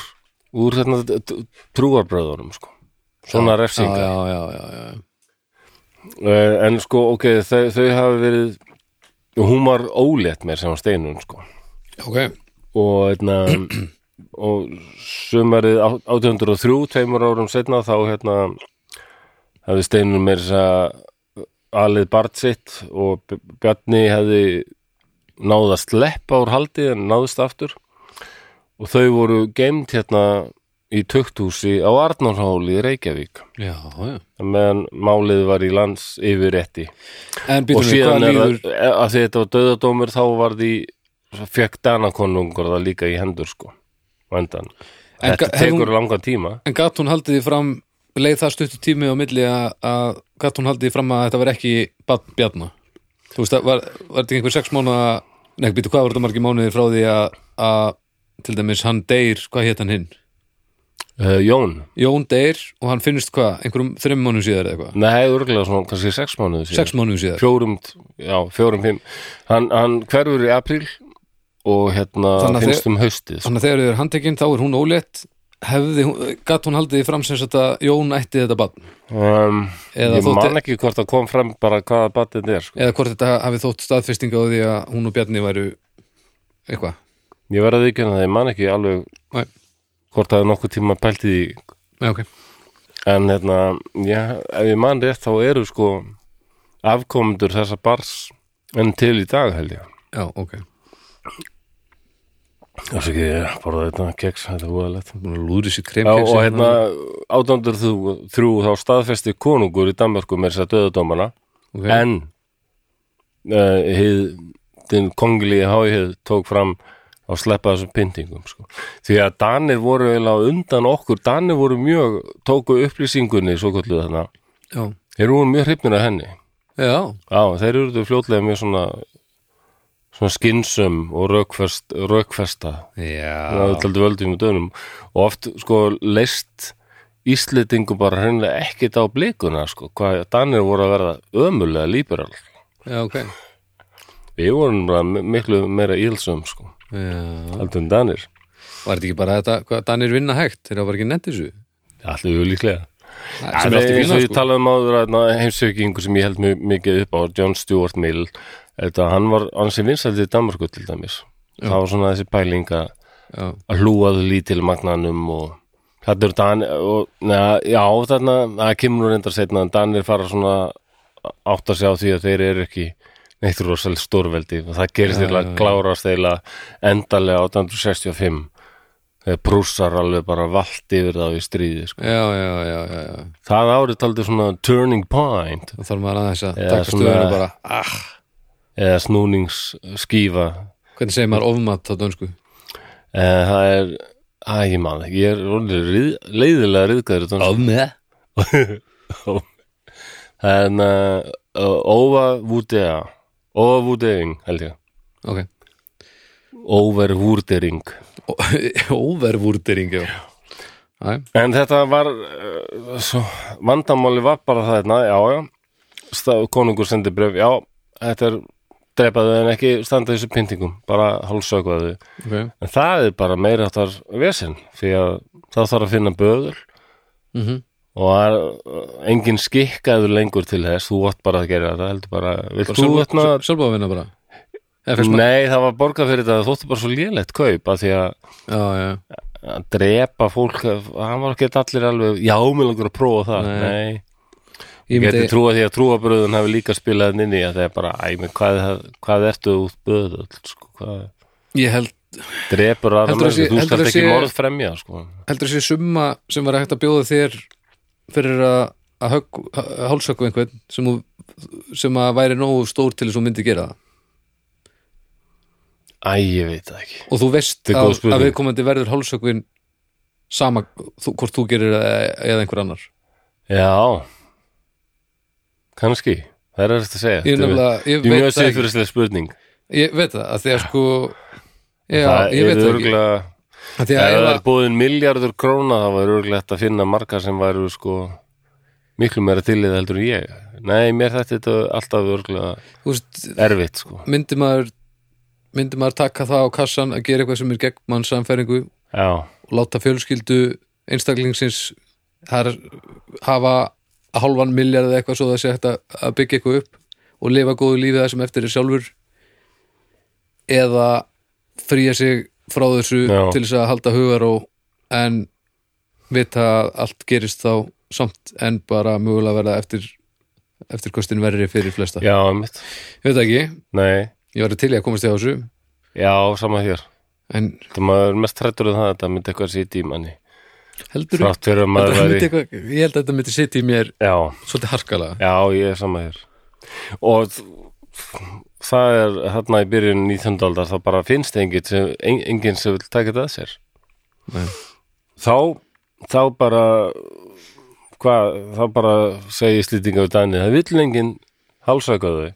Speaker 1: úr þarna t- t- trúarbröðunum sko. Svona
Speaker 2: já,
Speaker 1: refsinga.
Speaker 2: já, já, já, já.
Speaker 1: Eh, En sko, ok, þau, þau hafi verið, hún var ólétt mér sem á steinun sko.
Speaker 2: Ok,
Speaker 1: Og, eitna, og sumarið á- 1803, tveimur árum setna, þá hérna, hefði steinun mér þess að alið barn sitt og B- Bjarni hefði náð að sleppa úr haldi en náðist aftur og þau voru geimt hérna í tukthúsi á Arnórhóli í Reykjavík
Speaker 2: já, já.
Speaker 1: meðan málið var í lands yfir rétti
Speaker 2: En
Speaker 1: og
Speaker 2: býtum við,
Speaker 1: síðan
Speaker 2: hvað
Speaker 1: er
Speaker 2: líður?
Speaker 1: það, að því þetta var döðadómur þá var því fekk Danakonungur það líka í hendur sko á endan
Speaker 2: En
Speaker 1: þetta
Speaker 2: ga- hefði
Speaker 1: tekur langan tíma
Speaker 2: En gatt hún haldið því fram, leið það stuttu tími á milli að- að gatt hún haldið því fram að þetta var ekki barn bjarna? Þú veist, það var, var þetta ekki einhver sex mánuða, nei, býtu, hvað var þetta margir mánuði frá því að, að til dæmis hann deyr, hvað hétt hann hinn?
Speaker 1: uh, Jón,
Speaker 2: Eh, Jón deyr og hann finnst hvað, einhverjum þreim mánuðum síðar eða eitthvað?
Speaker 1: nei, örglega svona kannski sex mánuði síðan
Speaker 2: Sex mánuðum síðar?
Speaker 1: fjórum, já, fjórum, fimm hann, hann hverfur í apríl og hérna
Speaker 2: Þannig að
Speaker 1: finnst um haustið sko.
Speaker 2: Þannig að þegar þau eru handtekinn þá er hún ólétt hefði, hún- gat hún haldið því fram sem sagt að Jón ætti þetta barn
Speaker 1: um,
Speaker 2: eða,
Speaker 1: ég man
Speaker 2: þótti,
Speaker 1: ekki hvort það kom fram bara hvaða batið er sko.
Speaker 2: eða hvort þetta hafi þótt staðfestinga á því að hún og Bjarni væru eitthvað
Speaker 1: ég verði ekki að það, ég man ekki alveg
Speaker 2: Nei.
Speaker 1: hvort það er nokkuð tíma pæltið í
Speaker 2: Nei, okay.
Speaker 1: en hérna, já, ef ég man rétt þá eru sko afkomendur þessa bars enn til í dag held ég
Speaker 2: Já, ok
Speaker 1: þess ekki, ég borða þetta keks þetta er voðalegt
Speaker 2: Búin að lúðri sér
Speaker 1: Já, og
Speaker 2: kremkeks
Speaker 1: hérna 803 þá staðfesti konungur í Danmarku með þess að döðadómana
Speaker 2: okay.
Speaker 1: en uh, hið, þinn kongli háhið tók fram að sleppa þessum pyntingum sko. því að Danir voru eiginlega á undan okkur Danir voru mjög, tóku upplýsingunni svo kallu þarna,
Speaker 2: Já,
Speaker 1: þeir voru mjög hrifnir af henni
Speaker 2: já,
Speaker 1: já, þeir eru þetta fljótlega mjög svona svona skinsum og rökfest, rökfesta
Speaker 2: já.
Speaker 1: það er alltaf völdum og dönum og oft sko leist Íslendingum bara hreinlega ekkit á blikuna sko, hvað Danir voru að verða ömulega líberal
Speaker 2: já, ok
Speaker 1: við vorum bara mi- miklu meira ílsum sko,
Speaker 2: já.
Speaker 1: heldur en Danir
Speaker 2: Var þetta ekki bara þetta, hvað Danir vinna hægt þegar það var ekki nefnt þessu
Speaker 1: allir við líklega
Speaker 2: Það-
Speaker 1: sem
Speaker 2: sem er allt í
Speaker 1: eins og
Speaker 2: fína,
Speaker 1: ég
Speaker 2: sko.
Speaker 1: talaði um áður að heimsökingu sem ég held mjög mikið upp á John Stuart Mill þetta, hann var ansi vinsældi í Danmarku til dæmis það var svona þessi pæling að
Speaker 2: Já,
Speaker 1: að hlúaðu lítil magnanum og þetta eru Danir og, neða, já, þarna, það kemur nú reyndar setna en Danir fara svona að átta sig á því að þeir eru ekki neitt rosalega stórveldi og það gerist þeirra að klárast þeirra endalega 1865 þegar prússar alveg bara valt yfir þá í stríði sko.
Speaker 2: já, já, já, já, já.
Speaker 1: það árið taldi svona turning point
Speaker 2: Þá þarf maður aðeins að
Speaker 1: Já,
Speaker 2: taka
Speaker 1: svona-
Speaker 2: stöðuna bara ah,
Speaker 1: eða snúningsskífa
Speaker 2: Hvernig segir maður ofmat á dönsku?
Speaker 1: eða það er, að ég maður ekki, ég er orðinn rið, leiðilega riðgæður þannig
Speaker 2: Ofmat?
Speaker 1: en uh, overvurdering overvurdering held ég
Speaker 2: Ok
Speaker 1: overvurdering
Speaker 2: Overvurdering, já Æ,
Speaker 1: en þetta var uh, svo, vandamáli var bara það hérna, já já Stað, konungur sendi bref, já þetta er drepaðu en ekki standa þessu pyntingum bara hálsökvaðu
Speaker 2: ok
Speaker 1: en það er bara meira áttar vesinn því að það þarf að finna böður
Speaker 2: mm
Speaker 1: og það er uh, engin skikkaður lengur til þess, þú átt bara að gera þetta heldur bara, vilt þú hérna
Speaker 2: Sjálfa að vinna bara Eða fyrst maður
Speaker 1: Nei, það var borgað fyrir þetta, það þótti bara svo lélegt kaup að því að,
Speaker 2: Já, já,
Speaker 1: að drepa fólk, hann var ekki allir alveg, já, mér langur að prófa það
Speaker 2: Nei.
Speaker 1: Nei,
Speaker 2: ég
Speaker 1: ég geti
Speaker 2: myndi
Speaker 1: trúa því að trúabröðun hafi líka spilað hann inn í að það er bara, æ, menn, hvað, er það- hvað ertu út böðull, sko, hvað
Speaker 2: Ég held,
Speaker 1: drepur aðra
Speaker 2: Heldurðu að sé-
Speaker 1: mennsi, þú
Speaker 2: heldurðu
Speaker 1: skalt
Speaker 2: að
Speaker 1: ekki
Speaker 2: sé-
Speaker 1: morð fremja, sko
Speaker 2: heldur þessi summa sem var hægt að bjóða þér fyrir að að högg, að hálsöku einhvern sem, þú- sem að væri nógu stór til þess að þú myndi gera það
Speaker 1: Æ, ég veit það ekki
Speaker 2: og þú veist
Speaker 1: Þetta er góð
Speaker 2: að,
Speaker 1: spurning.
Speaker 2: að viðkomandi verður hálsökvin sama þú, hvort þú gerir það eða einhver annar
Speaker 1: Já, kannski, það er þetta að segja
Speaker 2: ég, nefnilega, ég,
Speaker 1: Ég er
Speaker 2: veit
Speaker 1: mjög
Speaker 2: það ekki,
Speaker 1: siðfyrirslega spurning
Speaker 2: ég veit það að því að sko já,
Speaker 1: Það
Speaker 2: ég
Speaker 1: er
Speaker 2: veit það ekki
Speaker 1: örugglega-
Speaker 2: að því
Speaker 1: Ef
Speaker 2: að
Speaker 1: það
Speaker 2: ef
Speaker 1: er
Speaker 2: að-
Speaker 1: búin miljardur króna þá var örgulegt að finna marga sem væru sko miklu meira til í það heldur en ég Nei, mér þetta þetta alltaf örgulega
Speaker 2: þú veist,
Speaker 1: erfitt sko
Speaker 2: myndi maður myndi maður taka það á kassan að gera eitthvað sem er gegn mann samfæringu
Speaker 1: Já,
Speaker 2: og láta fjölskyldu einstaklingsins þar hafa hálfan miljard eða eitthvað svo það sé hægt að- að byggja eitthvað upp og lifa góðu lífi það sem eftir er sjálfur eða fríja sig frá þessu
Speaker 1: Já.
Speaker 2: til þess að halda hugar og en vita að allt gerist þá samt en bara mögulega verða eftir eftir kostin verri fyrir flesta
Speaker 1: já, mitt
Speaker 2: ég veit það ekki,
Speaker 1: Nei,
Speaker 2: ég var til í að komast í þessu
Speaker 1: já, sama hér
Speaker 2: en
Speaker 1: Það maður er mest hrættur um það að þetta myndi eitthvað sýti í manni
Speaker 2: heldur
Speaker 1: Frátt fyrir að maður væri
Speaker 2: ég held að þetta myndi sitt í mér
Speaker 1: Já,
Speaker 2: svolítið harkalega
Speaker 1: já, ég er sama hér Og þ- það er þarna í byrjun 19. aldar þá bara finnst engin sem, en- engin sem vil taka þetta að sér
Speaker 2: Nei.
Speaker 1: þá þá bara hvað, þá bara segi slýtinga við Dani, það vill enginn hálsaka þau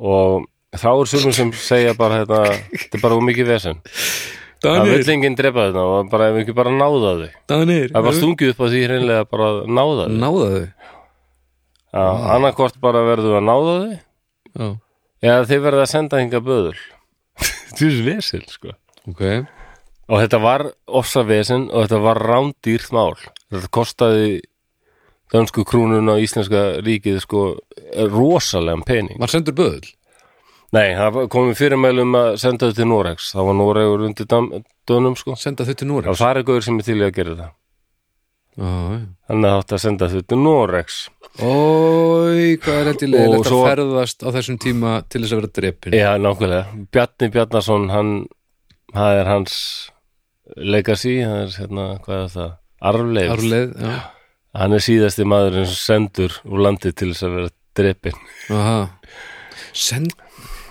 Speaker 1: og þá er sumum sem segja bara þetta, þetta er bara um mikið vesen það
Speaker 2: Danir,
Speaker 1: vill enginn drepa þetta og bara ef ekki bara náða þau
Speaker 2: Danir
Speaker 1: það var stungið upp á því hreinlega bara að náða þau
Speaker 2: Náða þau
Speaker 1: mm. annarkvort bara verður að náða þau
Speaker 2: Já,
Speaker 1: eða þeir verða að senda hinga böður þú veist vesen sko
Speaker 2: ok
Speaker 1: Og þetta var ofsavesen og þetta var rándýrt mál. Þetta kostaði dönsku krúnuna og íslenska ríkið sko rosalega pening.
Speaker 2: Var sendur böðl?
Speaker 1: Nei, það komið fyrirmælum að senda þetta til Noregs. Það var Noregur undir dam, dönum sko.
Speaker 2: Senda þau til
Speaker 1: Og
Speaker 2: Núreks
Speaker 1: það er eitthvað sem er til í að gera þetta.
Speaker 2: Ói,
Speaker 1: Þannig að þetta senda þetta til Noregs.
Speaker 2: hvað er þetta í
Speaker 1: Og
Speaker 2: leiðilegt
Speaker 1: svo-
Speaker 2: að ferðast á þessum tíma til þess að vera drepin
Speaker 1: Já, nákvæmlega. Bjarni Bjarnason, hann, það er hans legacy, það er hérna, hvað er það? Arfleif.
Speaker 2: Árleið, já
Speaker 1: Hann er síðasti maðurinn sem sendur úr landi til þess að vera drepinn.
Speaker 2: Aha. Send,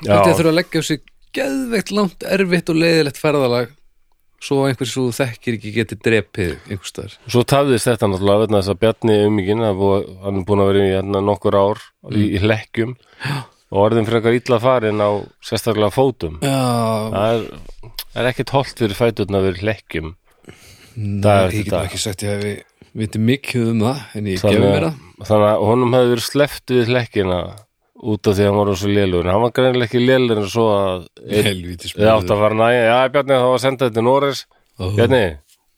Speaker 1: Já.
Speaker 2: þetta þurfa að leggja á sig geðveikt langt, erfitt og leiðilegt ferðalag svo að einhvers svo þú þekkir ekki geti drepið einhvers staðar
Speaker 1: Svo tafðist þetta náttúrulega vegna þess að Bjarni umíkin, hann er búin að vera í hérna nokkur ár
Speaker 2: Mm.
Speaker 1: í, í hlekkjum og orðin frekar illa farin á sérstaklega fótum.
Speaker 2: Já,
Speaker 1: Það er, það er ekkit holdt fyrir fæturna að vera í hlekkjum. Það er
Speaker 2: ég
Speaker 1: þetta
Speaker 2: get nú
Speaker 1: dag.
Speaker 2: ekki sagt ég hefi við veitum mikið um það en ég
Speaker 1: Þannig
Speaker 2: gefur
Speaker 1: að-
Speaker 2: mér það
Speaker 1: þannig að honum hefði verið sleppt við lekkina út af því að hann var svo lélugur en hann var greinilega ekki lélugur en svo að einn-
Speaker 2: Helvítis
Speaker 1: þið átt að fara næja, já Bjarni þá var að senda þetta til Norris
Speaker 2: Ó.
Speaker 1: Bjarni,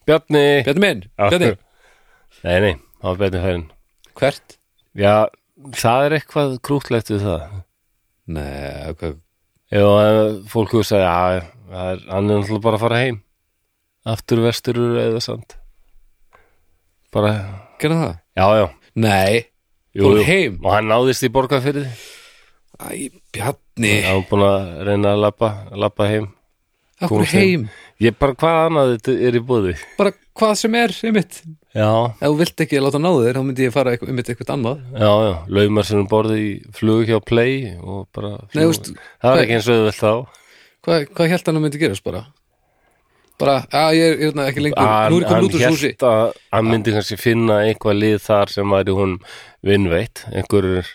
Speaker 1: Bjarni
Speaker 2: Bjarni minn,
Speaker 1: Já.
Speaker 2: Bjarni,
Speaker 1: Nei, nei, það var Bjarni færin
Speaker 2: hvert?
Speaker 1: Já, það er eitthvað krútlegt við það
Speaker 2: Nei, hvað,
Speaker 1: Já, eh, fólk hefur sagði að hann er náttúrulega bara að fara heim aftur vestur eða sand bara,
Speaker 2: gerða það?
Speaker 1: já, já
Speaker 2: Nei,
Speaker 1: jú,
Speaker 2: fór
Speaker 1: jú.
Speaker 2: heim
Speaker 1: og hann náðist í borgarfyrði
Speaker 2: Æ, Bjarni,
Speaker 1: Já, hann búin að reyna að labba, labba heim
Speaker 2: okkur
Speaker 1: komast
Speaker 2: heim
Speaker 1: heim. Ég bara hvað annað þetta er í búði
Speaker 2: bara hvað sem er, einmitt
Speaker 1: Já,
Speaker 2: ef þú vilt ekki láta náðu þér, þá myndi ég fara eitthvað- einmitt eitthvað annað
Speaker 1: já, já, laumar sem borði í flugu hjá Play og bara
Speaker 2: Nei,
Speaker 1: flugu.
Speaker 2: veist,
Speaker 1: Það
Speaker 2: hvað-
Speaker 1: er ekki eins og auðvelt þá
Speaker 2: hvað, hvað held hann að myndi gerast bara? bara, að ég er ég er ekki lengur nú er ég komin
Speaker 1: hann
Speaker 2: út úr súsi
Speaker 1: hélt að hann myndi kannski finna einhvað lið þar sem væri hún vinnveitt einhverjur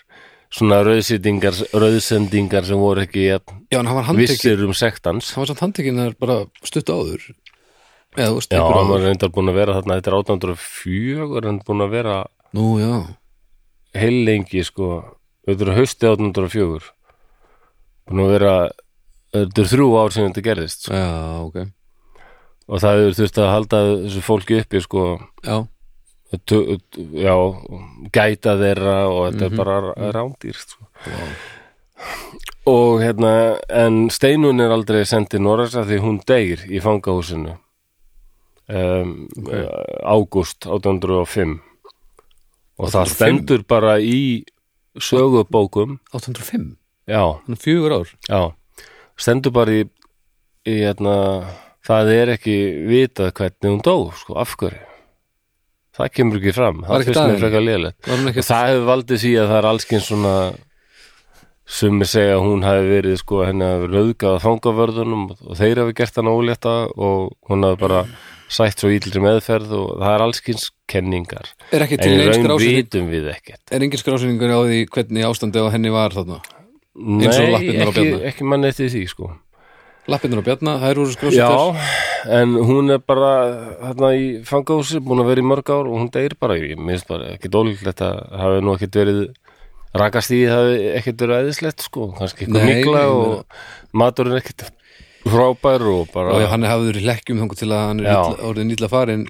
Speaker 1: svona rauðsendingar, rauðsendingar sem voru ekki jafn,
Speaker 2: já, en hann var handtekinn,
Speaker 1: vissir um sektans
Speaker 2: hann var samt handtekinn þar bara stutt áður eða, þú veist,
Speaker 1: Já,
Speaker 2: einhver
Speaker 1: hann var
Speaker 2: áður
Speaker 1: reyndar búin að vera þarna þetta er 1804 hann búin að vera
Speaker 2: nú, já,
Speaker 1: heil lengi sko þetta er hausti 1804 búin að vera þetta er þrjú ár sem þetta gerðist sko.
Speaker 2: já, ok
Speaker 1: og það hefur þurft að halda þessu fólki uppi sko
Speaker 2: já,
Speaker 1: tu- já, gæta þeirra og þetta er bara rándýrt sko. og hérna en Steinun er aldrei sendið Norrasa því hún deyr í fangahúsinu um, okay. ágúst 1805 og það
Speaker 2: 1805?
Speaker 1: stendur bara í sögubókum
Speaker 2: 805,
Speaker 1: já,
Speaker 2: hann er fjögur ár
Speaker 1: Já, stendur bara í, í hérna, það er ekki vitað hvernig hún dó, sko, af hverju. Það kemur ekki fram,
Speaker 2: Var
Speaker 1: það
Speaker 2: ekki
Speaker 1: finnst mér
Speaker 2: dagurinn?
Speaker 1: frekar lélega.
Speaker 2: var hann ekki,
Speaker 1: Það hefur valdið því að það er allskins svona sem er segja að hún hafi verið sko henni að rauðgað fangavörðunum og þeir hafi gert hann ólétta og hún hafi bara sætt svo ítlri meðferð og það er allskins kenningar
Speaker 2: er ekki
Speaker 1: en
Speaker 2: til
Speaker 1: í
Speaker 2: neins
Speaker 1: raun
Speaker 2: grásynning
Speaker 1: vitum við ekkert
Speaker 2: er engin skrásynningur á því hvernig ástandi á henni var þarna
Speaker 1: Nei,
Speaker 2: Eins og lappirnar á
Speaker 1: ekki,
Speaker 2: Bjarna.
Speaker 1: ekki mann eftir því sko
Speaker 2: lappinur á Bjarna, þær voru skrásynningur
Speaker 1: Já, en hún er bara hérna í fangahúsi, búin að vera í mörg ár og hún deyr bara, ég minnst bara ekki dólíklegt að hafi nú ekkert verið rakast í, hafi ekkert verið æðislegt sko, kannski eitthvað
Speaker 2: Nei,
Speaker 1: mikla
Speaker 2: ég meina-
Speaker 1: og maturinn ekkert frábær og bara
Speaker 2: og já, hann hafði verið í hlekkjum þangur til að hann er
Speaker 1: Já.
Speaker 2: illa, orðin illa farin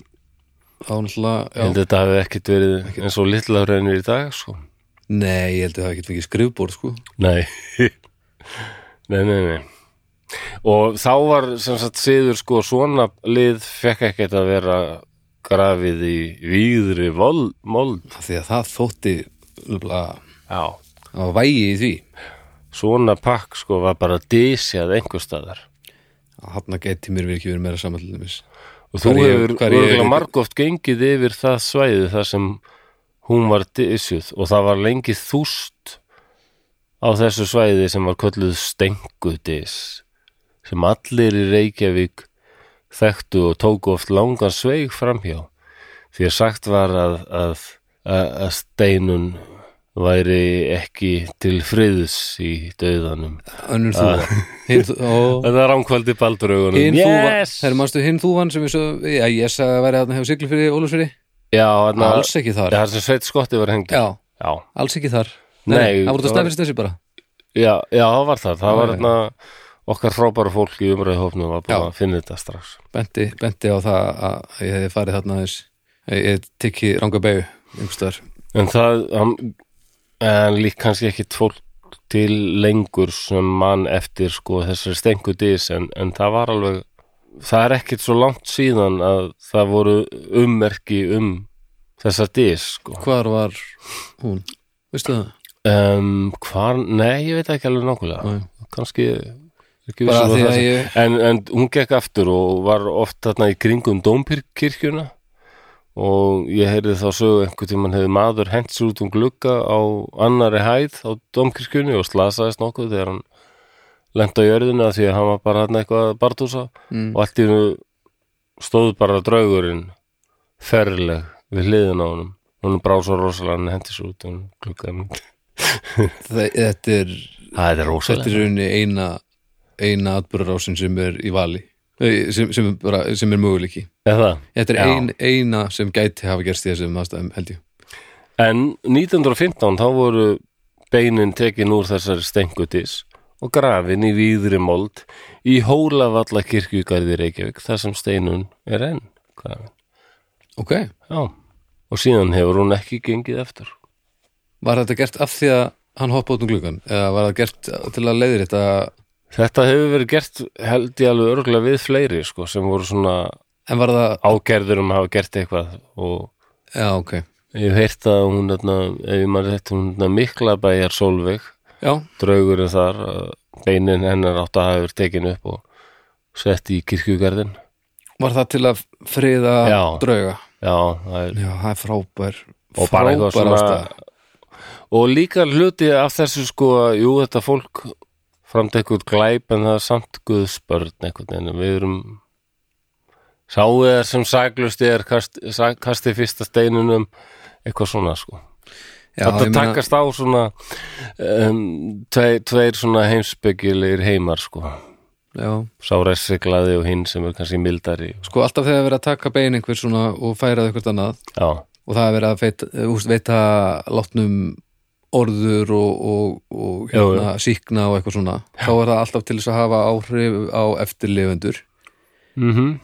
Speaker 2: á
Speaker 1: ég
Speaker 2: náttúrulega
Speaker 1: held
Speaker 2: já.
Speaker 1: að þetta hafi ekkert verið eins og litla reynir í dag sko,
Speaker 2: nei, ég held að það hafi ekki fengið skrifbór sko.
Speaker 1: nei nei, nei, nei og þá var sem sagt siður sko svona lið fekk ekkert að vera grafið í víðri vold, mold
Speaker 2: Af því að það þótti nefnilega,
Speaker 1: Já.
Speaker 2: það var vægi í því
Speaker 1: Svona pakk sko var bara dísjað einhver staðar.
Speaker 2: að hann geti mér við ekki verið meira saman til dæmis
Speaker 1: Og þú
Speaker 2: Hvar ég-
Speaker 1: hefur
Speaker 2: hvar ég-
Speaker 1: örgulega margóft gengið yfir það svæði þar sem hún var dísjuð og það var lengi þúst á þessu svæði sem var kölluð stengudís sem allir í Reykjavík þekktu og tóku oft langan sveig framhjá því að sagt var að, að, að, að steinun væri ekki til friðs í döðanum
Speaker 2: önnur
Speaker 1: Ah.
Speaker 2: þúfa hinn þú- ó,
Speaker 1: Þetta er ránkvældi balduraugunum
Speaker 2: hinn þúfa, þegar mannstu hinn þúvan sem við svo, já, ég sagði að vera þarna hefur siglu fyrir Ólafsfyrir,
Speaker 1: Já, þarna
Speaker 2: alls ekki
Speaker 1: Ah. Já,
Speaker 2: þar
Speaker 1: Það sem sveit skotti var hengt
Speaker 2: já,
Speaker 1: já,
Speaker 2: alls ekki þar
Speaker 1: Nei,
Speaker 2: það voru það
Speaker 1: það var-
Speaker 2: snæfist þessi bara
Speaker 1: já, já, það var það Það
Speaker 2: Já,
Speaker 1: var
Speaker 2: já.
Speaker 1: þarna okkar frábæra fólk í umræðhófnum var
Speaker 2: Já.
Speaker 1: bara að finna þetta strax
Speaker 2: benti, benti á það að ég hefði farið þarna aðeins ég, ég tikki ranga begu einhverstaðar
Speaker 1: En það hann, en lík kannski ekki fólk til lengur sem mann eftir sko þessari stengu dís en, en það var alveg það er ekkit svo langt síðan að það voru ummerki um þessa dís sko
Speaker 2: Hvar var hún? Veistu það?
Speaker 1: um, Hvar, nei, ég veit ekki alveg nákvæmlega
Speaker 2: Nei.
Speaker 1: kannski ekki
Speaker 2: Bara
Speaker 1: vissum
Speaker 2: því
Speaker 1: að
Speaker 2: að
Speaker 1: það
Speaker 2: ég
Speaker 1: en, en hún gekk aftur og var oft þarna í kringum Dómkirkjuna og ég heyrði þá sögu einhvern tímann hefði maður hent sér út um glugga á annari hæð á Dómkirkjunni og slasaðist nokkuð þegar hann lenda á jörðina því að hann var bara hann eitthvað að bartúsa
Speaker 2: Mm.
Speaker 1: og allt í hennu stóð bara draugurinn ferleg við hliðin á honum hún brá svo rosalega hann hendi sér út um glugga
Speaker 2: það- Þetta er
Speaker 1: það er
Speaker 2: Þetta
Speaker 1: rosalega
Speaker 2: er í rauninni eina eina atbyrðarásin sem er í vali Eh, sem, sem, er bara, sem er möguleiki
Speaker 1: eða
Speaker 2: Þetta er
Speaker 1: Já.
Speaker 2: ein, eina sem gæti hafa gerst í þessum aðstæðum held ég
Speaker 1: En 1915 þá voru beinin tekin úr þessari stengutis og grafin í víðri mold í Hólavalla kirkjugarði Reykjavík þar sem steinun er enn grafin.
Speaker 2: Ok,
Speaker 1: Já, og síðan hefur hún ekki gengið eftir.
Speaker 2: var þetta gert af því að hann hoppa út um gluggan eða var þetta gert til að leiðir þetta
Speaker 1: Þetta hefur verið gert held ég alveg örgulega við fleiri sko sem voru svona
Speaker 2: en var það,
Speaker 1: ágerður um að hafa gert eitthvað og
Speaker 2: já ok
Speaker 1: ég hef heyrt að hún, þarna, ef ég maður heyrt hún hérna þarna mikla bæjar Solveig
Speaker 2: Já,
Speaker 1: draugurinn þar að beinin hennar átt að hafa verið tekin upp og sett í kirkjugarðin
Speaker 2: var það til að friða
Speaker 1: Já.
Speaker 2: drauga
Speaker 1: já, það er
Speaker 2: Já, það er frábær
Speaker 1: og bara eitthvað
Speaker 2: frábær
Speaker 1: svona
Speaker 2: ástæða.
Speaker 1: og líka hluti af þessu sko að, jú, þetta fólk framtekur glæp en það er samt guðspörn einhvern veginn, En við erum sáið er sem saglusti er kast, sag, kasti fyrsta steinunum eitthvað svona sko
Speaker 2: Já,
Speaker 1: þetta
Speaker 2: ég meina-
Speaker 1: takast á svona um, tveir, tveir svona heimspekilegir heimar sko
Speaker 2: Já,
Speaker 1: sá ressiglaði og hinn sem er kannski mildari
Speaker 2: sko alltaf þegar verið að taka bein einhver svona og færað eitthvað annað
Speaker 1: já,
Speaker 2: og það er verið að veita, úst, veita látnum orður og, og, og
Speaker 1: Jú,
Speaker 2: hérna, síkna og eitthvað svona þá er það alltaf til þess að hafa áhrif á eftirlifendur
Speaker 1: mm
Speaker 2: Mhm.
Speaker 1: -hmm.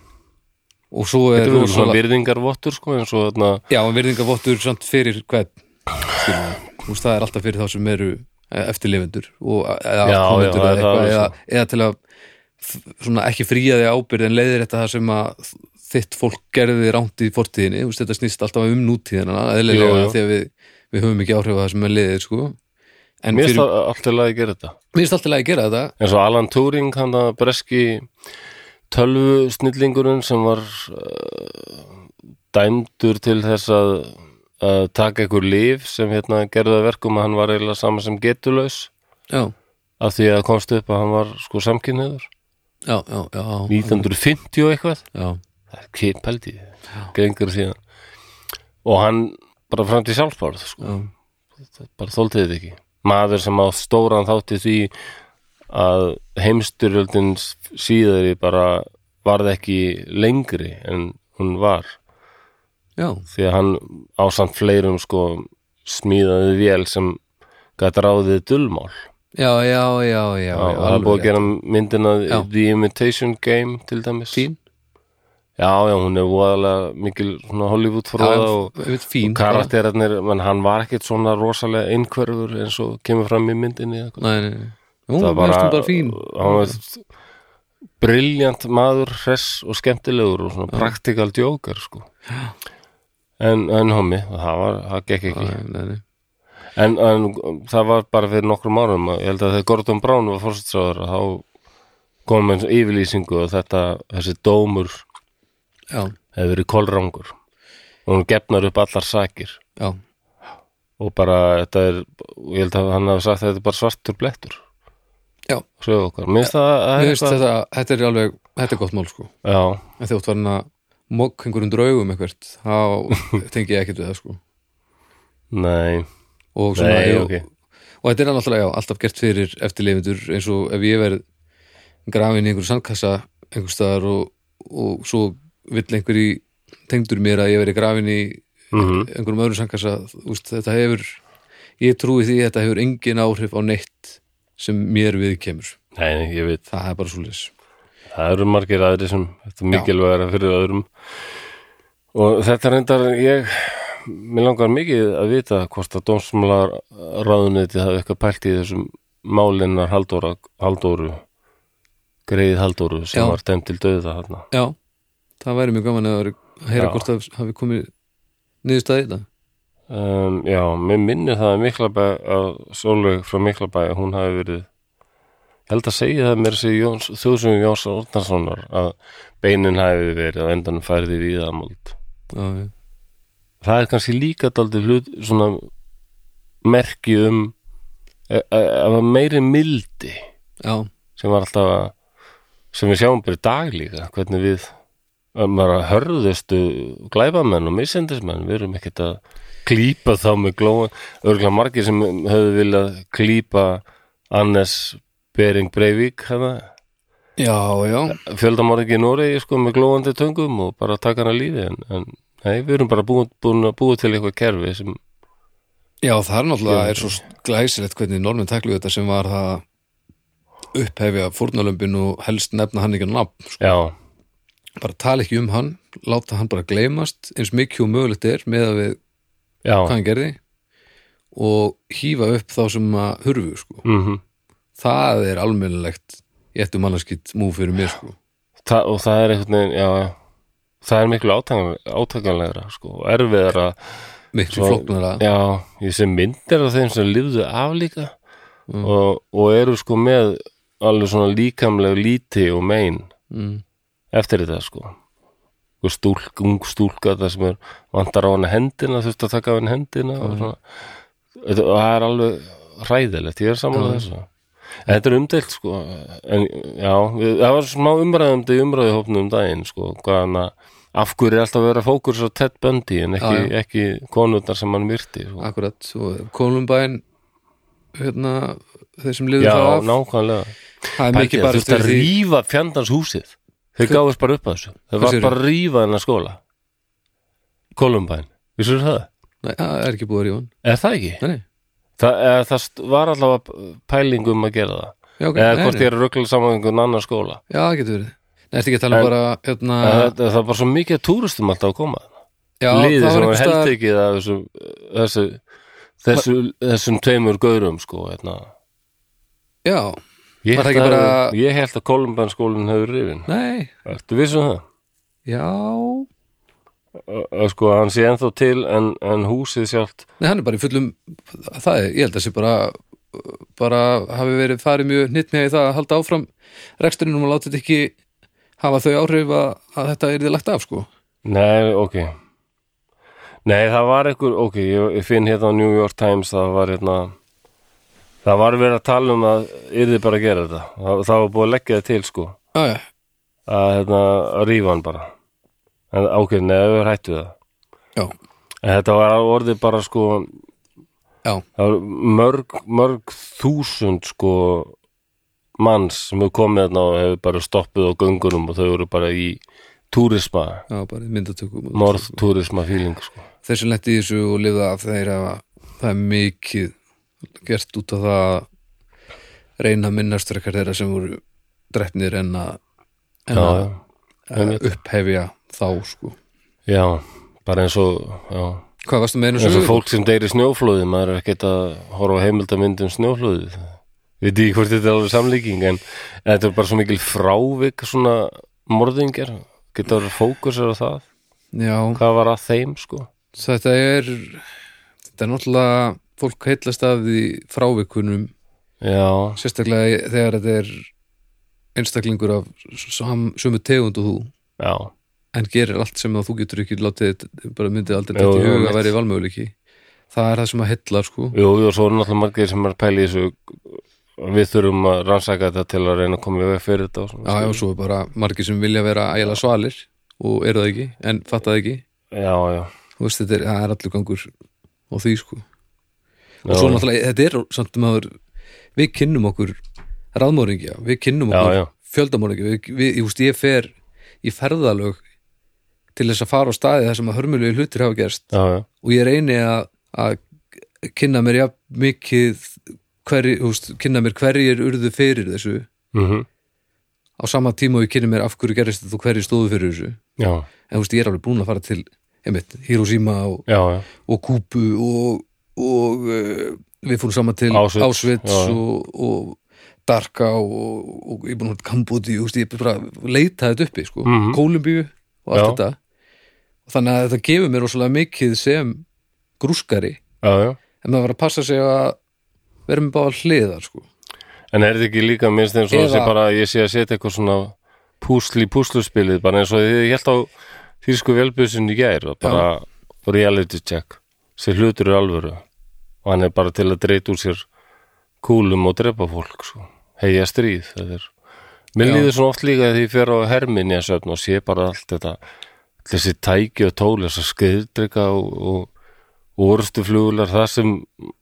Speaker 2: og svo er
Speaker 1: þetta er svona
Speaker 2: rosalega-
Speaker 1: virðingarvottur sko, eins og þarna
Speaker 2: já, en virðingavottur samt fyrir hvern skilur við. Þú veist, það er alltaf fyrir þá sem eru eh, eftirlifendur og eh, eða,
Speaker 1: Já,
Speaker 2: afkomendur
Speaker 1: já,
Speaker 2: eða,
Speaker 1: það er
Speaker 2: eitthvað, eða,
Speaker 1: alveg
Speaker 2: eða til að f- svona ekki fríja þig ábyrð en leiðir þetta það sem að þitt fólk gerði rámt í fortíðinni, þú veist, þetta snýst alltaf um nútíðina, eðlilega
Speaker 1: Jú, jú.
Speaker 2: því að við, við höfum ekki áhrif að það sem er leiðir sko. en
Speaker 1: mér
Speaker 2: mér
Speaker 1: finnst
Speaker 2: fyrir,
Speaker 1: það alltaf að gera þetta
Speaker 2: mér finnst alltaf að gera þetta
Speaker 1: eins og Alan Turing, hann að breski tölvu snillingurinn sem var uh, dæmdur til þess að að taka einhver líf sem hérna gerði að verkum að hann var eiginlega sama sem getulaus
Speaker 2: já,
Speaker 1: af því að komst upp að hann var sko samkynniður
Speaker 2: já, já, já,
Speaker 1: 1950 og eitthvað
Speaker 2: já.
Speaker 1: það er kipeldi gengur síðan og hann bara fram til sjálfsbárð sko. Þetta bara þóldi þetta ekki maður sem á stóran þátti því að heimsturöldin síðari bara varð ekki lengri en hún var
Speaker 2: já.
Speaker 1: því að hann ásamt fleirum sko smíðaði vél sem gæti ráðið dulmál
Speaker 2: Já, já, já, já,
Speaker 1: og
Speaker 2: já,
Speaker 1: það er búið að
Speaker 2: rétt.
Speaker 1: gera myndina
Speaker 2: Já.
Speaker 1: The Imitation Game til dæmis
Speaker 2: fín
Speaker 1: já, já, hún er voðalega mikil svona Hollywood
Speaker 2: Já,
Speaker 1: forða og
Speaker 2: einmitt fín bara.
Speaker 1: karakterarnir, menn hann var ekkit svona rosalega einhverfur eins og kemur fram í myndinni eða eitthvað.
Speaker 2: Nei, nei, nei. Jú, mér finnst hún bara fín
Speaker 1: hann var briljant maður, hress og skemmtilegur og svona praktikal djókar sko. en, en homi það var, það gekk ekki
Speaker 2: Nei, nei, nei.
Speaker 1: en, en það var bara fyrir nokkrum árum ég held að þegar Gordon Brown var fórstæðsraður þá kom eins yfirlýsingu og þetta, þessi dómur
Speaker 2: Já,
Speaker 1: hefur verið kolrangur og hún gefnar upp allar sakir
Speaker 2: já,
Speaker 1: og bara þetta er, ég held að hann hafi sagt að þetta er bara svartur blettur
Speaker 2: já
Speaker 1: sögðu okkar, mér finnst það að
Speaker 2: Mér finnst þetta, þetta er alveg, þetta er gott mál sko
Speaker 1: já,
Speaker 2: En þegar þú var hann að mokk einhverjum draugum eitthvert þá tengi ég ekkert við það sko
Speaker 1: nei,
Speaker 2: og, svona,
Speaker 1: nei,
Speaker 2: ég,
Speaker 1: ok
Speaker 2: og þetta er náttúrulega já, alltaf gert fyrir eftirleifindur eins og ef ég verð grafin í einhverju sandkassa einhvers staðar og, og svo vill einhverji tengdur mér að ég verið grafin í
Speaker 1: mm
Speaker 2: einhverjum öðrum sandkassa úst, þetta hefur, ég trúi því að þetta hefur engin áhrif á neitt sem mér við kemur,
Speaker 1: nei, nei, ég veit,
Speaker 2: það er bara svo leys
Speaker 1: það eru margir aðri sem þetta er mikilvægara fyrir öðrum og þetta reyndar ég, mér langar mikið að vita hvort að dómsmálar ráðuneti hafi eitthvað pælt í þessum málinnar Haldóra, Haldóru greið Haldóru sem
Speaker 2: Já.
Speaker 1: var dæmt til döða þarna
Speaker 2: Já, það væri mjög gaman að vera- að heyra
Speaker 1: Já.
Speaker 2: hvort það hafi komið niðurstaði í þetta
Speaker 1: Um, já, mér minnir það að Miklabæ að Sólveig frá Miklabæ hún hafi verið ég held að segja það mér sig Jóns, þjóðsum Jóns Ornarssonar að beinin hafi verið á endanum færði viðamöld
Speaker 2: Já, já.
Speaker 1: það er kannski líka daldið hlut svona merki um e- e- að var meiri mildi
Speaker 2: já,
Speaker 1: sem var alltaf að sem við sjáum bara í dag líka hvernig við um, bara hörðustu glæbamenn og missendismenn við erum ekkert að klípa þá með glóa örgulega margir sem höfðu viljað klípa Annes Bering Breivik hana,
Speaker 2: já, já,
Speaker 1: fjöldamorðingi í Noregi sko með glóandi töngum og bara taka hana lífi en, en nei, við erum bara búin, búin að búa til eitthvað kerfi sem
Speaker 2: já, það er náttúrulega er svo glæsilegt hvernig normin taklu þetta sem var það að upphefja fórnalömbin og helst nefna hann ekki á nafn sko.
Speaker 1: já,
Speaker 2: bara tala ekki um hann, láta hann bara gleymast eins mikið og mögulegt er með að við
Speaker 1: já,
Speaker 2: hvað hann gerði og hýfa upp þá sem að hurfu sko.
Speaker 1: mhm
Speaker 2: það er almennilegt ég ættu mannarskitt múf fyrir mér sko.
Speaker 1: Þa, og það er einhvern veginn, já, já það er miklu átakan- átakanlegra sko, og erfiðara
Speaker 2: miklu
Speaker 1: Svo-
Speaker 2: flóknara
Speaker 1: já, ég sem myndir af þeim sem lifðu af líka og, og eru sko með alveg svona líkamleg líti og mein
Speaker 2: mm.
Speaker 1: eftir þetta sko og stúlk, ung stúlka það sem er vantar á hana hendina, þurfti að taka á hana hendina
Speaker 2: Mm.
Speaker 1: og svona Þetta- og það er alveg hræðilegt, ég er saman að þessu En þetta er umdeilt sko en já, við, það var smá umræðum í umræðu hópnum um daginn sko hvað hann að, af hverju er alltaf að vera fókus á Ted Bundy en ekki,
Speaker 2: Já,
Speaker 1: ekki konundar sem hann myrti sko.
Speaker 2: akkurat og Kolumbæn hérna, þeir sem liður
Speaker 1: já,
Speaker 2: það af
Speaker 1: nákvæmlega
Speaker 2: það er mikið
Speaker 1: Pældi,
Speaker 2: bara
Speaker 1: þurfti
Speaker 2: eftir
Speaker 1: að
Speaker 2: því
Speaker 1: rífa fjandans húsið þeir gáðist bara upp að þessu þeir
Speaker 2: Hvað
Speaker 1: var
Speaker 2: segirðu?
Speaker 1: bara að rífa hennar skóla Kolumbæn, vissur það?
Speaker 2: Nei, það er ekki búið að rífa
Speaker 1: Er það ekki?
Speaker 2: hann Nei, nei.
Speaker 1: Þa, eða, það st- var allavega pælingum að gera það
Speaker 2: já, ok,
Speaker 1: eða
Speaker 2: nei,
Speaker 1: hvort
Speaker 2: nei.
Speaker 1: ég er ruggla saman einhvern annar um skóla
Speaker 2: já, það getur verið Nei, ertu ekki að tala
Speaker 1: En- uh,
Speaker 2: um bara hérna,
Speaker 1: Æ, það, það var svo mikið af túristum alltaf að koma
Speaker 2: já,
Speaker 1: liðið
Speaker 2: það
Speaker 1: sem
Speaker 2: var
Speaker 1: var
Speaker 2: einhvers staðar-
Speaker 1: heldekið af þessu, þessu, þessu, þessum tveimur gaurum sko hérna.
Speaker 2: Já,
Speaker 1: ég,
Speaker 2: Var það
Speaker 1: held
Speaker 2: ekki
Speaker 1: að-
Speaker 2: bara-
Speaker 1: ég held að Kolumbanskólinn hefur rifin
Speaker 2: nei,
Speaker 1: Ertu vissum það?
Speaker 2: já Nei,
Speaker 1: Ö- ö, Sko, hann sé ennþá til en, en húsið sjálft
Speaker 2: hann er bara í fullum það er, ég held að sé bara bara hafi verið farið mjög nýtt með það að halda áfram reksturinn og láta þetta ekki hafa þau áhrif að, að þetta er þið lagt af sko
Speaker 1: Nei, ok Nei, það var einhver, ok, ég ég finn hérna á New York Times, það var hérna það var verið að tala um að yrði bara að gera þetta, það, það var búið að leggja það til sko,
Speaker 2: Já, já,
Speaker 1: að hérna að rífa hann bara en ok, nei, það var hættu það
Speaker 2: já,
Speaker 1: en þetta var orðið bara sko
Speaker 2: já,
Speaker 1: það var mörg, mörg þúsund sko manns sem hefur komið þarna og hefur bara stoppuð á göngunum og þau eru bara í túrisma,
Speaker 2: já bara í myndatökum og-
Speaker 1: norðtúrisma feeling sko,
Speaker 2: þeir sem lendi í þessu og lifða af þeir hafa, það er mikið gert út af það að reyna að minnast frekar þeirra sem voru drefnir en að, en
Speaker 1: já,
Speaker 2: að,
Speaker 1: já
Speaker 2: að upphefja þá sko.
Speaker 1: Já, bara eins og já,
Speaker 2: Hvað varstu með einu
Speaker 1: eins og
Speaker 2: sögur?
Speaker 1: fólk sem deyri snjóflóði maður er ekkert að horfa á heimildamynd um snjóflóði við því hvort þetta er alveg samlíking en þetta er bara svo mikil frávik svona morðingar geta verið fókusar á það
Speaker 2: Já,
Speaker 1: hvað var að þeim sko
Speaker 2: þetta er þetta er náttúrulega fólk heitlast af því frávikunum
Speaker 1: Já,
Speaker 2: sérstaklega þegar þetta er einstaklingur af sam, sömu tegund og þú
Speaker 1: já,
Speaker 2: en gerir allt sem að þú getur ekki látið, bara myndið aldrei
Speaker 1: Jú,
Speaker 2: þetta í
Speaker 1: jú,
Speaker 2: huga
Speaker 1: mitt.
Speaker 2: að vera í valmöguleiki það er það sem að heilla sko
Speaker 1: jú, jú, svo er náttúrulega margir sem er að pæla í þessu við þurfum að rannsaka þetta til að reyna að koma í veg fyrir þetta og svona,
Speaker 2: já, já, svo er bara margir sem vilja vera ægilega svalir og eru það ekki, en fatta það ekki
Speaker 1: já, já,
Speaker 2: þú veist, þetta er, það er allur gangur og því sko og
Speaker 1: Já,
Speaker 2: svo
Speaker 1: já.
Speaker 2: náttúrulega, þetta er samt maður við kynnum okkur ráðmóringja við kynnum
Speaker 1: Já,
Speaker 2: okkur
Speaker 1: já.
Speaker 2: fjöldamóringja við, við, ég, veist, ég fer í ferðalög til þess að fara á staði þar sem að hörmulegu hlutir hafa gerst
Speaker 1: já, já,
Speaker 2: og ég reyni að, að kynna mér jafn mikið hverju, húst, kynna mér hverjir urðu fyrir þessu
Speaker 1: mm
Speaker 2: á sama tíma og ég kynna mér af hverju gerist þetta og hverju stóðu fyrir þessu
Speaker 1: já,
Speaker 2: en húst, ég er alveg búin að fara til einmitt, Hiroshima og,
Speaker 1: já, já,
Speaker 2: og Kúbu og, og uh, við fórum saman til
Speaker 1: Auschwitz,
Speaker 2: Auschwitz
Speaker 1: já, já.
Speaker 2: og, og Darka og, og ég er búin að Kambodi húst, ég er bara að leita þetta uppi sko. mm
Speaker 1: Mhm.
Speaker 2: Kólumbíu og allt
Speaker 1: Já.
Speaker 2: þetta þannig að þetta gefur mér rosalega mikið sem grúskari
Speaker 1: já, já.
Speaker 2: en maður var að passa sig að vera með báða hliðar sko.
Speaker 1: En er þetta ekki líka minnst eins og
Speaker 2: Eða-
Speaker 1: þessi bara ég sé að setja eitthvað svona púsl í púsluspilið bara eins og ég held á þýrsku velbjöðsinn í gær og bara reality check sem hlutur er alvöru og hann er bara til að dreita úr sér kúlum og drepa fólk sko. heiða stríð þetta er Mér
Speaker 2: Já.
Speaker 1: líður svona oft líka því ég fer á herminni að söfn og sé bara allt þetta þessi tæki og tól þess að skriðdrykka og, og, orustuflugular það sem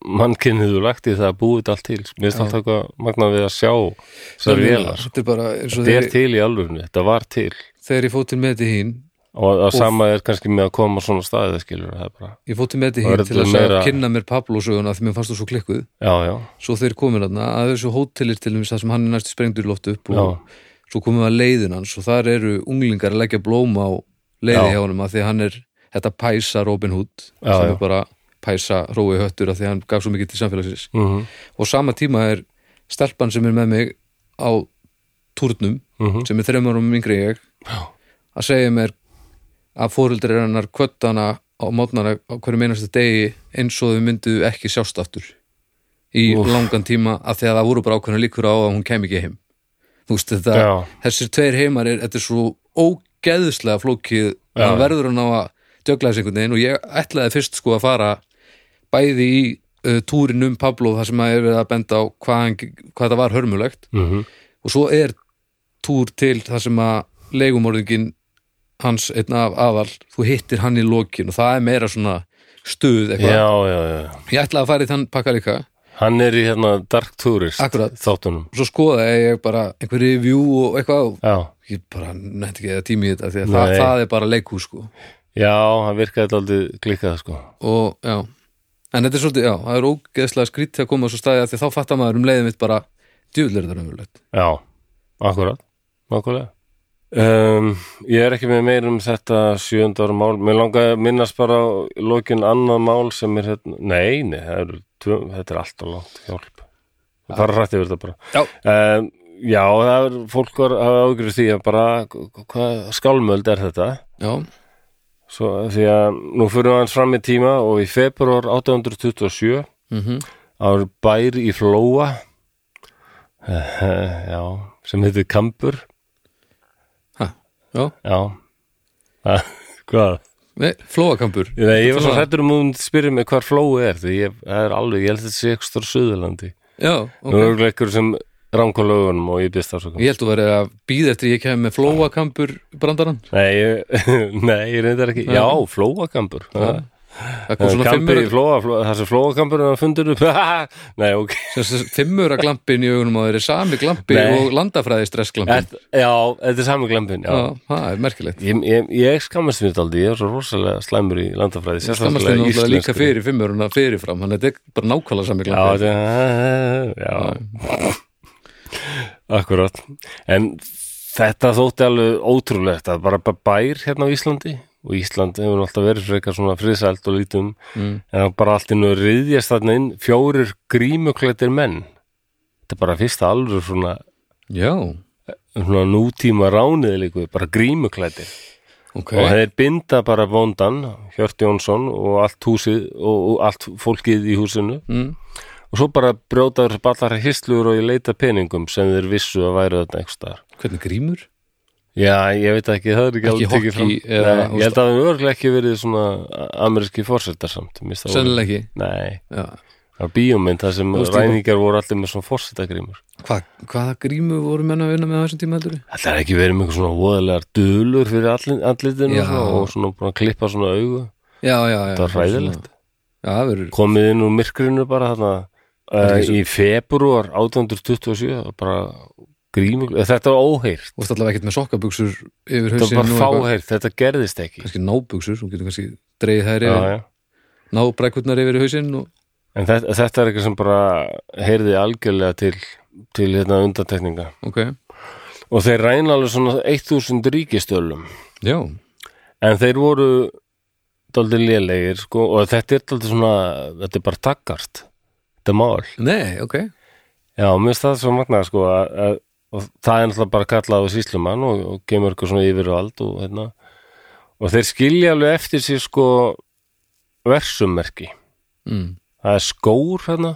Speaker 1: mannkinniður lagt í það að búið þetta allt til mér finnst alltaf eitthvað magnað við að sjá þessar vélar, sko.
Speaker 2: Þetta er bara eins og
Speaker 1: þetta er
Speaker 2: þegar,
Speaker 1: til í alvörinu þetta var til
Speaker 2: þegar ég fóð til með til hín
Speaker 1: og að sama er kannski með að koma á svona staðið skilur það er bara,
Speaker 2: ég fóð til með til
Speaker 1: Það
Speaker 2: hín
Speaker 1: verður
Speaker 2: til að
Speaker 1: meira-
Speaker 2: meira... kynna mér Pablo söguna því mér fannst þú svo klikkuð
Speaker 1: já, já,
Speaker 2: svo þeir komin aðna að þessu hótelir til þess að sem hann er næstu sprengdur í loft upp og
Speaker 1: já
Speaker 2: svo komum við að leiðin hans og þar eru unglingar að leggja blóm á leiði
Speaker 1: Já.
Speaker 2: hjá honum að því að hann er þetta pæsa Robin Hood
Speaker 1: Já,
Speaker 2: sem
Speaker 1: já.
Speaker 2: er bara pæsa rói höttur að því að hann gaf svo mikið til samfélagsins
Speaker 1: mm
Speaker 2: og sama tíma er stelpan sem er með mig á turnum
Speaker 1: Mhm.
Speaker 2: sem er þreymur um yngri en ég
Speaker 1: Já.
Speaker 2: að segja mér að fóreldri hennar kvöttana á mótnana á hverjum einasta degi eins og þau myndu ekki sjást aftur í
Speaker 1: Úff.
Speaker 2: langan tíma að því að það voru bara ákveðna líkur á að hún kæmi ekki heim þú veist þetta,
Speaker 1: Já.
Speaker 2: þessir tveir heimar er, þetta er svo ógeðslega flókið
Speaker 1: Já,
Speaker 2: að
Speaker 1: já.
Speaker 2: verður hann á að djögla þessi einhvern veginn og ég ætlaði fyrst sko að fara bæði í uh, túrin um Pablo þar sem að er verið að benda á hvað, hann, hvað það var hörmulegt
Speaker 1: Mhm.
Speaker 2: og svo er túr til þar sem að leigumorðingin hans einn af aðal þú hittir hann í lokin og það er meira svona stuð eitthvað
Speaker 1: já, já, já
Speaker 2: ég ætlaði að fara í þann pakka líka
Speaker 1: hann er í hérna Dark Tourist
Speaker 2: Akkurat.
Speaker 1: þáttunum
Speaker 2: og svo skoðaði ég bara einhver review og eitthvað og
Speaker 1: já,
Speaker 2: ég bara nefndi ekki að tími í þetta því að það,
Speaker 1: Nei.
Speaker 2: það er bara leikhús sko
Speaker 1: já, hann virkaði þetta aldrei klikkað sko
Speaker 2: og já en þetta er svolítið, já, það er ógeðslega skrítið að koma á svo staði að því að þá fattar maður um leiðið mitt bara djúðlega þetta raunverulegt
Speaker 1: Já, akkurat, akkurat. Um, ég er ekki með meir um þetta sjöndar mál. Mér langaði að minnast bara á lokin annað mál sem er hérna. Nei, nei, það eru tvö, þetta er alltaf langt hjálp. Það fara rætt yfir þetta bara.
Speaker 2: Já.
Speaker 1: Um, já, það er, fólk var að ágjöru því að bara, hvað skálmöld er þetta?
Speaker 2: já,
Speaker 1: Svo, því að nú fyrir aðeins fram í tíma og í februar 827
Speaker 2: mhm
Speaker 1: Það var bær í Flóa Já, sem heitir Kambur
Speaker 2: ha, já,
Speaker 1: Já Ha, Hvað?
Speaker 2: nei, flóakampur
Speaker 1: Nei, ég var svo
Speaker 2: Flóa.
Speaker 1: hættur um að hún spyrir mig hvar Flói er því ég, það er alveg, ég held að þetta sé ekki stór Suðurlandi
Speaker 2: já, ok
Speaker 1: Nú er örugglega einhver sem ránkar lögunum og ég byrst afsökum
Speaker 2: Ég held að vera að býða eftir ég kemur með flóakampur brandarann.
Speaker 1: Nei, ég, nei, ég reyndar ekki Já, Flóakambur
Speaker 2: Já.
Speaker 1: Ha.
Speaker 2: Það kom svona
Speaker 1: Kambur í
Speaker 2: fimmur,
Speaker 1: Flóa, Flóa það sem Flóakambur er að fundur upp Nei, ok
Speaker 2: sem sagt, fimmur að glampin í augunum á þeirri sami glampi
Speaker 1: Nei.
Speaker 2: og landafræði stressglampin.
Speaker 1: Þetta- Já, þetta er saman glembin Já,
Speaker 2: Mm. Já, það er merkilegt.
Speaker 1: Ég, ég, ég skammast mér þetta aldrei, ég er svo rosalega slæmur í landafræði,
Speaker 2: Skammast
Speaker 1: sérstaklega
Speaker 2: þinn
Speaker 1: íslensku.
Speaker 2: náttúrulega líka fyrir fimmuruna fyrirfram, þannig að þetta er bara nákvæmlega sami
Speaker 1: sko.
Speaker 2: glampi.
Speaker 1: Já, þetta er, já. Akkurat. En þetta þótti alveg ótrúlegt að bara bara bær hérna á Íslandi og Ísland hefur alltaf verið frekar svona friðsælt og lítum
Speaker 2: Mm.
Speaker 1: en það bara allt innu riðjast þarna inn fjórir grímuklættir menn. Þetta er bara fyrsta alveg svona,
Speaker 2: Já,
Speaker 1: svona nútíma ránið líku, bara grímuklættir.
Speaker 2: ok.
Speaker 1: og þeir binda bara bóndan Hjört Jónsson og allt húsið og, og allt fólkið í húsinu
Speaker 2: Mm.
Speaker 1: og svo bara brjótaður ballar hislur og ég leita peningum sem þeir vissu að væru þetta einhvers staðar
Speaker 2: Hvernig grímur?
Speaker 1: Já, ég veit ekki, það er ekki,
Speaker 2: Ekki
Speaker 1: alveg tekið
Speaker 2: hockey
Speaker 1: fram
Speaker 2: eða-
Speaker 1: Nei, Ég held að það er örglega ekki verið svona ameríski fórsetar samt mér finnst það voru-
Speaker 2: Sennilega ekki.
Speaker 1: Nei,
Speaker 2: Já.
Speaker 1: það var bíómynd það sem
Speaker 2: Þú veist,
Speaker 1: ræningar voru allir með svona fórsetagrímur
Speaker 2: Hva, hvaða grímu voru menn að vinna með á þessum tíma heldur?
Speaker 1: Það er ekki verið með eitthvað svona voðalegar dulur fyrir allir- andlitinu
Speaker 2: Já.
Speaker 1: og svona- og svona búin að klippa svona augu
Speaker 2: Já, já, já.
Speaker 1: Það var hræðilegt
Speaker 2: Já, það verður,
Speaker 1: komið inn úr myrkrinu bara þarna
Speaker 2: er
Speaker 1: uh,
Speaker 2: ekki svo-
Speaker 1: í februar 1827 það var bara grímug þetta var óheyrt,
Speaker 2: þú veist allavega ekkert með sokkabuxur yfir
Speaker 1: þetta
Speaker 2: hausinn og
Speaker 1: var bara
Speaker 2: eitthvað.
Speaker 1: fáheyrt þetta gerðist ekki
Speaker 2: kannski nábuxur, hún getur kannski dreigð þær
Speaker 1: já,
Speaker 2: yfir,
Speaker 1: já.
Speaker 2: ná brekkurnar yfir í hausinn og
Speaker 1: en þetta, þetta er eitthvað sem bara heyrði algjörlega til, til hérna undantekninga
Speaker 2: ok,
Speaker 1: og þeir ræna alveg svona 1000 ríkistölum
Speaker 2: já,
Speaker 1: en þeir voru daldið lélegir sko, og þetta er daldið svona þetta er bara takkart þetta mál
Speaker 2: nei, ok
Speaker 1: Já, mér finnst það svo magnað sko að, að, og það er náttúrulega bara kallað á síslumann og, og kemur eitthvað svona yfirvald og hérna og þeir skilja alveg eftir sér sko versummerki
Speaker 2: mm,
Speaker 1: það er skór hérna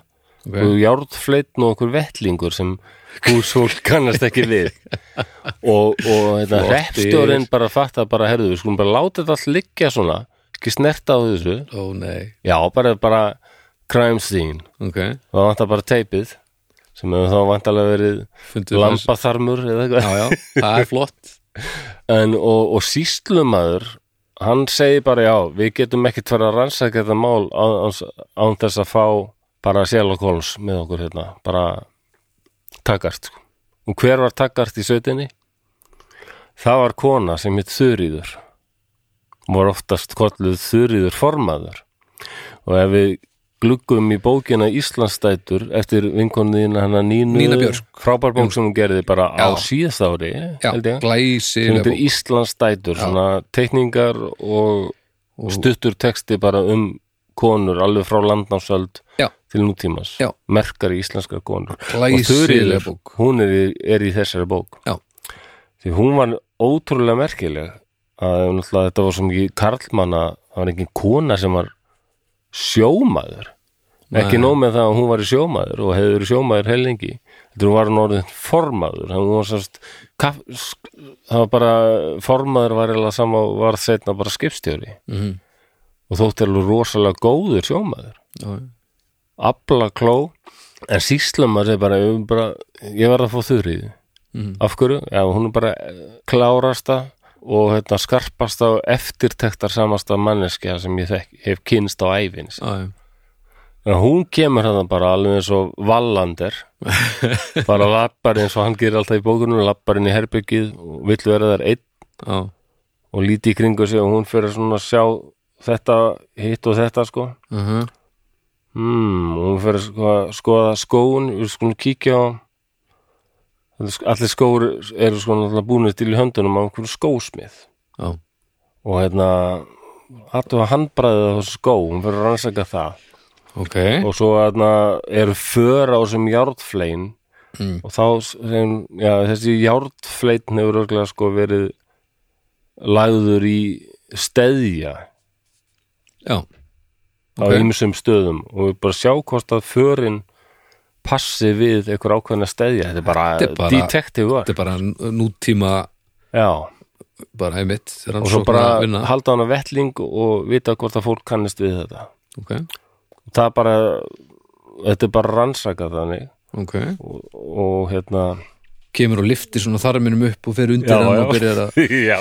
Speaker 2: ok,
Speaker 1: og járnfleitn og okkur vettlingur sem húsfólk kannast ekki við og, og hérna
Speaker 2: Flottir.
Speaker 1: hreppstjórinn bara fatta bara herðu, við skulum bara láta þetta allt liggja svona ekki snerta á þessu
Speaker 2: ó nei
Speaker 1: já, bara, bara crime scene
Speaker 2: ok,
Speaker 1: og það vantar bara teipið sem hefur þá vantarlega verið
Speaker 2: fundu þess
Speaker 1: lambaþarmur eða eitthvað
Speaker 2: já, já, það er flott
Speaker 1: en, og, og síslumaður hann segi bara já, við getum ekkert verið að rannsaka þetta mál án, án þess að fá bara Sherlock Holmes með okkur hérna, bara takkart sko. og hver var takkart í sveitinni? Það var kona sem hitt Þuríður og var oftast kolluð Þuríður formaður og ef við gluggum í bókina Íslandsdætur eftir vinkonniðina hana Nínu,
Speaker 2: Nína Björk.
Speaker 1: frábær bók sem hún gerði bara á
Speaker 2: Já.
Speaker 1: síðast ári
Speaker 2: já,
Speaker 1: held ég sem
Speaker 2: glæsilega
Speaker 1: heitir
Speaker 2: bók.
Speaker 1: Íslandsdætur svona teikningar og, stuttur texti bara um konur alveg frá landnámsöld
Speaker 2: Já.
Speaker 1: til nútímas,
Speaker 2: Já.
Speaker 1: merkar í íslenskar konur og
Speaker 2: Glæsilega
Speaker 1: Þuríður,
Speaker 2: bók
Speaker 1: hún er í, er í þessari bók
Speaker 2: Já.
Speaker 1: því hún var ótrúlega merkileg að náttúrulega þetta var svo mikið karlmanna það var engin kona sem var sjómaður ekki
Speaker 2: Nei.
Speaker 1: nóg með það að hún var í sjómaður og hefði verið sjómaður heilengi þetta var hún orðin formaður hann var sást kaf, sk, það var bara formaður var eða sama og var setna bara skipstjóri
Speaker 2: mm
Speaker 1: og þótti alveg rosalega góður sjómaður
Speaker 2: -hmm.
Speaker 1: abla kló en síslumar er bara, ég, bara, ég verð að fá þurrið
Speaker 2: Mhm.
Speaker 1: af hverju, já hún er bara eh, klárasta og hérna, skarpasta og eftirtektar samasta manneskja sem ég þekk, hef kynst á æfins
Speaker 2: já, já.
Speaker 1: en hún kemur hérna bara alveg eins og vallander bara lappar eins og hann gerir alltaf í bókunum lappar inn í herbyggið og vill vera þar einn
Speaker 2: já,
Speaker 1: og líti í kringu sig og hún fyrir svona að sjá þetta, hitt og þetta sko
Speaker 2: mhm,
Speaker 1: Hmm, og hún fyrir sko að skoða skóun við skulum kíkja á þetta er sk- allir skóur eru sko náttúrulega búinir til í höndunum á einhverju skósmið
Speaker 2: já,
Speaker 1: og hérna hattu að handbræðið á þessu skó hún fyrir að rannsaka það
Speaker 2: ok
Speaker 1: og svo hérna eru för á þessum járnflein
Speaker 2: Mm.
Speaker 1: og þá sem, já, þessi járnflein hefur örglega sko verið lagður í steðja
Speaker 2: já,
Speaker 1: á
Speaker 2: Ok.
Speaker 1: ýmsum stöðum og við bara sjá hvort að förin passi við einhver ákveðna steðja þetta er bara,
Speaker 2: Þetta er bara-
Speaker 1: detective work
Speaker 2: þetta er bara nú- nútíma
Speaker 1: já,
Speaker 2: bara einmitt
Speaker 1: og svo bara
Speaker 2: vinna
Speaker 1: halda hann að vettling og vita hvort að fólk kannist við þetta
Speaker 2: ok,
Speaker 1: það er bara þetta er bara rannsaka þannig
Speaker 2: ok
Speaker 1: og, og hérna
Speaker 2: kemur og liftir svona þarminum upp og fer undir
Speaker 1: Já,
Speaker 2: hann
Speaker 1: já.
Speaker 2: og byrjar að
Speaker 1: já,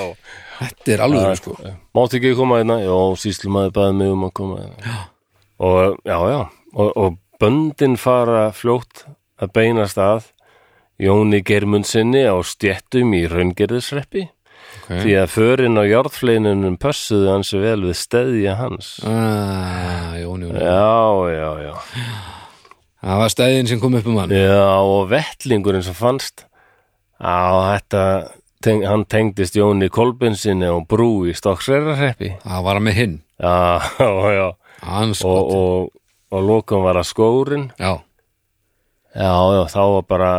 Speaker 2: þetta er alveg sko
Speaker 1: máttu ekki koma hérna já, síslumaði baði mig um að koma hérna já. og já, já og, og böndin fara fljótt að beina stað Jóni Germundsinni á stjettum í raungerðisreppi
Speaker 2: okay.
Speaker 1: því að förin á járðfleinunum pössuðu hans vel við steðja hans
Speaker 2: ah, jón, jón.
Speaker 1: já, já, já
Speaker 2: það var stæðin sem kom upp um hann
Speaker 1: Já, og vettlingurinn sem fannst á þetta teng, hann tengdist Jóni Kolbinsinni og brú í Stokksreyrarreppi
Speaker 2: það var hann með hinn
Speaker 1: Já, já, já
Speaker 2: hans
Speaker 1: og, og, og lokum var að skórin
Speaker 2: já,
Speaker 1: Já, já, þá var bara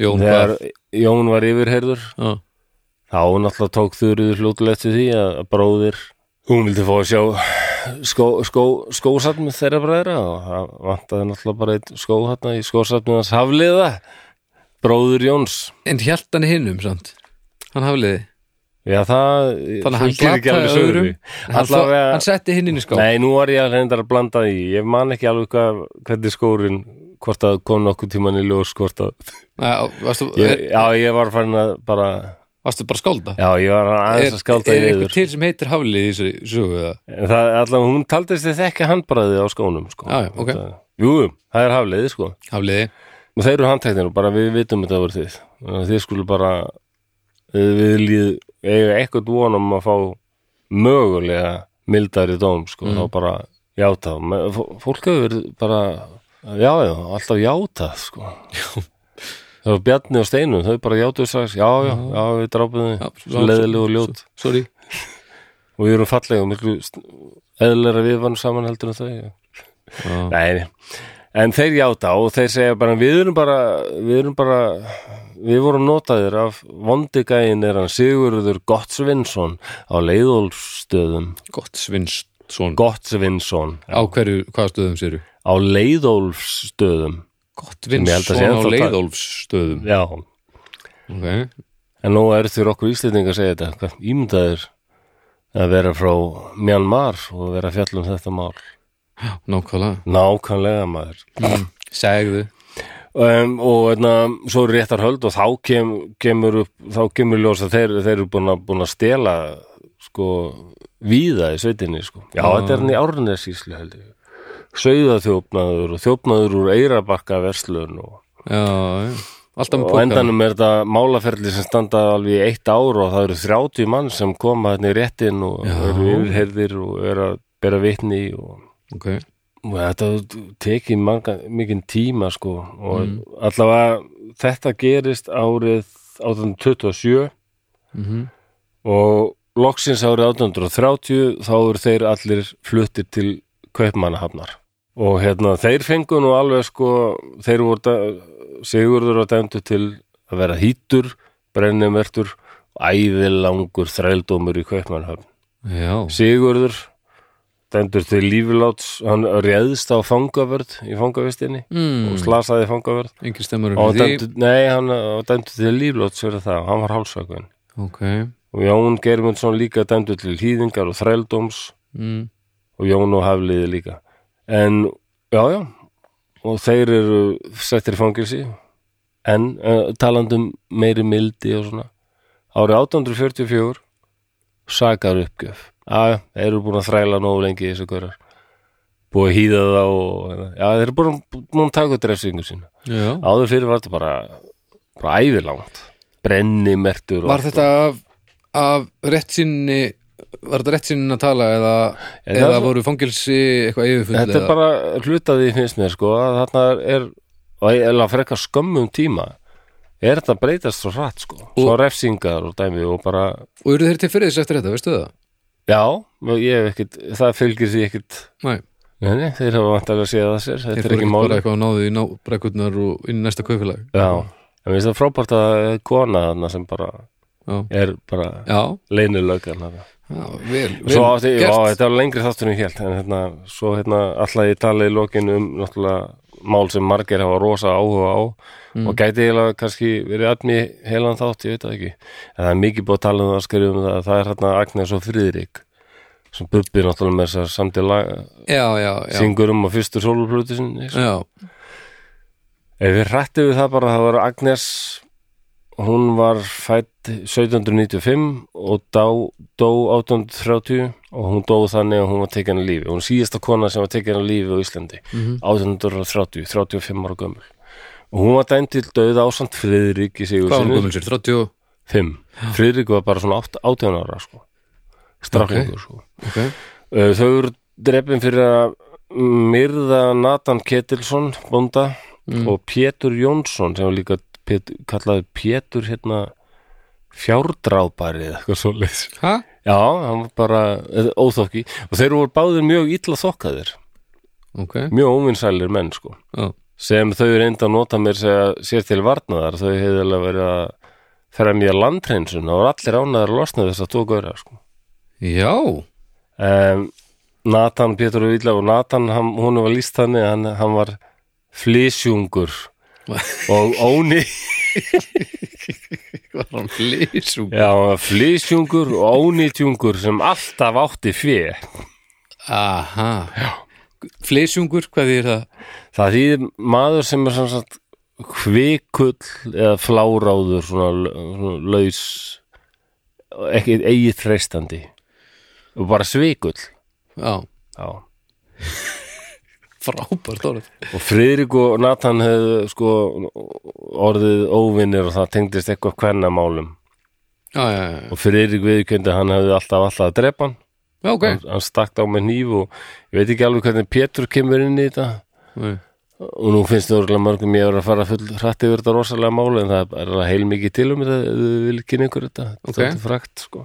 Speaker 2: Jón
Speaker 1: þegar
Speaker 2: hvað
Speaker 1: Jón var yfirherður
Speaker 2: já,
Speaker 1: þá náttúrulega tók þurriður fljótulegt til því að að bróðir hún vildi fá að sjá skó, skó, skósatmið þeirra bræðra og það vantaði náttúrulega bara eitt skó hérna í skósatmið hans hafliða bróður Jóns
Speaker 2: en hjælt hann hinnum samt hann hafliði,
Speaker 1: Já, það
Speaker 2: þannig að hann
Speaker 1: fylgir ekki alveg
Speaker 2: glataði öðrum
Speaker 1: sögunni.
Speaker 2: hann,
Speaker 1: Allavega,
Speaker 2: hann setti hinn inn í skáp
Speaker 1: nei, nú var ég að reyndar að blanda í ég man ekki alveg hvað, hvernig skórin hvort að kom nokkuð tíman í ljós hvort að,
Speaker 2: Já, varstu,
Speaker 1: ég, já, ég var farin að bara,
Speaker 2: varstu bara að skálda
Speaker 1: já, ég var aðeins að skálta
Speaker 2: er, er
Speaker 1: yfir
Speaker 2: eitthvað til sem heitir hafliði í þessu sögu eða?
Speaker 1: En það, allan, hún taldist þið þekka handbræðið á skónum, sko.
Speaker 2: Já, já, ok.
Speaker 1: Þetta- Jú, jú, það er hafliðið, sko.
Speaker 2: hafliði,
Speaker 1: Og þeir eru handteknir og bara við vitum þetta voru þið. Þannig að Þið skulu bara, við, við líð, eiga eitthvað vonum að fá mögulega mildari dóm, sko. Þá bara játa. Men fó- Fólk hefur verið bara, já, já, alltaf játað, sko. Já. Það var Bjarni og Steinum, þau bara játuðu strax, já, já, já, við drápum
Speaker 2: Já,
Speaker 1: þið, leðilegu og ljót
Speaker 2: sorry
Speaker 1: og við erum fallega og miklu st- eðlera við varum saman heldur en þau já.
Speaker 2: já,
Speaker 1: Nei, en þeir játa og þeir segja bara við erum bara við, erum bara, við vorum notaðir af vondigæin er hann Sigurður Gottsvinsson á leiðólfstöðum
Speaker 2: gott Svinsson
Speaker 1: Gottsvinsson
Speaker 2: á hverju, hvaða stöðum séru?
Speaker 1: á leiðólfstöðum
Speaker 2: Gott
Speaker 1: Ég held að
Speaker 2: Vinsson
Speaker 1: sé
Speaker 2: á
Speaker 1: ennþá það.
Speaker 2: leiðólfsstöðum
Speaker 1: já,
Speaker 2: okay.
Speaker 1: en nú er þurr okkur íslendingar að segja þetta, hvað ímyndaðir að vera frá Mjanmar og vera að fjalla um þetta mál
Speaker 2: Nákvæmlega
Speaker 1: nákvæmlega maður
Speaker 2: Segðu
Speaker 1: um, og einna, svo er réttar höld og þá kem, kemur upp þá kemur ljós að þeir, þeir eru búin að, búin að stela sko víða í sveitinni sko. já,
Speaker 2: Já.
Speaker 1: þetta er hann í Árnesíslu held ég Sauðaþjófnaður og þjófnaður úr Eirabakka verslun og,
Speaker 2: já, já. alltaf með
Speaker 1: og
Speaker 2: póka
Speaker 1: endanum er þetta málaferli sem standa alveg í eitt ár og það eru 30 mann sem koma hérna í réttin og
Speaker 2: Já.
Speaker 1: eru yfirherðir og eru að bera vitni og,
Speaker 2: ok,
Speaker 1: og þetta tekið manga, mikinn tíma sko og allavega þetta gerist árið 1827
Speaker 2: mm
Speaker 1: og loksins árið 1830 þá eru þeir allir fluttir til kaupmannahafnar og hérna þeir fengu nú alveg sko þeir voru da- sigurður og dæmdu til að vera hýtur brennimertur æðilangur þrældómur í kaupmannahafn
Speaker 2: já
Speaker 1: sigurður dæmdur til lífláts hann réðst á fangavörð í fangavistinni
Speaker 2: mm,
Speaker 1: og slasaði fangavörð
Speaker 2: engin stemmur
Speaker 1: og
Speaker 2: fyrir því
Speaker 1: dæmdur, nei, hann og dæmdur til lífláts fyrir það, hann var hálsakveðin
Speaker 2: ok,
Speaker 1: og Jón Germundsson líka dæmdur til hýðingar og þrældóms
Speaker 2: mm,
Speaker 1: og Jón og Hafliði líka en, já, já og þeir eru settir í fangelsi en uh, talandum meiri mildi og svona árið 1844 sakar uppgjöf já, já, þeir eru búin að þræla nógu lengi þessu hverjar búið að hýða það og já, þeir eru búin, búin að taka drefsingu sína
Speaker 2: já
Speaker 1: áður fyrir var þetta bara bara ævilangt brennimertur og
Speaker 2: var
Speaker 1: allt.
Speaker 2: þetta af, af rétt sinni var þetta rétt sinni að tala eða,
Speaker 1: En
Speaker 2: eða
Speaker 1: það er-
Speaker 2: voru fangelsi eitthvað yfirfull
Speaker 1: Þetta er
Speaker 2: eða-
Speaker 1: bara hlutaði finnst mér sko að þarna er og eða frekar skömmum tíma er þetta að breytast svo hratt sko svo refsingar og dæmi og bara
Speaker 2: og eru þeir til fyrir þess eftir þetta, veistu það?
Speaker 1: já, ég hef ekkit, það fylgir því ekkit
Speaker 2: Nei,
Speaker 1: nei, nei, þeir hafa vantarlega að séð það sér
Speaker 2: þeir
Speaker 1: þetta
Speaker 2: fóru
Speaker 1: er ekki
Speaker 2: ekkert bara
Speaker 1: máli
Speaker 2: eitthvað að náðu í nábrekkurnar og inn í næsta kaupfélag
Speaker 1: já, en við það frábært að það er kona þarna sem bara
Speaker 2: Já,
Speaker 1: er bara
Speaker 2: já,
Speaker 1: leynulöggan þarna
Speaker 2: já vel, vel
Speaker 1: Svo átti, já,
Speaker 2: gert
Speaker 1: þetta var lengri þáttur en ég held en hérna, svo hérna alltaf ég tala í lokin um náttúrulega mál sem margir hafa rosa áhuga á
Speaker 2: Mm.
Speaker 1: og gæti eiginlega kannski verið admi heilan þátt, ég veit það ekki en það er mikið búið að tala um það, skrifa um það það er hérna Agnes og Friðrik sem bubbi náttúrulega með þess að samti lag
Speaker 2: Já, já, já,
Speaker 1: syngur um á fyrstu sóluplutu sinni sko.
Speaker 2: já,
Speaker 1: ef við hrættum við það bara, það var Agnes hún var fætt 1795 og dá, dó 1830 og hún dó þannig að hún var tekin að lífi hún er síðasta kona sem var tekin að lífi á Íslandi
Speaker 2: Mhm.
Speaker 1: 1830, 35 ára gömul og hún var dæmt til döð ásamt Friðrik í
Speaker 2: hvað
Speaker 1: sigur
Speaker 2: var hann komin sér? 30,
Speaker 1: 5, Friðrik var bara svona 8, 18 ára sko, strafningur sko.
Speaker 2: ok
Speaker 1: Uh, þau eru drefin fyrir að myrða Nathan Ketilsson bónda og Pétur Jónsson sem var líka Pét, kallaði Pétur hérna fjárdrápari eða eitthvað svo leys
Speaker 2: Ha?
Speaker 1: já, hann var bara eða, óþokki og þeir voru báðir mjög illa þokkaðir
Speaker 2: Ok,
Speaker 1: mjög óvinsælir menn sko
Speaker 2: já,
Speaker 1: sem þau reynda að nota mér sér, sér til varnaðar þau hefði alveg verið að fremja landhreinsun og voru allir ánæður að losna þess að tók öðra sko.
Speaker 2: já,
Speaker 1: um, Nathan Pétur og Vila og Nathan hann, hún var líst þannig að hann, hann var flysjungur og óný
Speaker 2: var hann flýsung
Speaker 1: já, hann var flysjungur og ónýtjungur sem alltaf átti fjö
Speaker 2: Aha, já Flýsungur, hvað þýr það?
Speaker 1: það þýðir maður sem er sem sagt kvikull eða fláráður svona, svona laus ekki eigið treystandi og bara svikull
Speaker 2: Já,
Speaker 1: já.
Speaker 2: frábært orð
Speaker 1: og Friðrik og Nathan hefðu sko orðið óvinnir og það tengdist eitthvað kvennamálum
Speaker 2: Já, já, já, já,
Speaker 1: og Friðrik viðkjöndi hann hefði alltaf alltaf að drepa hann
Speaker 2: já, ok
Speaker 1: hann, hann stakkt á með nýf og ég veit ekki alveg hvernig Pétur kemur inn í þetta
Speaker 2: Nei.
Speaker 1: og nú finnst það örgulega mörgum ég er að fara full hrætti yfir þetta rosalega máli en það er heil mikið til um þetta ef þið vil kynna ykkur þetta
Speaker 2: Ok.
Speaker 1: þetta er frækt sko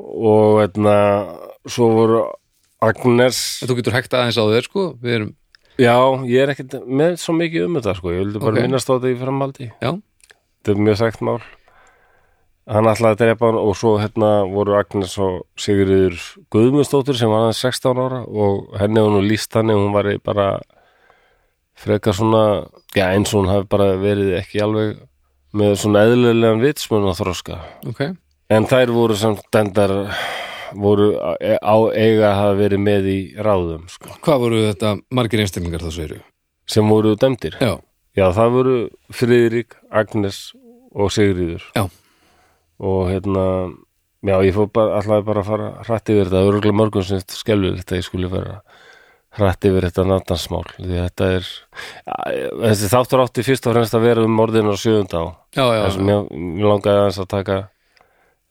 Speaker 1: og veitna, svo voru Agnes
Speaker 2: En Þú getur hægt aðeins á þér sko Við erum,
Speaker 1: já, ég er ekkert með svo mikið um þetta sko, ég vildi bara
Speaker 2: Ok.
Speaker 1: minnast á þetta í framhaldi
Speaker 2: já,
Speaker 1: þetta er mjög sagt mál hann ætlaði að drepa hann og svo hérna voru Agnes og Sigurður Guðmundsdóttir sem var hann 16 ára og henni hún líst þannig að hún var bara frekar svona já eins og hún hafi bara verið ekki alveg með svona eðlilegan vitsmun og þroska
Speaker 2: ok
Speaker 1: en þær voru sem dendar voru á á eiga að hafa verið með í ráðum sko,
Speaker 2: Hvað voru þetta margir einstaklingar þá segir
Speaker 1: sem voru dæmdir
Speaker 2: Já,
Speaker 1: já það voru Friðrik, Agnes og Sigurður
Speaker 2: já,
Speaker 1: og hérna Já, ég fór bara, allavega bara að fara hrætt yfir þetta, það er örgulega mörgum sem skelfur þetta ég skuli vera hrætt yfir þetta natansmál, því þetta er Ja, þessi þáttur átti fyrst og fremst að vera um morðinu á sjöfunda á
Speaker 2: já, já,
Speaker 1: þessum mér, mér langaði aðeins að taka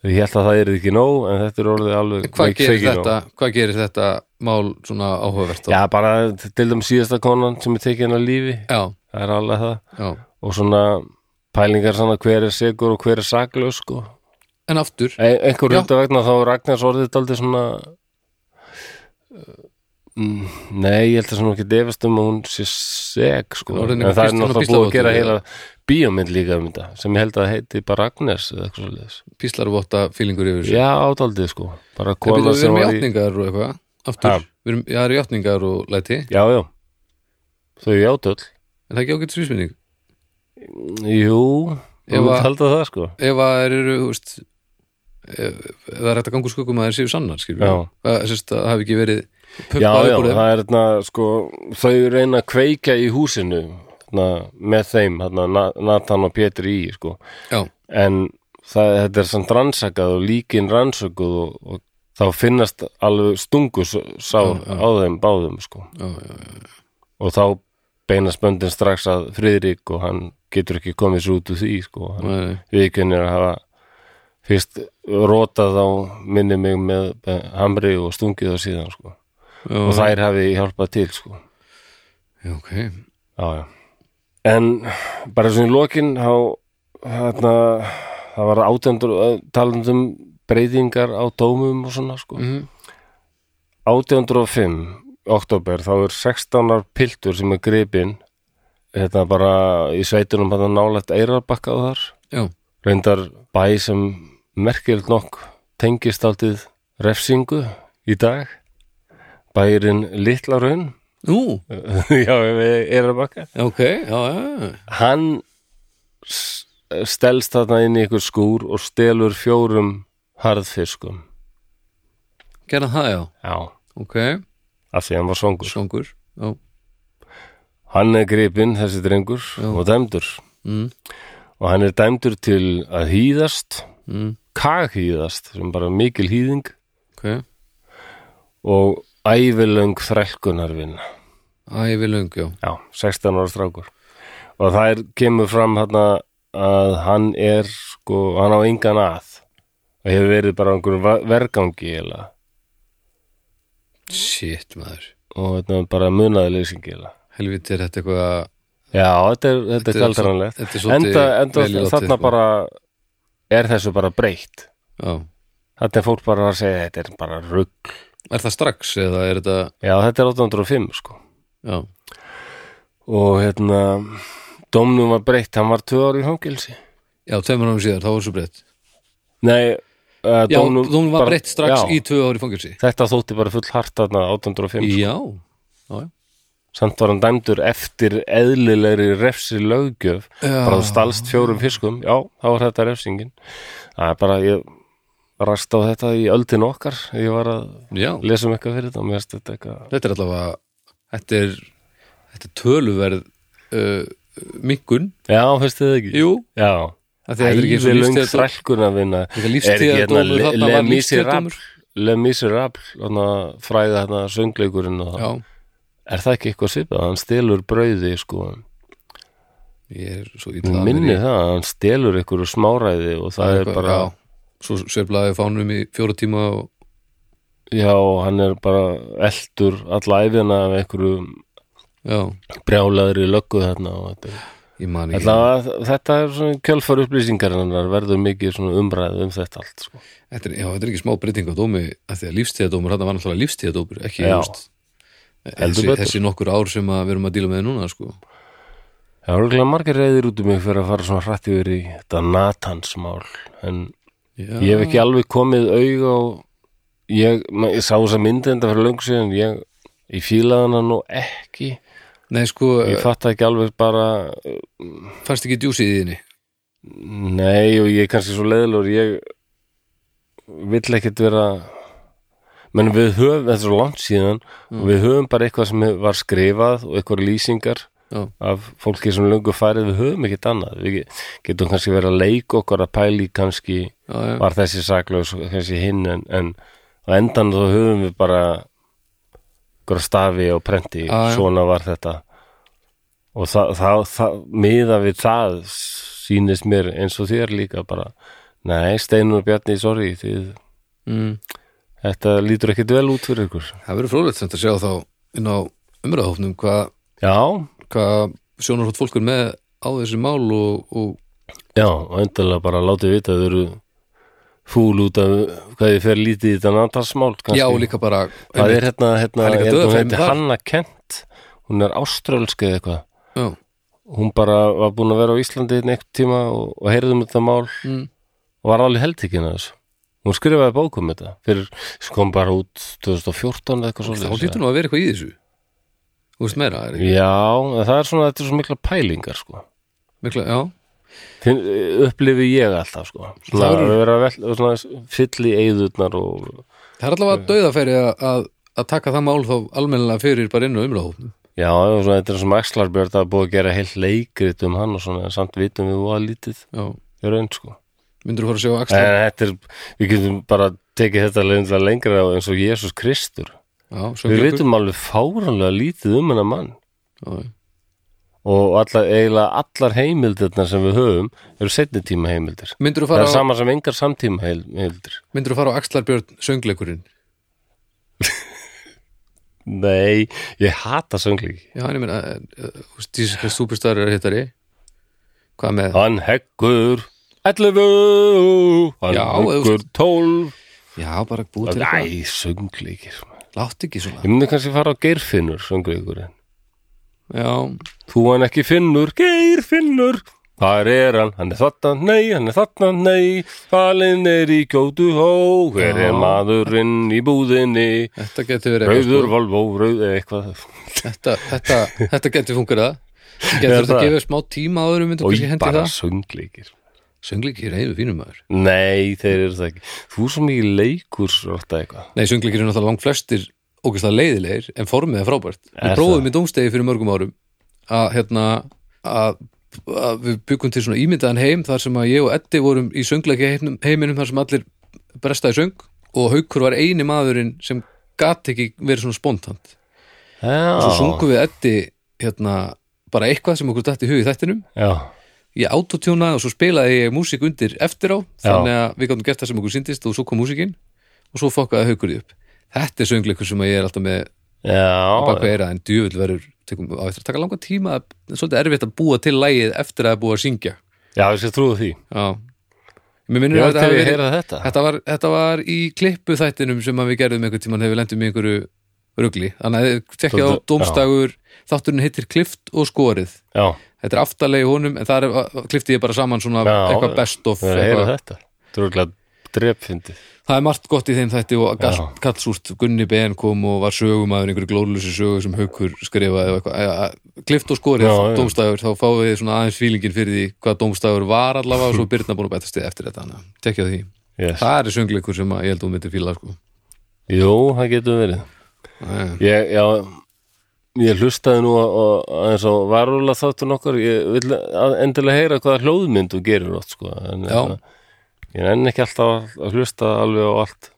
Speaker 1: ég held að það er ekki nóg en þetta er orðið alveg
Speaker 2: hvað
Speaker 1: ekki
Speaker 2: gerir
Speaker 1: feikin nóg.
Speaker 2: þetta hvað gerir þetta mál svona áhugavert þá?
Speaker 1: Já, bara til dæmis síðasta konan sem er tekin að lífi,
Speaker 2: já,
Speaker 1: það er alveg það
Speaker 2: já.
Speaker 1: og svona pælingar svona hver er segur og hver er saklaus sko.
Speaker 2: en aftur
Speaker 1: Ein, einhver
Speaker 2: Já.
Speaker 1: hluta vegna þá er Ragnars orðið daldið svona uh, mm, nei, ég held að svona ekki defast um að hún sé seg sko.
Speaker 2: Hún er orðin
Speaker 1: en
Speaker 2: einhver
Speaker 1: það er
Speaker 2: Kristján og
Speaker 1: náttúrulega búið að gera
Speaker 2: Gísladóttir,
Speaker 1: heila bíómynd líka um þetta sem ég held að heiti bara Ragnars eða eitthvað svolítið
Speaker 2: píslarvotta fílingur yfir
Speaker 1: já, ádaldið sko bara
Speaker 2: En byrju,
Speaker 1: kona
Speaker 2: við
Speaker 1: sem
Speaker 2: erum í
Speaker 1: var í
Speaker 2: játningar og eitthvað aftur,
Speaker 1: Ha.
Speaker 2: við erum, já, það eru játningar og læti
Speaker 1: já, já, þau játöld
Speaker 2: en það er ekki ágætt svísminning
Speaker 1: jú,
Speaker 2: Ef
Speaker 1: þú
Speaker 2: að-
Speaker 1: held að það sko
Speaker 2: ef að þær eru, þú veist ef, ef það er hægt að ganga úr skuggum að þær séu sannar skilur
Speaker 1: Já.
Speaker 2: við, að sérst, það hafi ekki verið
Speaker 1: já,
Speaker 2: pumpað
Speaker 1: já,
Speaker 2: upp úr þeim
Speaker 1: það er þarna sko, þau reyna að kveika í húsinu þarna, með þeim, þarna, Na- Nathan og Pétur í sko.
Speaker 2: já,
Speaker 1: en það, þetta er samt rannsakað og líkin rannsökuð og, og þá finnast alveg stungu s- sá á þeim báðum sko.
Speaker 2: já, já, já,
Speaker 1: og þá beinast böndin strax að Friðrik og hann getur ekki komið sér út úr því sko. hann
Speaker 2: Nei, nei.
Speaker 1: viðkennir að hafa fyrst rótað á minni mig með eh, hamri og stungið og síðan sko.
Speaker 2: já,
Speaker 1: og þær hafi hjálpað til sko.
Speaker 2: já, ok
Speaker 1: já, já. en bara svona í lokin þá þarna, það var átjöndur talandum um breytingar á dómum og svona sko.
Speaker 2: Mhm.
Speaker 1: 1805 oktober þá er 16 ár piltur sem er gripinn hérna bara í sveitunum hann nálægt eirarbakka og þar
Speaker 2: já,
Speaker 1: reyndar bæ sem merkild nokk tengist aldið refsingu í dag bærin Litlaraun
Speaker 2: nú,
Speaker 1: já, við eirarbakka
Speaker 2: já, ok já, já, já,
Speaker 1: hann s- stelst þarna inn í ykkur skúr og stelur fjórum harðfiskum
Speaker 2: gerða það, já,
Speaker 1: já,
Speaker 2: ok
Speaker 1: af því hann var songur
Speaker 2: svangur, já,
Speaker 1: hann er gripinn, þessi drengur og dæmdur
Speaker 2: mm,
Speaker 1: og hann er dæmdur til að hýðast
Speaker 2: mm,
Speaker 1: kaghýðast, sem bara mikil hýðing
Speaker 2: ok
Speaker 1: og ævilöng þrælkunarvinna
Speaker 2: ævi löng, já,
Speaker 1: já, 16 ára strákur og það er, kemur fram þarna að hann er sko, hann á engan að og hefur verið bara á einhverjum va- vergangi eða
Speaker 2: shit, maður
Speaker 1: og þetta er bara munaði leysingila
Speaker 2: helviti er þetta eitthvað að
Speaker 1: já, þetta er, þetta er
Speaker 2: Þetta er svo-
Speaker 1: kaldaranlegt
Speaker 2: þetta er svolítið
Speaker 1: enda, enda
Speaker 2: vel látið,
Speaker 1: þarna
Speaker 2: sko.
Speaker 1: bara er þessu bara breytt
Speaker 2: já,
Speaker 1: þetta er fólk bara að segja þetta er bara rugg
Speaker 2: Er það strax eða er þetta
Speaker 1: já, þetta er 805 sko
Speaker 2: Já,
Speaker 1: og hérna dómnum var breytt, hann var tvö ári í fangilsi
Speaker 2: já tveimur árum síðar, þá var svo breytt
Speaker 1: nei, uh,
Speaker 2: Já, þú var breytt strax
Speaker 1: já,
Speaker 2: í tvö ári fangilsi
Speaker 1: þetta þótti bara full hart þarna 805
Speaker 2: Já, já,
Speaker 1: samt var hann dæmdur eftir eðlilegri refsi löggjöf
Speaker 2: Já.
Speaker 1: bara þú stalst fjórum fiskum já, þá var þetta refsingin það er bara, ég rast á þetta í öldin okkar ég var að
Speaker 2: já
Speaker 1: lesa um eitthvað fyrir þetta og mér erst þetta eitthvað
Speaker 2: Þetta er allavega Þetta er, þetta er töluverð uh, minkun
Speaker 1: já, finnst þið ekki?
Speaker 2: Jú,
Speaker 1: já,
Speaker 2: af því að þetta er ekki svo
Speaker 1: æðilöng
Speaker 2: lífstíðardóm-
Speaker 1: þrælkun að vinna
Speaker 2: Þetta er lífstíðardómur,
Speaker 1: hérna Le-
Speaker 2: þarna
Speaker 1: Le
Speaker 2: var
Speaker 1: Miserable
Speaker 2: lífstíðardómur.
Speaker 1: Le Miserable þarna fræða þarna söngleikurinn og
Speaker 2: Já,
Speaker 1: er það ekki eitthvað svipað hann stelur brauði sko
Speaker 2: ég er svo
Speaker 1: Mér
Speaker 2: ítla
Speaker 1: minni það að hann stelur ykkur og smáræði og það er bara
Speaker 2: já, Svo sveiflaði fánum í fjóra tíma og,
Speaker 1: Já, hann er bara eldur alla æfina af einhverju
Speaker 2: Já,
Speaker 1: brjálaðri löggu þarna og þetta er
Speaker 2: ég man ekki
Speaker 1: Alla, að- Þetta er svona kjölfar upplýsingar hennar verður mikið svona umræð um þetta allt sko.
Speaker 2: Þetta er, já, þetta er ekki smá breyting á dómi að því að lífstíðadómur, þetta var náttúrulega lífstíðadómur ekki,
Speaker 1: Já.
Speaker 2: þú veist,
Speaker 1: Heldur
Speaker 2: þessi,
Speaker 1: betur.
Speaker 2: þessi nokkur ár sem að við erum að díla með núna sko.
Speaker 1: Það er örgulega margir reyðir út um mig fyrir að fara svona hrætt yfir í þetta Natansmál en
Speaker 2: já,
Speaker 1: ég hef ekki alveg komið auga og ég, ma- ég sá þess að myndi þetta fyrir löngu síðan ég, ég fílaði hana nú ekki
Speaker 2: Nei, sko,
Speaker 1: ég fatt ekki alveg bara
Speaker 2: fannst ekki djúsið í þinni
Speaker 1: Nei og ég er kannski svo leiðilegur ég vill ekkert vera menn við höfum, þetta er svo langt síðan og við höfum bara eitthvað sem var skrifað og eitthvað lýsingar
Speaker 2: Já.
Speaker 1: af fólki sem löngu færið við höfum ekkert annað við ge- getum kannski verið að leika okkur að pæli kannski
Speaker 2: já, já,
Speaker 1: var þessi saklaus og þessi hinn en, en á endan þá höfum við bara ykkur stafi og prenti
Speaker 2: Já, já.
Speaker 1: svona var þetta og það, það, það miða við það sýnist mér eins og þér líka bara, nei Steinur og Bjarni sorry, þið,
Speaker 2: mm.
Speaker 1: þetta lítur ekkit vel út fyrir ykkur
Speaker 2: það verður frólægt sem þetta sjá þá inn á umræðahófnum hvað
Speaker 1: já,
Speaker 2: hva sjónarhótt fólk er með á þessu mál og, og
Speaker 1: já, og endalega bara látið vita að þau eru fúl út af hvað ég fer lítið í þetta natalsmál
Speaker 2: já, og líka bara
Speaker 1: það er hérna, hérna,
Speaker 2: Það er líka
Speaker 1: hérna hún
Speaker 2: dauðafæri
Speaker 1: heiti
Speaker 2: þar.
Speaker 1: Hanna Kent hún er áströlsk eða eitthvað
Speaker 2: já,
Speaker 1: hún bara var búin að vera á Íslandi einn eitthvað tíma og, og heyrði um þetta mál
Speaker 2: mm,
Speaker 1: og var alveg heldikinn að þessu hún skrifaði bók um þetta fyrir sem kom bara út 2014 eða eitthvað
Speaker 2: þá
Speaker 1: svo
Speaker 2: hlýtur nú að vera eitthvað í þessu þú veist meira, er ekki
Speaker 1: Já, en það er svona, þetta er svo mikla pælingar sko.
Speaker 2: mikla, já,
Speaker 1: Finn, upplifi ég alltaf sko. svona,
Speaker 2: Það
Speaker 1: að
Speaker 2: eru-
Speaker 1: vera vel, svona fyll í eigðurnar og
Speaker 2: það er allavega dauðafæri að, að, að taka það mál þá almennilega fyrir bara inn á umræðahófnum
Speaker 1: já, og svona, þetta er svona Axlarbjörn það er búið að gera heilt leikrit um hann og svona, en samt vitum við voða lítið
Speaker 2: já,
Speaker 1: í raun sko.
Speaker 2: myndur þú fara að sjá
Speaker 1: en
Speaker 2: axlar
Speaker 1: þetta er, við getum bara tekið þetta lengra lengra á eins og Jésús Kristur
Speaker 2: já,
Speaker 1: Við
Speaker 2: söngleikur.
Speaker 1: veitum alveg fáranlega lítið um hennar mann
Speaker 2: já, já.
Speaker 1: og allar, eiginlega allar heimildirnar sem við höfum eru setni tíma heimildir.
Speaker 2: myndur þú
Speaker 1: Það er
Speaker 2: fara,
Speaker 1: sama sem engar samtíma heil- heimildir.
Speaker 2: myndir fara á axlarbjörn söngleikurinn
Speaker 1: Nei, ég hata söngleik.
Speaker 2: já, hann er meina, eh, stísiska súpistar er hittari hvað með,
Speaker 1: Hann heggur 11, hann
Speaker 2: Já,
Speaker 1: heggur 12.
Speaker 2: já, bara búið til eitthvað
Speaker 1: Æ, söngleikir. maður.
Speaker 2: látt ekki svona,
Speaker 1: Ég myndi kannski fara á Geirfinnur söngleikurinn.
Speaker 2: já
Speaker 1: Þú hann ekki finnur, Geirfinnur. Hvar er hann? Hann er þarna, nei, hann er þarna, nei, falinn er í gjótu hó, hver
Speaker 2: Já.
Speaker 1: er maðurinn í búðinni,
Speaker 2: Þetta getur verið eitthvað
Speaker 1: Rauður,
Speaker 2: sko.
Speaker 1: Volvo, rauð, eða eitthvað
Speaker 2: þetta, þetta, þetta getur fungerað Getur
Speaker 1: Er
Speaker 2: þetta að
Speaker 1: það?
Speaker 2: gefa smá tíma áður um myndir
Speaker 1: Og
Speaker 2: kannski
Speaker 1: ég
Speaker 2: hendi
Speaker 1: bara
Speaker 2: það
Speaker 1: söngleikir
Speaker 2: Söngleikir er einu fínum maður
Speaker 1: Nei, þeir eru það ekki Þú er svo mikið leikur Rótta eitthvað
Speaker 2: Nei, söngleikir eru náttúrulega langt flestir ógeðslega leiðilegir en formið er frábært
Speaker 1: Er
Speaker 2: Við prófum í dómstegi fyrir mörgum árum að hérna að, að við byggum til svona ímyndaðan heim þar sem að ég og Eddi vorum í söngleiki heiminum þar sem allir brestaði söng og haukur var eini maðurinn sem gat ekki verið svona spontant og svo
Speaker 1: Já,
Speaker 2: sungum við Eddi hérna bara eitthvað sem okkur dætti í hug í þættinum
Speaker 1: já,
Speaker 2: ég autotjónaði og svo spilaði ég músík undir eftir á, þannig að við gáttum gert það sem okkur síndist og svo kom músíkin og svo fokkaði haukur því upp. Þetta er söngleikur sem að ég er alltaf með
Speaker 1: já
Speaker 2: baka eira en djöfull verður tekum, á eftir að taka langa tíma það er svolítið erfitt að búa til lægið eftir að það er búið að syngja
Speaker 1: Já, ég sé trúið því
Speaker 2: Já, mér minnir
Speaker 1: Já,
Speaker 2: að þetta
Speaker 1: til
Speaker 2: hafi
Speaker 1: ég
Speaker 2: verið
Speaker 1: heyra þetta
Speaker 2: þetta var, þetta var í klippu þættinum sem að við gerðum einhvern tímann hefur lendum í einhverju rugli, þannig að tekja á
Speaker 1: Svolítið- já.
Speaker 2: dómstagur, þátturinn heitir klift og skorið
Speaker 1: Já,
Speaker 2: þetta er aftalegi honum en þar er- klifti ég bara saman svona
Speaker 1: Já,
Speaker 2: eitthvað best of
Speaker 1: við erum að heyra
Speaker 2: eitthvað.
Speaker 1: þetta Trúlega drepfindi
Speaker 2: það er margt gott í þeim þætti og
Speaker 1: Já.
Speaker 2: galt kallsúrt Gunni Ben kom og var sögumæður einhverju glóðlösi sögu sem haukur skrifaði og eitthvað, eða, klift og skorið
Speaker 1: Já, já.
Speaker 2: dómstæður, þá fáum við svona aðeins fílingin fyrir því hvað dómstæður var allavega og svo Birna búin að bæta stið eftir þetta, þannig að tekja á því
Speaker 1: yes.
Speaker 2: það er söngleikur sem að ég held að hún myndi fíla sko.
Speaker 1: Jú, það getur verið
Speaker 2: Já, já.
Speaker 1: Ég, já, ég hlustaði nú að- að- aðeins á varúlega þáttun okkar ég vil að- endilega heyra hvaða hljóðmynd þú gerir átt sko en,
Speaker 2: Já.
Speaker 1: en, ég enn ekki alltaf að hlusta alveg á allt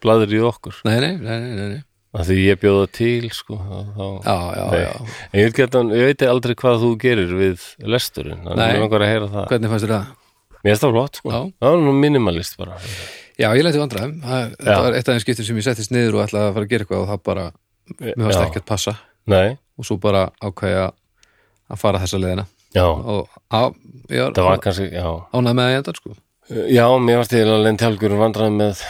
Speaker 1: bladur í okkur
Speaker 2: nei, nei, nei, nei, nei, nei.
Speaker 1: að því ég bjóða til sko þá, þá-
Speaker 2: já, já,
Speaker 1: Nei.
Speaker 2: já,
Speaker 1: en ég veit, getan, ég veit aldrei hvað þú gerir við lesturinn þannig
Speaker 2: Nei.
Speaker 1: að langar að heyra það
Speaker 2: hvernig fannst þér það?
Speaker 1: mér er það flott sko,
Speaker 2: Já.
Speaker 1: það er nú minimalist bara
Speaker 2: Já, ég lenti vandræðum, Það- þetta
Speaker 1: Já.
Speaker 2: var eitt af þeim skiptum sem ég settist niður og ætlaði að fara að gera eitthvað og það bara, mér varst
Speaker 1: Já.
Speaker 2: ekkert passa
Speaker 1: nei,
Speaker 2: og svo bara ákvæða að fara þessa leiðina
Speaker 1: já,
Speaker 2: og á, ég
Speaker 1: það var
Speaker 2: var
Speaker 1: kannski já,
Speaker 2: ánægð með það ég endar sko
Speaker 1: Eh, Já, mér varst ég að lendi algjör vandræði um með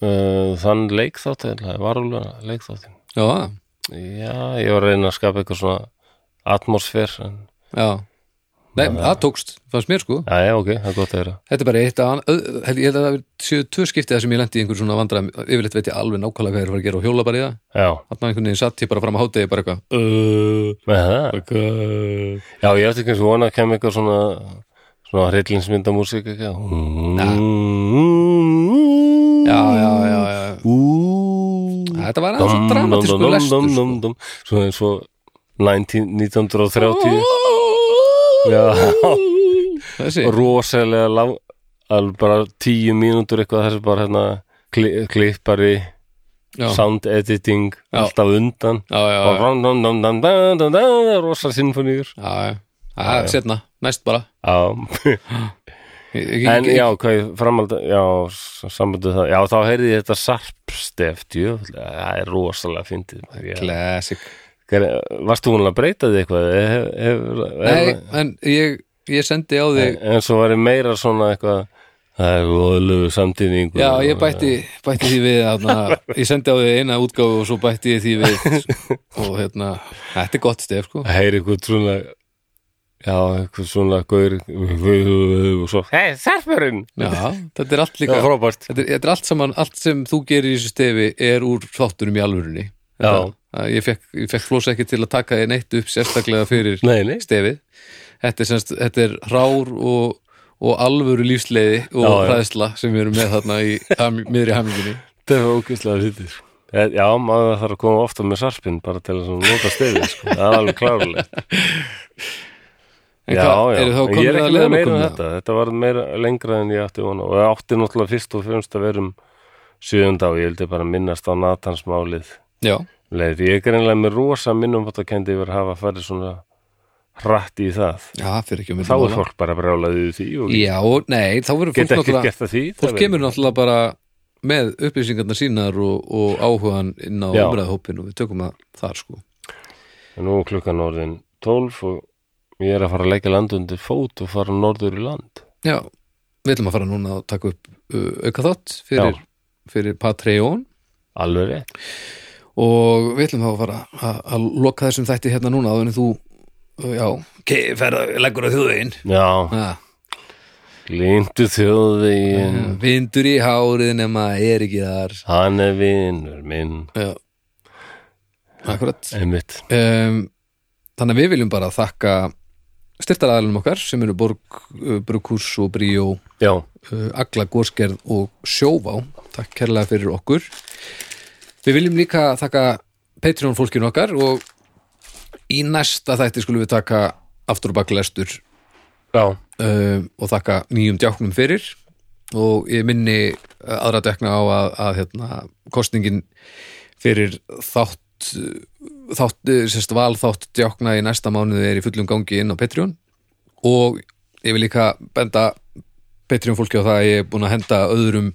Speaker 1: uh, þann leikþátt eða varulega leikþáttin
Speaker 2: já, það.
Speaker 1: Já, ég var að reyna að skapa eitthvað svona atmosfér en...
Speaker 2: já Nei, það tókst, fannst mér sko
Speaker 1: Já, já, ok, það er gott að heyra
Speaker 2: Þetta er bara eitt að, öð- held- ég held að það séu tvö skiptið þar sem ég lendi í einhver svona vandræðum yfirleitt veit ég alveg nákvæmlega hvað ég er að fara að gera og hjóla bara í það
Speaker 1: Já,
Speaker 2: þannig að einhvern veginn satt ég bara fram á hátegi bara eitthvað Eh,
Speaker 1: með það Já, ég eftir kannski vona að kem eitthvað svona svona hryllinsmyndamúsík ekki
Speaker 2: Já,
Speaker 1: Já,
Speaker 2: já, já, já
Speaker 1: Ú
Speaker 2: Þetta var aðeins svo dramatísku lestur sko.
Speaker 1: dum, dum. Svona eins og 19, 1930
Speaker 2: Þessi,
Speaker 1: rosalega lang alveg bara tíu mínútur eitthvað þessi bara hérna kli, klippari,
Speaker 2: já, já,
Speaker 1: sound editing
Speaker 2: Já.
Speaker 1: alltaf undan
Speaker 2: já,
Speaker 1: og
Speaker 2: já,
Speaker 1: ram, ram, ram, ram, ram, ram, ram, rosa sinfoníur
Speaker 2: já, já. já setna, næst bara
Speaker 1: Já,
Speaker 2: Ég- ég-
Speaker 1: en
Speaker 2: ég-
Speaker 1: já, hvað ég framhaldi já, sambandu það, já, þá heyrði ég þetta sarpstef, jú, það er rosalega fyndið maður, ég-
Speaker 2: Classic
Speaker 1: Hver- Varst þú hún að breyta því eitthvað? Hef, hef,
Speaker 2: Nei, en ég, ég sendi á
Speaker 1: en,
Speaker 2: þig
Speaker 1: en svo var ég meira svona eitthvað það er góðlegu samtíningu
Speaker 2: Já, ég bætti, bætti því við hana, Ég sendi á þig eina útgáfu og svo bætti ég því við og hérna, þetta er gott stef sko.
Speaker 1: heyri eitthvað svona já, eitthvað svona gaur og svo, hei, sarpurinn
Speaker 2: Já, þetta er allt
Speaker 1: það
Speaker 2: líka
Speaker 1: var frábært
Speaker 2: þetta er, þetta er allt saman, allt sem þú gerir í þessu stefi er úr þáttunum í alvörunni
Speaker 1: Já.
Speaker 2: Það- að Ég fekk, ég fekk flósa ekki til að taka þið neitt upp sérstaklega fyrir
Speaker 1: Nei, nei,
Speaker 2: stefið Þetta er, semst, þetta er rár og, og alvöru lífsleiði og
Speaker 1: Já, já.
Speaker 2: hræðsla sem við erum með þarna í ham, miðri haminginni
Speaker 1: þetta var ókvistlega sýttir Já, maður þarf að koma ofta með sarpinn bara til að svona nota stefið, sko. það er alveg klárlega
Speaker 2: En
Speaker 1: Já,
Speaker 2: hvað,
Speaker 1: já,
Speaker 2: eru þá
Speaker 1: En ég
Speaker 2: komin
Speaker 1: er
Speaker 2: að
Speaker 1: ekki með meira en
Speaker 2: leiðarlokum,
Speaker 1: þetta Þetta var meira lengra en ég átti vona og ég átti náttúrulega fyrst og fremst að verum sjöðunda og ég vildi bara minnast á Natans málið
Speaker 2: Já,
Speaker 1: leið. Ég er greinlega með rosa minnum að kendi yfir að hafa farið svona hratt í það.
Speaker 2: já, fyrir ekki að
Speaker 1: Þá
Speaker 2: mynda
Speaker 1: er fólk bara brálaðið við því og
Speaker 2: Já, nei, þá verður fólk
Speaker 1: geta ekki
Speaker 2: náttúrulega
Speaker 1: gert það því.
Speaker 2: fólk kemur náttúrulega bara með upplýsingarnar sínar og, og áhugan inn á
Speaker 1: Já.
Speaker 2: umræðahópin og við tökum það þar sko
Speaker 1: náttúrulega. Nú er klukkan orðin 12 og ég er að fara að leggja land undir fót og fara norður í land.
Speaker 2: Já, við ætlum að fara núna að taka upp uh, auka þátt fyrir,
Speaker 1: Já.
Speaker 2: fyrir Patreon
Speaker 1: Alveg rétt.
Speaker 2: og við ætlum þá að fara að- að loka þessum þætti hérna núna áður en þú, uh, já, okay, ferða, leggur Ah, á þjóðveginn
Speaker 1: Já, glindu þjóðvegin,
Speaker 2: Vindur í hárið nema er ekki þar
Speaker 1: hann er vinur minn,
Speaker 2: Já Akkurat
Speaker 1: einmitt.
Speaker 2: um, Þannig að við viljum bara þakka styrtaraðalunum okkar sem eru Borg, uh, Brukurs og Bríó
Speaker 1: Já,
Speaker 2: uh, Agla Górskerð og Sjóvá Takk kærlega fyrir okkur Við viljum líka þakka Patreon fólkinu okkar og í næsta þætti skulum við taka aftur og baklæstur
Speaker 1: já,
Speaker 2: uh, og þakka nýjum djáknum fyrir og ég minni eh, aðra dekna á að, að hérna, kostningin fyrir þátt þátt, eh, sérst valþátt djákna í næsta mánuði er í fullum gangi inn á Patreon og ég vil líka benda Patreon fólki á það að ég er búin að henda öðrum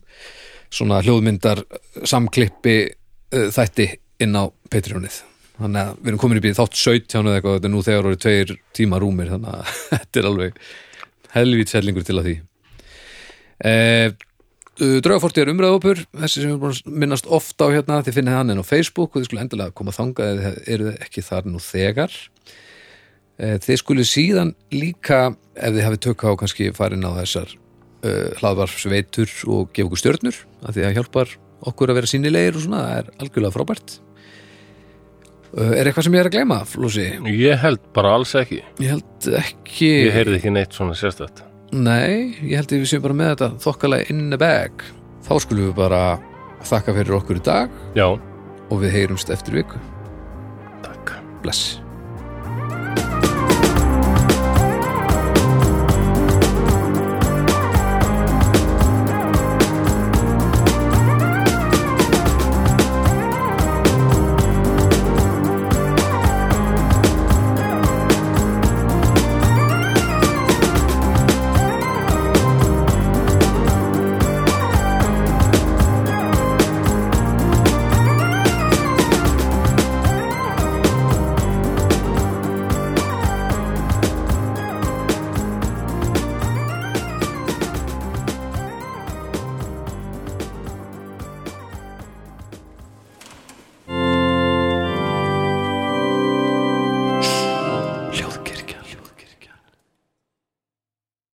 Speaker 2: svona hljóðmyndar samklippi uh, þætti inn á Patreonið þannig að við erum komin upp í þátt 17 eða eitthvað, þetta er nú þegar orðið tveir tíma rúmir þannig að þetta er alveg helvíts hellingur til að því eh, uh, Draugaforti er umræðopur þessi sem við erum búin að minnast oft á hérna þið finnið hann inn á Facebook og þið skulle endilega koma þangað eða eru þið ekki þar nú þegar Eh, Þið skulle síðan líka ef þið hafið tök á kannski farin á þessar uh, hlaðvarfsveitur og gefa okkur stjörnur að því að hjálpar okkur að vera sínilegir og svona, það er algjörlega frábært uh, Er eitthvað sem ég er að gleyma, Flósi?
Speaker 1: ég held bara alls ekki.
Speaker 2: Ég held ekki
Speaker 1: Ég heyrði ekki neitt svona sérstætt.
Speaker 2: Nei, ég held að við séum bara með þetta þokkalega in the bag Þá skulum við bara þakka fyrir okkur í dag
Speaker 1: Já,
Speaker 2: og við heyrumst eftir viku
Speaker 1: takk.
Speaker 2: Bless